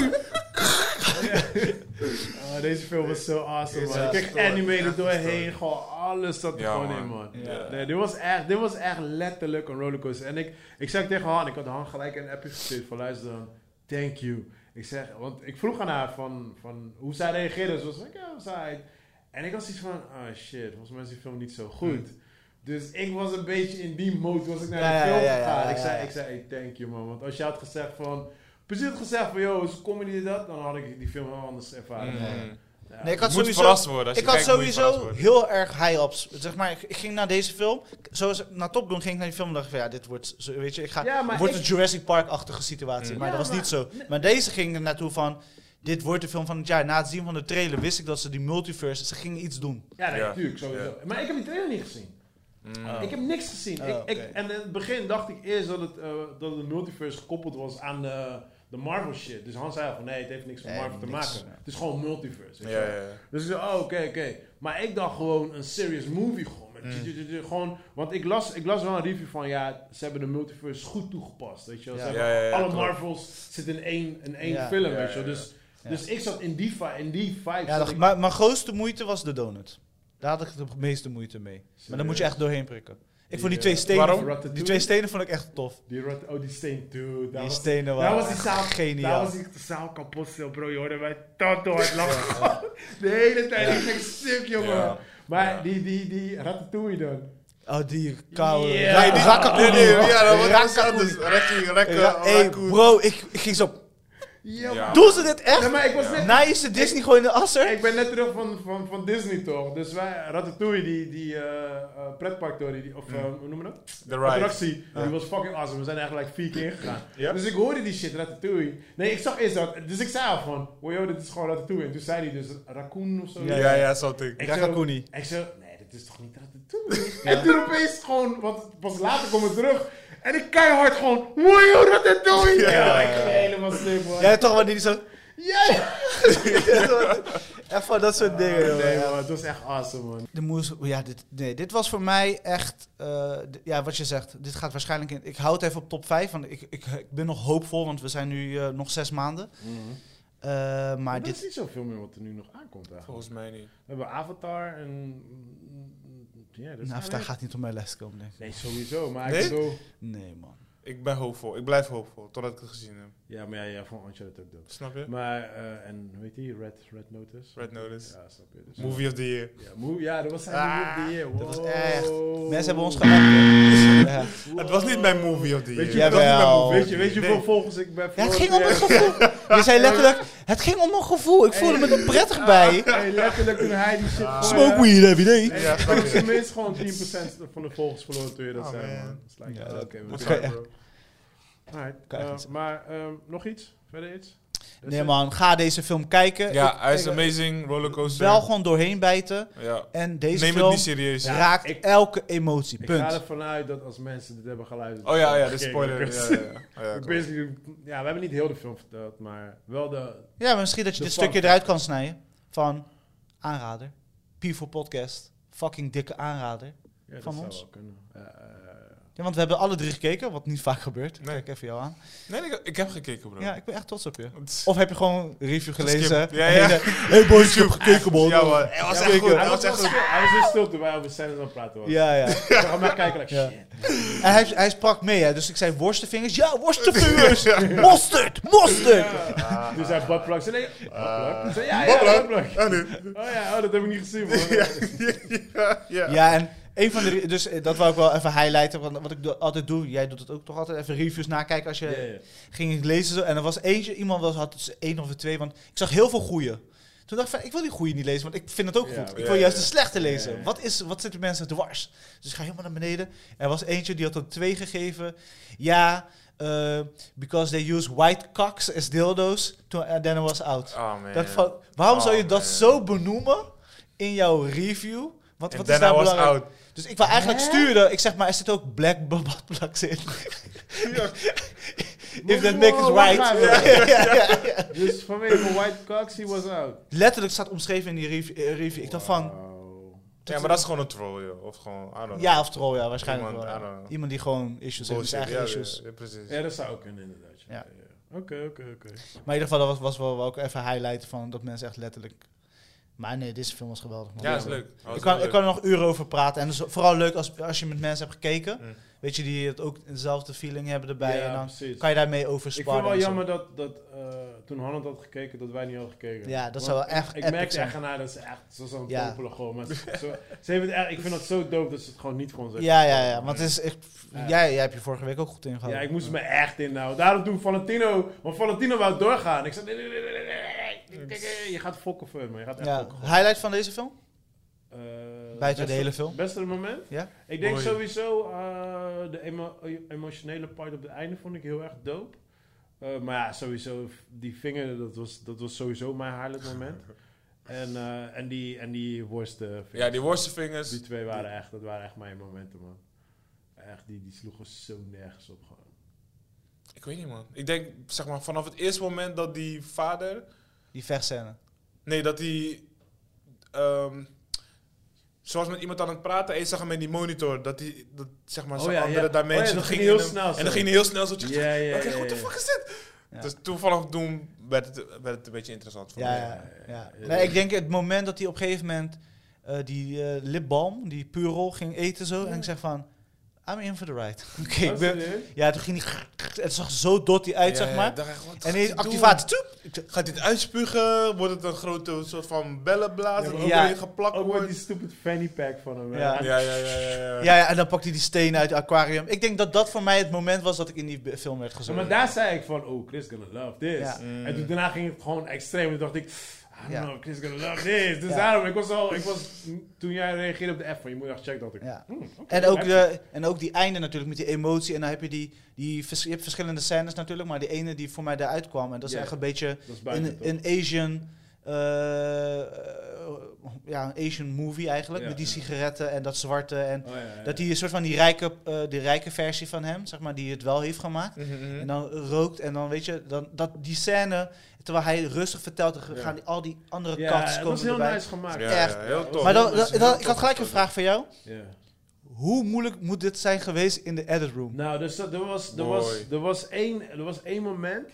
S1: Oh, deze film was zo awesome, man.
S3: Ja,
S1: ik kreeg
S3: story.
S1: anime er
S3: Echt
S1: doorheen.
S3: story.
S1: Gewoon alles zat er
S3: Ja,
S1: gewoon
S3: man.
S1: in, man.
S3: Ja.
S1: Nee, dit was, echt, dit was echt letterlijk een rollercoaster. En ik, ik zei tegen Han, ik had Han gelijk een appje gestuurd van luister dan, thank you. Ik zeg, want ik vroeg aan haar van, van hoe zij reageerde. Ze was like, ja, zij. En ik was iets van, ah shit, volgens mij is die film niet zo goed. Dus ik was een beetje in die mode, was ik naar
S2: Hmm. Ja, ja,
S1: de film
S2: ja, ja,
S1: gegaan.
S2: ja,
S1: ik
S2: ja,
S1: zei,
S2: ja.
S1: ik zei, hey, thank you man. Want als je had gezegd van, precies had gezegd van, yo, is comedy dit, dat, Nou, dan had ik die film heel anders ervaren.
S3: Mm.
S1: Ja.
S2: Nee,
S3: Moet
S2: ik had sowieso,
S3: verrast worden. Als
S2: ik
S3: je
S2: had
S3: kijkt, moet je verrast
S2: sowieso
S3: worden.
S2: heel erg high-ups. Zeg maar, ik, ik ging naar deze film, zoals na Top Gun ging ik naar die film en dacht ik van ja, dit wordt, zo- weet je, ik ga,
S1: Ja, maar
S2: wordt
S1: ik-
S2: een Jurassic Park-achtige situatie.
S3: Mm.
S2: Maar
S1: Ja,
S2: dat was
S1: maar-
S2: niet zo. Maar deze ging er naartoe van, dit wordt de film van het jaar. Na het zien van de trailer wist ik dat ze die multiverse, ze gingen iets doen.
S1: Ja, nee,
S3: Ja.
S1: natuurlijk, sowieso.
S3: Ja.
S1: Maar ik heb die trailer niet gezien.
S3: Mm.
S1: Ik heb niks gezien.
S2: Oh,
S1: ik, ik,
S2: oké.
S1: en in het begin dacht ik eerst dat het, eh, dat het multiverse gekoppeld was aan de, de Marvel shit. Dus Hans zei al van nee, het heeft niks met
S2: Nee,
S1: Marvel te
S2: niks.
S1: maken. Het is gewoon multiverse.
S3: Ja,
S1: weet je wel.
S3: ja, ja.
S1: Dus ik zei, oh, oké, oké. Maar ik dacht gewoon een serious movie. Gewoon,
S2: Mm.
S1: met gewoon want ik las, ik las wel een review van, ja, ze hebben de multiverse goed toegepast, weet je wel. Ze
S2: Ja.
S1: hebben
S3: Ja, ja, ja,
S1: alle
S3: klopt.
S1: Marvels zitten in één, in één
S2: Ja.
S1: film,
S3: Eh, Ja,
S1: weet je wel.
S3: ja, ja.
S1: Dus, dus ik zat in die, vi- in die vibe.
S2: Ja,
S1: zat
S2: dat-
S1: ik-
S2: maar mijn grootste moeite was de donut. Daar had ik de meeste moeite mee. Maar dan moet je echt doorheen prikken. Ik vond die twee
S1: eh,
S2: stenen.
S3: waarom?
S2: Die twee stenen vond ik echt tof.
S1: Die rot, oh, die steen, dude.
S2: Die
S1: was-
S2: stenen
S1: Daar
S2: waren
S1: was die zaal,
S2: geniaal.
S1: Daar was die zaal kapot stil, bro. Je hoorde mij tot door het lachen. (laughs) De hele tijd. Ik zeg, sip, jongen.
S3: Ja.
S1: Maar
S3: Ja.
S1: die, die, die ratatouille dan.
S2: Oh, die koude.
S1: Ja.
S2: Ra-
S3: Nee, die-
S2: Rakkakoen.
S3: nee, nee, ja, dat was
S2: Ra-
S3: dat was dus. Rekkie, rekken,
S2: Ra- Hey,
S3: rakkoe.
S2: bro, ik, ik ging zo.
S1: Ja,
S3: Ja.
S1: man.
S2: Doen ze dit
S1: Nee,
S2: echt?
S1: maar ik was net...
S2: Nice Disney gewoon in de asser.
S1: Ik ben net terug van, van, van Disney, toch? Dus wij, Ratatouille, die, die eh, eh, pretpark, door die, die-
S3: Mm.
S1: of eh, hoe noemen we dat?
S3: The ride.
S1: attractie. Die was fucking awesome. We zijn eigenlijk like vier keer ingegaan.
S3: Ja?
S1: Dus ik hoorde die shit, Ratatouille. Nee, ik zag eerst dat. Dus ik zei al van, wow, joh, dit is gewoon Ratatouille. En toen zei hij dus Raccoon of zo.
S2: Ja,
S3: Ja, ja, something.
S1: Ik zo-
S2: Rakakuni.
S1: En ik zo, nee, dit is toch niet Ratatouille? En toen opeens gewoon, want pas later kom ik terug. En ik keihard gewoon, wow, joh, Ratatouille.
S3: Ja.
S1: Ja, ik ging helemaal stuk, man.
S2: Jij toch wanneer die zo.
S1: Ja.
S2: (laughs) Echt van dat soort dingen, joh.
S1: Nee,
S2: Ja.
S1: man, het was echt awesome, man.
S2: De moes, ja, dit, nee, dit was voor mij echt, eh, d- ja, wat je zegt, dit gaat waarschijnlijk in, ik houd even op top 5, want ik, ik, ik ben nog hoopvol, want we zijn nu eh, nog zes maanden. Eh, maar
S1: Maar dit
S2: dit,
S1: is niet zoveel meer wat er nu nog aankomt eigenlijk.
S3: Volgens mij niet.
S1: We hebben Avatar en... Ja, dat is
S2: nou, daar gaat niet op mijn les komen, denk ik.
S1: Nee, sowieso, maar
S3: Nee?
S1: ik bedoel...
S2: Nee, man.
S3: Ik ben hoopvol. Ik blijf hoopvol. Totdat ik het gezien heb.
S1: Ja, maar ja, ja vond Uncharted ook dood.
S3: Snap je?
S1: Maar, eh, en hoe heet die? Red, Red Notice?
S3: Red Notice.
S1: Ja, snap je. Dus
S3: Movie of the year.
S1: Ja, mo- ja, dat was zijn
S2: Ah,
S1: Movie of the Year.
S2: dat was
S1: Wow.
S2: echt-
S1: Oh.
S2: Mensen hebben ons gelijk. Dus, eh, Ja.
S1: Wow.
S3: Het was niet mijn movie of the year.
S1: Weet je-
S3: Het was niet mijn
S2: Jawel.
S3: movie of
S1: Weet
S3: the
S1: je, weet je
S3: year.
S1: hoeveel volgers ik ben
S2: Ja, het
S1: verloren
S2: ging om mijn
S1: toen jij-
S2: gevoel. Je zei letterlijk, het ging om mijn gevoel. Ik voelde me er prettig
S1: (laughs)
S2: bij. Ah.
S1: Hey, letterlijk toen hij die shit...
S2: Smoke weed every day.
S1: Nee,
S3: Ja,
S1: ja,
S3: snap je.
S1: tenminste gewoon 10% van de volgers verloren toen je dat
S3: Oh,
S1: zei,
S3: man.
S1: man. Dat is like,
S2: Ja,
S1: ah,
S2: dat-
S1: oké, we
S2: dat
S1: kunnen-
S2: kan je
S3: Ja,
S2: echt-
S3: bro.
S1: Alright,
S2: Kan je
S1: eh,
S2: echt zeggen.
S1: maar ehm, nog iets? Verder iets? Dat is
S2: Nee
S1: het.
S2: man, ga deze film kijken.
S3: Dus, eh, Ja, hij is
S2: kijk,
S3: amazing. Rollercoaster.
S2: Wel gewoon doorheen bijten.
S3: Ja.
S2: En deze
S3: Neem het
S2: film
S3: niet serieus.
S1: Ja.
S2: raakt
S1: ik-
S2: elke emotie.
S1: Ik ga
S2: Punt.
S1: ervan uit dat als mensen dit hebben geluisterd...
S3: Oh ja, ja, de
S1: gekeken,
S3: spoiler. Ja,
S1: dus-
S3: ja, ja. Oh, ja,
S1: Ik
S3: klopt.
S1: weet niet- ja, we hebben niet heel de film verteld, maar wel de...
S2: Ja, maar misschien dat je
S1: De
S2: dit
S1: fun
S2: stukje eruit kan snijden. Van aanrader. P4 Podcast. Fucking dikke aanrader.
S1: Ja, dat
S2: Van
S1: zou
S2: ons?
S1: wel kunnen. Eh, eh,
S2: Ja, want we hebben alle drie gekeken, wat niet vaak gebeurt.
S3: Nee.
S2: Kijk even jou aan.
S3: Nee, ik, ik heb gekeken, bro.
S2: Ja, ik ben echt trots op je.
S3: Het is-
S2: Of heb je gewoon een review gelezen?
S3: Geskipt. Ja, ja.
S2: En, eh, Hey boys, ik heb gekeken man.
S3: Ja, man. Hij was
S1: ja,
S3: echt
S1: maar
S3: goed.
S1: Hij
S3: Hij
S1: was
S3: was
S1: wel
S3: echt goed.
S1: stil. Hij was heel stil toen wij over scènes aan het praten waren.
S2: Ja, ja.
S1: Ik zag hem naar kijken, like,
S2: Ja.
S1: shit.
S2: En hij, hij sprak mee, hè. dus ik zei worstenvingers. Ja,
S3: (laughs)
S2: worstenvingers! Mosterd! Mosterd!
S3: Ah,
S1: Dus hij buttplug. Ze nee, buttplug?
S2: Eh,
S1: Ik zei, ja, ja,
S3: Buttplug.
S1: buttplug.
S3: ah, nee. (laughs)
S1: Oh ja, oh, dat heb ik niet gezien,
S2: (laughs)
S1: man.
S3: Ja, ja.
S2: Ja, en een van de... re- Dus eh, dat wou ik wel even highlighten, want wat ik do- altijd doe... Jij doet het ook toch altijd, even reviews nakijken als je...
S1: Ja, ja.
S2: Ging ik lezen zo, en er was eentje, iemand was, had dus één of twee, want ik zag heel veel goeie. Toen dacht ik van, ik wil die goeie niet lezen, want ik vind het ook
S1: Ja,
S2: goed. Ik
S3: ja,
S2: wil juist
S3: ja.
S2: de slechte lezen.
S1: Ja, ja.
S2: Wat, is, wat zitten mensen dwars? Dus ik ga helemaal naar beneden. Er was eentje, die had een twee gegeven. Ja, eh, because they use white cocks as dildo's. Toen uh, Denner was out.
S3: Oh, man.
S2: Dacht ik van, waarom zou je
S3: Oh,
S2: dat
S3: man.
S2: zo benoemen in jouw review? Wat,
S3: En
S2: wat is
S3: daarna
S2: daar
S3: was
S2: belangrijk?
S3: out.
S2: Dus ik wil eigenlijk
S1: Hè?
S2: sturen. Ik zeg maar, er zit ook black babatplaks in.
S3: Ja.
S2: If that make is
S1: Wow, wacht
S2: right.
S1: even.
S2: Ja, ja, ja.
S1: Dus vanwege White Cox, he was out.
S2: Letterlijk staat omschreven in die rev- eh, review. Ik dacht van,
S1: Wauw.
S3: Ja, maar dat is gewoon een troll, joh. Of gewoon, I don't know.
S2: ja of troll, ja, waarschijnlijk
S3: Iemand, I
S2: wel.
S3: don't know.
S2: Iemand die gewoon issues heeft,
S3: Bullshit.
S2: zijn eigen
S3: Ja,
S2: issues.
S3: ja, ja, precies.
S1: Ja, dat zou ook kunnen, inderdaad. ja,
S2: Ja.
S1: ja. Oké, oké, oké.
S2: Maar in ieder geval, dat was, was wel, wel ook even highlight van dat mensen echt letterlijk... Maar nee, deze film was geweldig. Man.
S3: Ja, is leuk. Oh,
S2: Ik
S3: is
S2: kan,
S3: leuk.
S2: ik kan er nog uren over praten. En het is vooral leuk als, als je met mensen hebt gekeken.
S3: Mm.
S2: Weet je, die het ook dezelfde feeling hebben erbij.
S1: Ja,
S2: en dan
S1: precies.
S2: kan je daarmee over
S1: Ik vind het
S2: sparren.
S1: wel
S2: en zo.
S1: jammer dat, dat eh, toen Hannah had gekeken, dat wij niet hadden gekeken.
S2: Ja, dat
S1: Want
S2: zou wel echt
S1: Ik
S2: epic
S1: merkte
S2: zijn.
S1: echt aan haar dat ze echt zo- zo'n
S2: Ja.
S1: popelen gewoon. Maar ze, zo- ze heeft het echt, ik vind dat zo dope dat ze het gewoon niet voor ons heeft.
S2: Ja, ja, ja. Want het is echt,
S1: Ja.
S2: jij, jij hebt je vorige week ook goed ingehouden.
S1: Ja, ik moest me echt inhouden. Daarom toen Valentino, want Valentino wou doorgaan. Ik zei, nee, nee, nee, nee, nee, nee, nee, nee, nee, je gaat fokken voor me. Je gaat echt
S2: Ja.
S1: fokken.
S2: Highlight van deze film?
S1: Eh,
S2: Buiten
S1: beste-
S2: de hele film.
S1: Beste moment?
S2: Ja.
S1: Ik denk
S3: Mooi.
S1: sowieso eh, de emo- emotionele part op het einde vond ik heel erg dope. Eh, maar ja, sowieso die vinger, dat was, dat was sowieso mijn highlight
S3: (laughs)
S1: moment. en, eh, en die, en die worsten
S3: Ja, die worstenvingers.
S1: Die twee waren echt, dat waren echt mijn momenten, man. Echt, die, die sloegen zo nergens op gewoon.
S3: Ik weet niet, man. Ik denk, zeg maar, vanaf het eerste moment dat die vader...
S2: Die vechtscène.
S3: Nee, dat hij... ehm, zoals met iemand aan het praten, en je zag hem in die monitor, dat hij, dat, zeg maar,
S1: Oh
S3: zijn
S1: ja,
S3: andere
S1: ja. Oh ja,
S3: dimensie...
S1: dat ging
S3: in
S1: heel
S3: hem-
S1: snel
S3: En
S1: zo.
S3: dan ging hij heel snel zo... Oké,
S1: Ja, ja, ja,
S3: what the
S1: ja.
S3: fuck is dit?
S2: Ja.
S3: Dus toen vanaf toen werd het, werd het een beetje interessant voor
S2: Ja,
S3: mij.
S2: ja, ja.
S1: ja.
S2: Nee, ik denk het moment dat hij op een gegeven moment eh, die eh lipbalm, die purel, ging eten zo. En ik zeg van, I'm in for the ride. (laughs) Oké, ik ben- Ja, toen ging hij... Het zag zo dotty uit, zeg maar. En die activatie... toep. Ik dacht,
S3: Gaat dit uitspugen? Wordt het een grote soort van bellenblaas?
S1: Ja,
S3: dat
S1: maar
S3: ook
S2: ja.
S3: weer geplakt
S1: Ook met
S3: wordt?
S1: die stupid fanny pack van hem. hè.
S2: Ja.
S3: Ja, ja, ja, ja. ja.
S2: Ja, ja, en dan pakt hij die stenen uit het aquarium. Ik denk dat dat voor mij het moment was dat ik in die be- film werd
S1: Ja,
S2: gezongen.
S1: maar daar zei ik van, oh, Chris gonna love this.
S2: Ja.
S3: Mm.
S1: En toen daarna ging het gewoon extreem. En toen dacht ik, I don't
S2: Ja.
S1: know, Chris gonna love this. Dus
S2: Ja.
S1: daarom, ik was al, ik was, toen jij reageerde op de F van, je moet echt checken dat ik.
S2: Ja.
S1: hmm, oké,
S2: En ook,
S1: heb-
S2: de, en ook die einde natuurlijk met die emotie. En dan heb je die, die vers- je hebt verschillende scènes natuurlijk, maar die ene die voor mij daaruit kwam. En dat is
S1: Ja.
S2: echt een beetje
S1: Dat is buiten,
S2: een,
S1: toch?
S2: een Asian. eh, eh, ja, een Asian movie eigenlijk.
S1: Ja,
S2: met die
S1: ja.
S2: sigaretten en dat zwarte. En
S1: Oh, ja, ja, ja.
S2: dat die een soort van die rijke, eh, die rijke versie van hem, zeg maar, die het wel heeft gemaakt.
S3: Mhm,
S2: En
S3: mhm.
S2: dan rookt en dan weet je, dan, dat, die scène, terwijl hij rustig vertelt, dan
S1: Ja.
S2: gaan die, al die andere
S1: Ja,
S2: kanten
S1: dat
S2: komen
S1: is heel
S2: erbij.
S1: nice gemaakt.
S3: Ja,
S2: echt.
S3: ja, heel tof.
S2: Maar dan,
S1: Dat is
S2: dan-
S1: heel
S2: dan-
S3: tof
S2: ik had gelijk een
S3: afgesloten.
S2: vraag voor jou.
S1: Ja.
S2: Hoe moeilijk moet dit zijn geweest in de edit room?
S1: Nou, dus dat, er, was, er,
S3: Mooi.
S1: was, er, was één, er was één moment,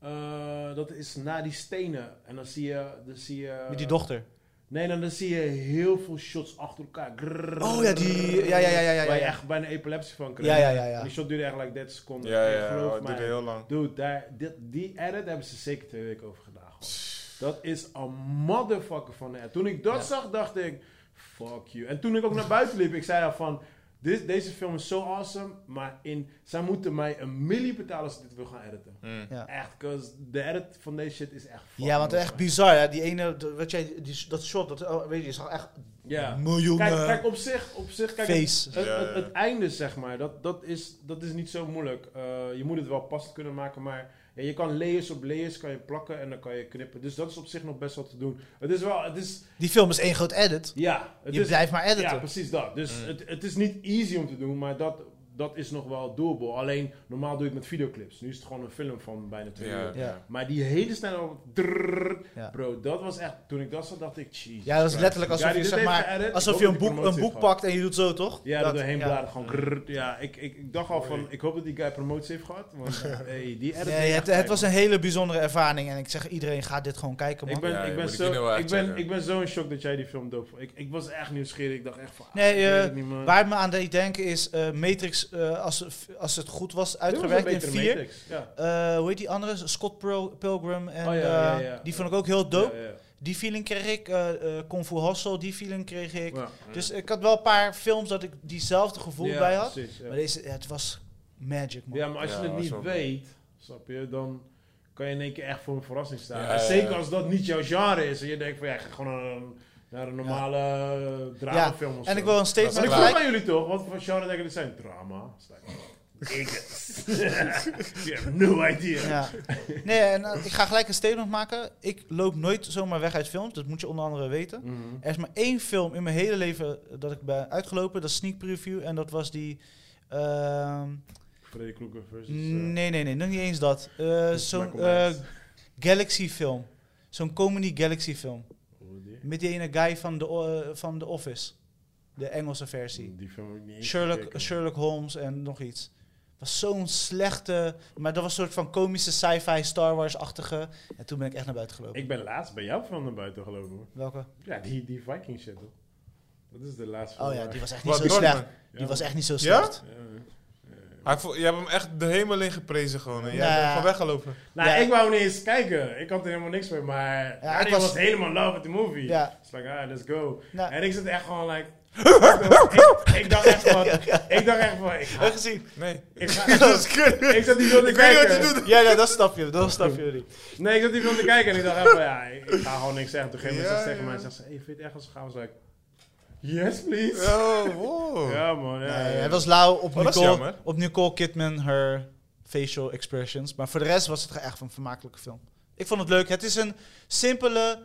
S1: eh, dat is na die stenen. En dan zie je, dan zie je...
S2: Met die dochter.
S1: Nee, dan, dan zie je heel veel shots achter elkaar. Grrrr.
S2: Oh ja, die- ja, ja, ja, ja, ja,
S1: Waar je
S2: ja.
S1: echt bijna epilepsie van krijgt.
S2: Ja, ja, ja, ja.
S1: Die shot duurde eigenlijk 30 seconden.
S3: Ja,
S1: En
S3: ja, ja.
S1: geloof
S3: Het duurde
S1: mij,
S3: heel lang.
S1: Dude, daar, dit, die edit hebben ze zeker twee weken over gedaan. gewoon. Dat is een motherfucker van de edit. Toen ik dat
S2: Ja.
S1: zag, dacht ik, fuck you. En toen ik ook
S2: (laughs)
S1: naar buiten liep, ik zei al van, dit, deze film is zo awesome, maar in, zij moeten mij een millie betalen als ik dit wil gaan editen.
S3: Mm.
S2: Ja.
S1: Echt, cause de edit van deze shit is echt fucking
S2: Ja, want
S1: awesome.
S2: echt bizar. Hè? Die ene, de- wat jij, die, dat shot, dat, oh, weet je, je zag echt
S1: Ja.
S2: miljoenen
S1: Kijk, kijk op zich, op zich kijk, het-
S2: face.
S1: Het,
S3: Ja,
S1: het,
S3: ja.
S1: het einde, zeg maar, dat, dat, is, dat is niet zo moeilijk. Eh, je moet het wel passend kunnen maken, maar ja, je kan layers op layers kan je plakken en dan kan je knippen. Dus dat is op zich nog best wel te doen. Het is wel, het is,
S2: Die film is één groot edit.
S1: ja, het
S2: je
S1: is,
S2: blijft maar editen.
S1: ja precies dat. Dus
S3: Mm.
S1: het, het is niet easy om te doen, maar dat, dat is nog wel doable. Alleen, normaal doe je het met videoclips. Nu is het gewoon een film van bijna twee
S3: Ja,
S1: uur.
S2: Ja.
S3: ja.
S1: Maar die hele snelle, drrrr,
S2: Ja.
S1: bro, dat was echt, toen ik dat zag, dacht ik, jeez.
S2: Ja, dat is letterlijk alsof
S1: Ja, die
S2: je,
S1: dit
S2: zeg
S1: heeft
S2: maar,
S1: geëdit.
S2: alsof
S1: Ik
S2: je
S1: hoop
S2: een
S1: dat die
S2: boek, een
S1: promotie
S2: boek
S1: heeft
S2: pakt en je doet zo, toch?
S1: Ja, dat, doorheen
S2: ja.
S1: bladeren gewoon. grrrt. ja, ik, ik, ik dacht al van, ik hoop dat die guy promotie heeft gehad.
S2: (laughs)
S1: Want eh, hey, die edit.
S2: Nee, het, het was een hele bijzondere ervaring en ik zeg iedereen, ga dit gewoon kijken, man.
S1: Ik ben,
S3: Ja, je
S1: ik,
S3: moet
S1: ben
S3: die kinderen
S1: zo,
S3: wel
S1: ik, ben,
S3: uitchecken.
S1: ik ben zo in shock dat jij die film doof vond. Ik, ik was echt nieuwsgierig. Ik dacht echt van. ah,
S2: Nee,
S1: ik weet
S2: eh,
S1: het niet, man.
S2: Waar het me aan deed denken is eh, Matrix, eh, als, als het goed was
S1: Dit was een
S2: uitgewerkt in
S1: betere
S2: 4.
S1: Matrix, Ja.
S2: Eh, hoe heet die andere? Scott Pro- Pilgrim. En,
S1: Oh, ja, ja,
S2: eh,
S1: ja.
S2: die vond ik ook heel dope.
S1: Ja, ja.
S2: Die feeling kreeg ik. eh eh Kung Fu Hustle, die feeling kreeg ik.
S1: Ja.
S2: Dus ik had wel een paar films dat ik diezelfde gevoel
S1: Ja,
S2: bij had.
S1: precies, ja.
S2: Maar deze, ja, het was magic, man.
S1: Ja, maar als
S3: Ja,
S1: je het
S3: dat is
S1: niet
S3: wel
S1: weet, snap je, dan kan je in één keer echt voor een verrassing staan.
S3: Ja,
S1: En
S3: ja, ja.
S1: zeker als dat niet jouw genre is. En je denkt van, ja, ik ga gewoon naar een, naar een normale eh, dramafilm of
S2: En
S1: zo.
S2: ik wil een
S1: Maar
S2: statement
S1: ik vroeg
S2: gelijk.
S1: aan jullie toch, wat voor genre denken dit zijn? Drama. Ik. (laughs) You have no idea.
S2: Ja. Nee, en eh, ik ga gelijk een statement maken. Ik loop nooit zomaar weg uit films. Dat moet je onder andere weten.
S1: Mhm.
S2: Er is maar één film in mijn hele leven eh, dat ik ben uitgelopen. Dat is Sneak Preview. En dat was die... ehm,
S1: Freddy Krueger versus... eh,
S2: Nee, nee, nee, nog niet eens dat. Eh, Zo'n
S3: Michael
S2: eh, Galaxy film. Zo'n comedy Galaxy film.
S1: hoe heet die?
S2: Met die ene guy van The, eh, van the Office. De Engelse versie.
S1: Die film heb ik niet eens
S2: Sherlock,
S1: gekeken.
S2: Sherlock Holmes en nog iets. Was zo'n slechte, maar dat was een soort van komische sci-fi Star Wars-achtige. En toen ben ik Oh echt naar buiten gelopen.
S1: Ik ben laatst bij jou van naar buiten gelopen. hoor.
S2: Welke?
S1: Ja, die, die Viking shit toch? Dat is de laatste.
S2: Oh
S1: film
S2: ja,
S1: waar-
S2: die was echt niet
S3: Wat
S2: zo slecht.
S3: Norman.
S1: Ja,
S2: Die was echt niet zo
S3: Ja?
S2: slecht.
S1: ja.
S3: Hij vo- Je hebt hem echt de hemel in geprezen gewoon. En jij
S2: Ja.
S3: bent van weggelopen.
S1: Nou,
S2: Ja.
S1: ik wou niet eens kijken. Ik had er helemaal niks mee, maar ja,
S2: ik
S1: ik was,
S2: was-
S1: helemaal love with the movie.
S2: Ja.
S1: It's like, ah, let's go.
S2: Nou.
S1: En ik zit echt gewoon like... ik, ik dacht echt van... Ik dacht echt van... Ik ga,
S2: gezien. (laughs)
S3: Nee.
S1: ik ga,
S2: Dat is kut.
S1: Ik zat die film te
S3: Ik weet niet wat
S1: kijken.
S3: je doet.
S2: (laughs) Ja, ja, dat snap je. Dat snap je niet.
S1: Nee, ik zat die film te kijken en ik dacht echt van ja, ik ik ga gewoon niks zeggen. Toen ging
S3: Ja,
S1: mensen dat tegen
S3: ja.
S1: mij en zegt ze, hey, vind je het echt als we gaan? Ik was like, yes please.
S3: (laughs) Oh, wow.
S1: Ja man, ja.
S2: Nee,
S1: ja.
S2: het was lauw
S3: Oh,
S2: op,
S3: dat is
S2: Nicole,
S3: jammer.
S2: op Nicole Kidman, haar facial expressions. Maar voor de rest was het echt een vermakelijke film. Ik vond het leuk. Het is een simpele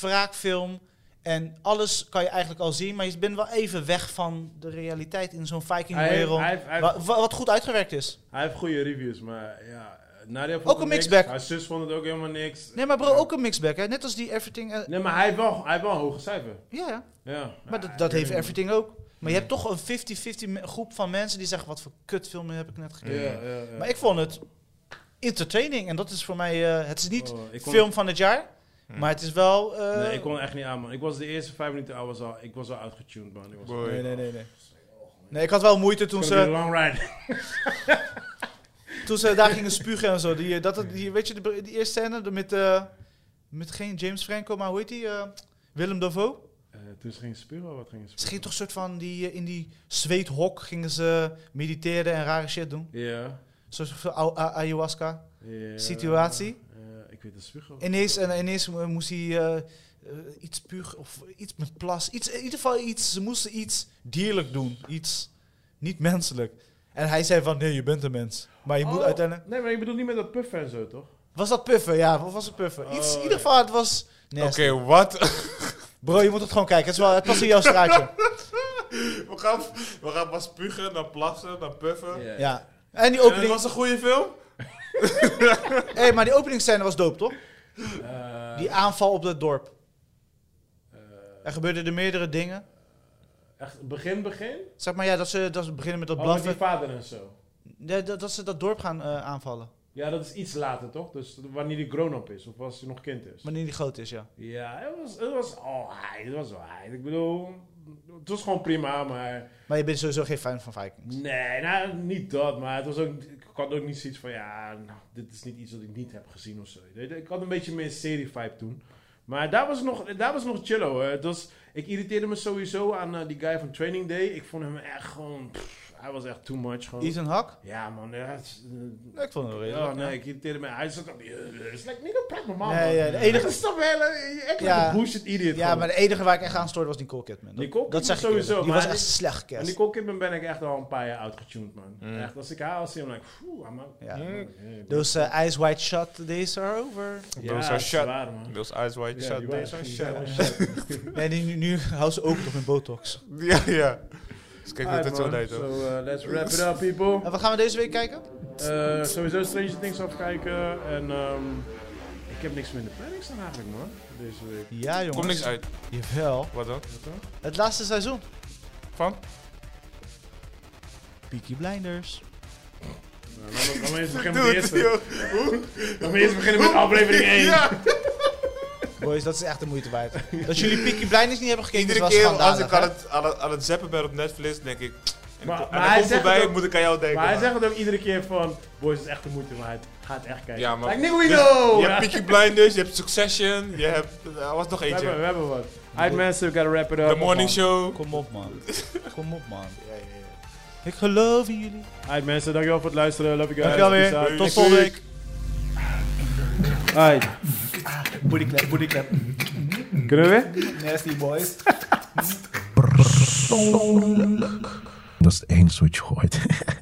S2: wraakfilm. En alles kan je eigenlijk al zien. Maar je bent wel even weg van de realiteit in zo'n
S1: Hij heeft-
S2: vikingwereld.
S1: hij heeft- hij
S2: wa- wa- Wat goed uitgewerkt is.
S1: Hij heeft goede reviews, maar ja, eh, Nadia vond
S2: Ook
S1: het
S2: een
S1: niks.
S2: mixback.
S1: Haar zus vond het ook helemaal niks.
S2: Nee, maar bro, ook een mixback. Hè? Net als die Everything. eh,
S1: Nee, maar hij heeft wel, hij heeft wel een hoge cijfer.
S2: ja, ja.
S1: Ja.
S2: Maar
S1: Ah,
S2: dat, dat
S1: ik
S2: heeft
S1: weet niet,
S2: Everything ook. Maar je hebt toch een 50-50 me- groep van mensen die zeggen... wat voor kutfilm heb ik net
S1: man.
S2: gekeken.
S1: Ja, ja, ja.
S2: Maar ik vond het entertaining. En dat is voor mij... eh, het is niet
S1: Oh, ik kon- Hmm.
S2: film van het jaar. Maar het is wel... eh,
S1: Nee, ik kon echt niet aan, man. Ik was de eerste vijf minuten, I was al, ik was al uitgetuned, man. Ik was
S3: Boy.
S2: nee, nee, nee, nee. Nee, ik had wel moeite toen
S1: It's gonna be
S2: ze,
S1: a long ride.
S2: toen ze daar
S1: (laughs)
S2: gingen spugen en zo. Die, eh, dat, het- die, weet je, de, die eerste scène met, eh, met geen James Franco, maar hoe heet die? eh, Willem Dafoe?
S1: Eh, toen ze gingen spuren, wat gingen ze
S2: Ze gingen toch een soort van die, eh, in die zweethok gingen ze mediteren en rare shit doen.
S1: Ja.
S2: Een soort van au- a- ayahuasca.
S1: Ja.
S2: Situatie?
S1: Eh, ik weet het spugen.
S2: Ineens, en ineens mo- moest hij eh, eh, iets puug of iets met plas. Iets, in ieder geval iets. Ze moesten iets dierlijk doen. Iets niet menselijk. En hij zei van nee, je bent een mens. Maar eh, je moet
S1: Oh,
S2: uiteindelijk.
S1: Nee, maar ik bedoel niet met dat puffen en zo, toch?
S2: Was dat puffen? Ja, of was het puffen? Iets,
S1: Oh,
S2: in ieder geval, het was.
S3: Oké,
S2: Nee,
S3: wat? (laughs)
S2: Bro, je moet het gewoon kijken. Het, is wel, het past in jouw straatje.
S3: We gaan, we gaan pas spugen, dan plassen, dan puffen.
S1: Eh,
S2: ja. En die
S3: En het
S2: opening.
S3: was een goede film?
S2: Hé, hey, maar die openingsscène was dope, toch?
S1: Eh,
S2: Die aanval op het dorp.
S1: eh,
S2: Er gebeurden er meerdere dingen.
S1: echt, begin, begin?
S2: Zeg maar ja, dat ze, dat ze beginnen met dat
S1: Oh, met die
S2: blaffen.
S1: vader en zo.
S2: Ja, dat, dat ze dat dorp gaan eh, aanvallen.
S1: Ja, dat is iets later, toch? Dus wanneer die grown-up is, of als hij nog kind is.
S2: Wanneer die groot is, ja.
S1: Ja, het was, het was alright, het was alright. Ik bedoel, het was gewoon prima, maar...
S2: Maar je bent sowieso geen fan van Vikings.
S1: Nee, nou, niet dat, maar het was ook, ik had ook niet zoiets van, ja, nou, dit is niet iets wat ik niet heb gezien of zo. Ik- Ik had een beetje meer serie-vibe toen. Maar daar was nog, daar was nog chill hoor. Het was, ik irriteerde me sowieso aan eh, die guy van Training Day. Ik vond hem echt gewoon, pff, hij was echt too much gewoon.
S2: Ethan Hawke?
S1: Ja man, ja, het is, eh,
S2: Nee, ik vond het wel
S1: Ja,
S2: redelijk.
S1: nee, ik irriteerde me. Hij zat op die... Het is like, nigga, praat normaal,
S2: Nee,
S1: man.
S2: ja, de enige-
S1: Dat is toch wel... eh, Echt
S2: Ja.
S1: een bullshit idiot.
S2: Ja,
S1: gewoon.
S2: maar de enige waar ik echt aan stoorde was Nicole Kidman. Dat,
S1: Nicole
S2: dat
S1: Kidman
S2: zeg ik eerlijk.
S1: sowieso,
S2: Die
S1: maar
S2: was echt
S1: die-
S2: slecht
S1: En
S2: gecast.
S1: Nicole Kidman ben ik echt al een paar jaar outgetuned, man.
S3: Mm.
S1: Echt, als ik haar al zie, dan denk ik... Phew, I'm out.
S2: Ja.
S1: Mm.
S2: Dus eh, Eyes Wide Shut, deze are over.
S1: Ja,
S3: Those are
S1: dat is
S3: shut.
S1: waar, man.
S3: Those eyes wide
S1: Ja, die
S3: shut, those
S1: waren-
S3: are
S1: die
S3: shut.
S1: waren shut.
S2: Nee, die, nu, nu houden ze open toch met botox.
S3: (laughs) Ja, ja. Dus (laughs) kijk hoe
S1: Alright,
S3: dat zo
S1: man.
S3: deed, hoor.
S1: So, eh, let's wrap it up, people.
S2: (laughs) En wat gaan we deze week kijken?
S1: Eh, sowieso Stranger Things afkijken. En ehm, ik heb niks meer in de planning staan eigenlijk, man. Deze week.
S2: Ja, jongens.
S3: Komt niks uit.
S2: Jawel.
S3: Wat dan?
S1: Wat dan?
S2: Het laatste seizoen.
S3: Van?
S2: Peaky Blinders.
S1: Nou, laten we- Laten we eerst beginnen met de
S3: Doe het,
S1: eerste.
S3: joh.
S1: Laten we eerst beginnen met aflevering 1.
S3: (laughs) Ja,
S2: Boys, dat is echt de moeite waard. Dat jullie Peaky Blinders niet hebben gekeken,
S3: iedere
S2: dat was
S3: keer als
S2: schandalig.
S3: ik aan het, aan, het, aan het zappen ben op Netflix, denk ik... En
S1: Maar-
S3: maar,
S1: maar
S3: en
S1: hij
S3: hij komt
S1: zegt
S3: voorbij,
S1: ook-
S3: moet ik aan jou denken.
S1: Maar hij
S3: man.
S1: zegt het ook iedere keer van... Boys, het is echt de moeite waard. Ga het echt kijken.
S3: Ja, maar- Dus
S1: Like, nigga, we know!
S3: Je
S1: Ja.
S3: hebt Peaky Blinders, je hebt Succession, je hebt... Er was nog
S1: we, hebben,
S3: eentje.
S1: we hebben wat. Alright mensen, we gotta wrap it up.
S3: The Morning Show.
S2: Kom op, man. Kom op, man. Ik geloof in jullie.
S1: Alright mensen, dankjewel voor het luisteren. Love you guys.
S2: Dankjewel weer.
S1: Peace out.
S2: Tot volgende week.
S1: Alright.
S2: Bodyclap, bodyclap.
S1: Kunnen we weer?
S2: Nasty boys.
S4: persoonlijk. Dat is één switch gooit.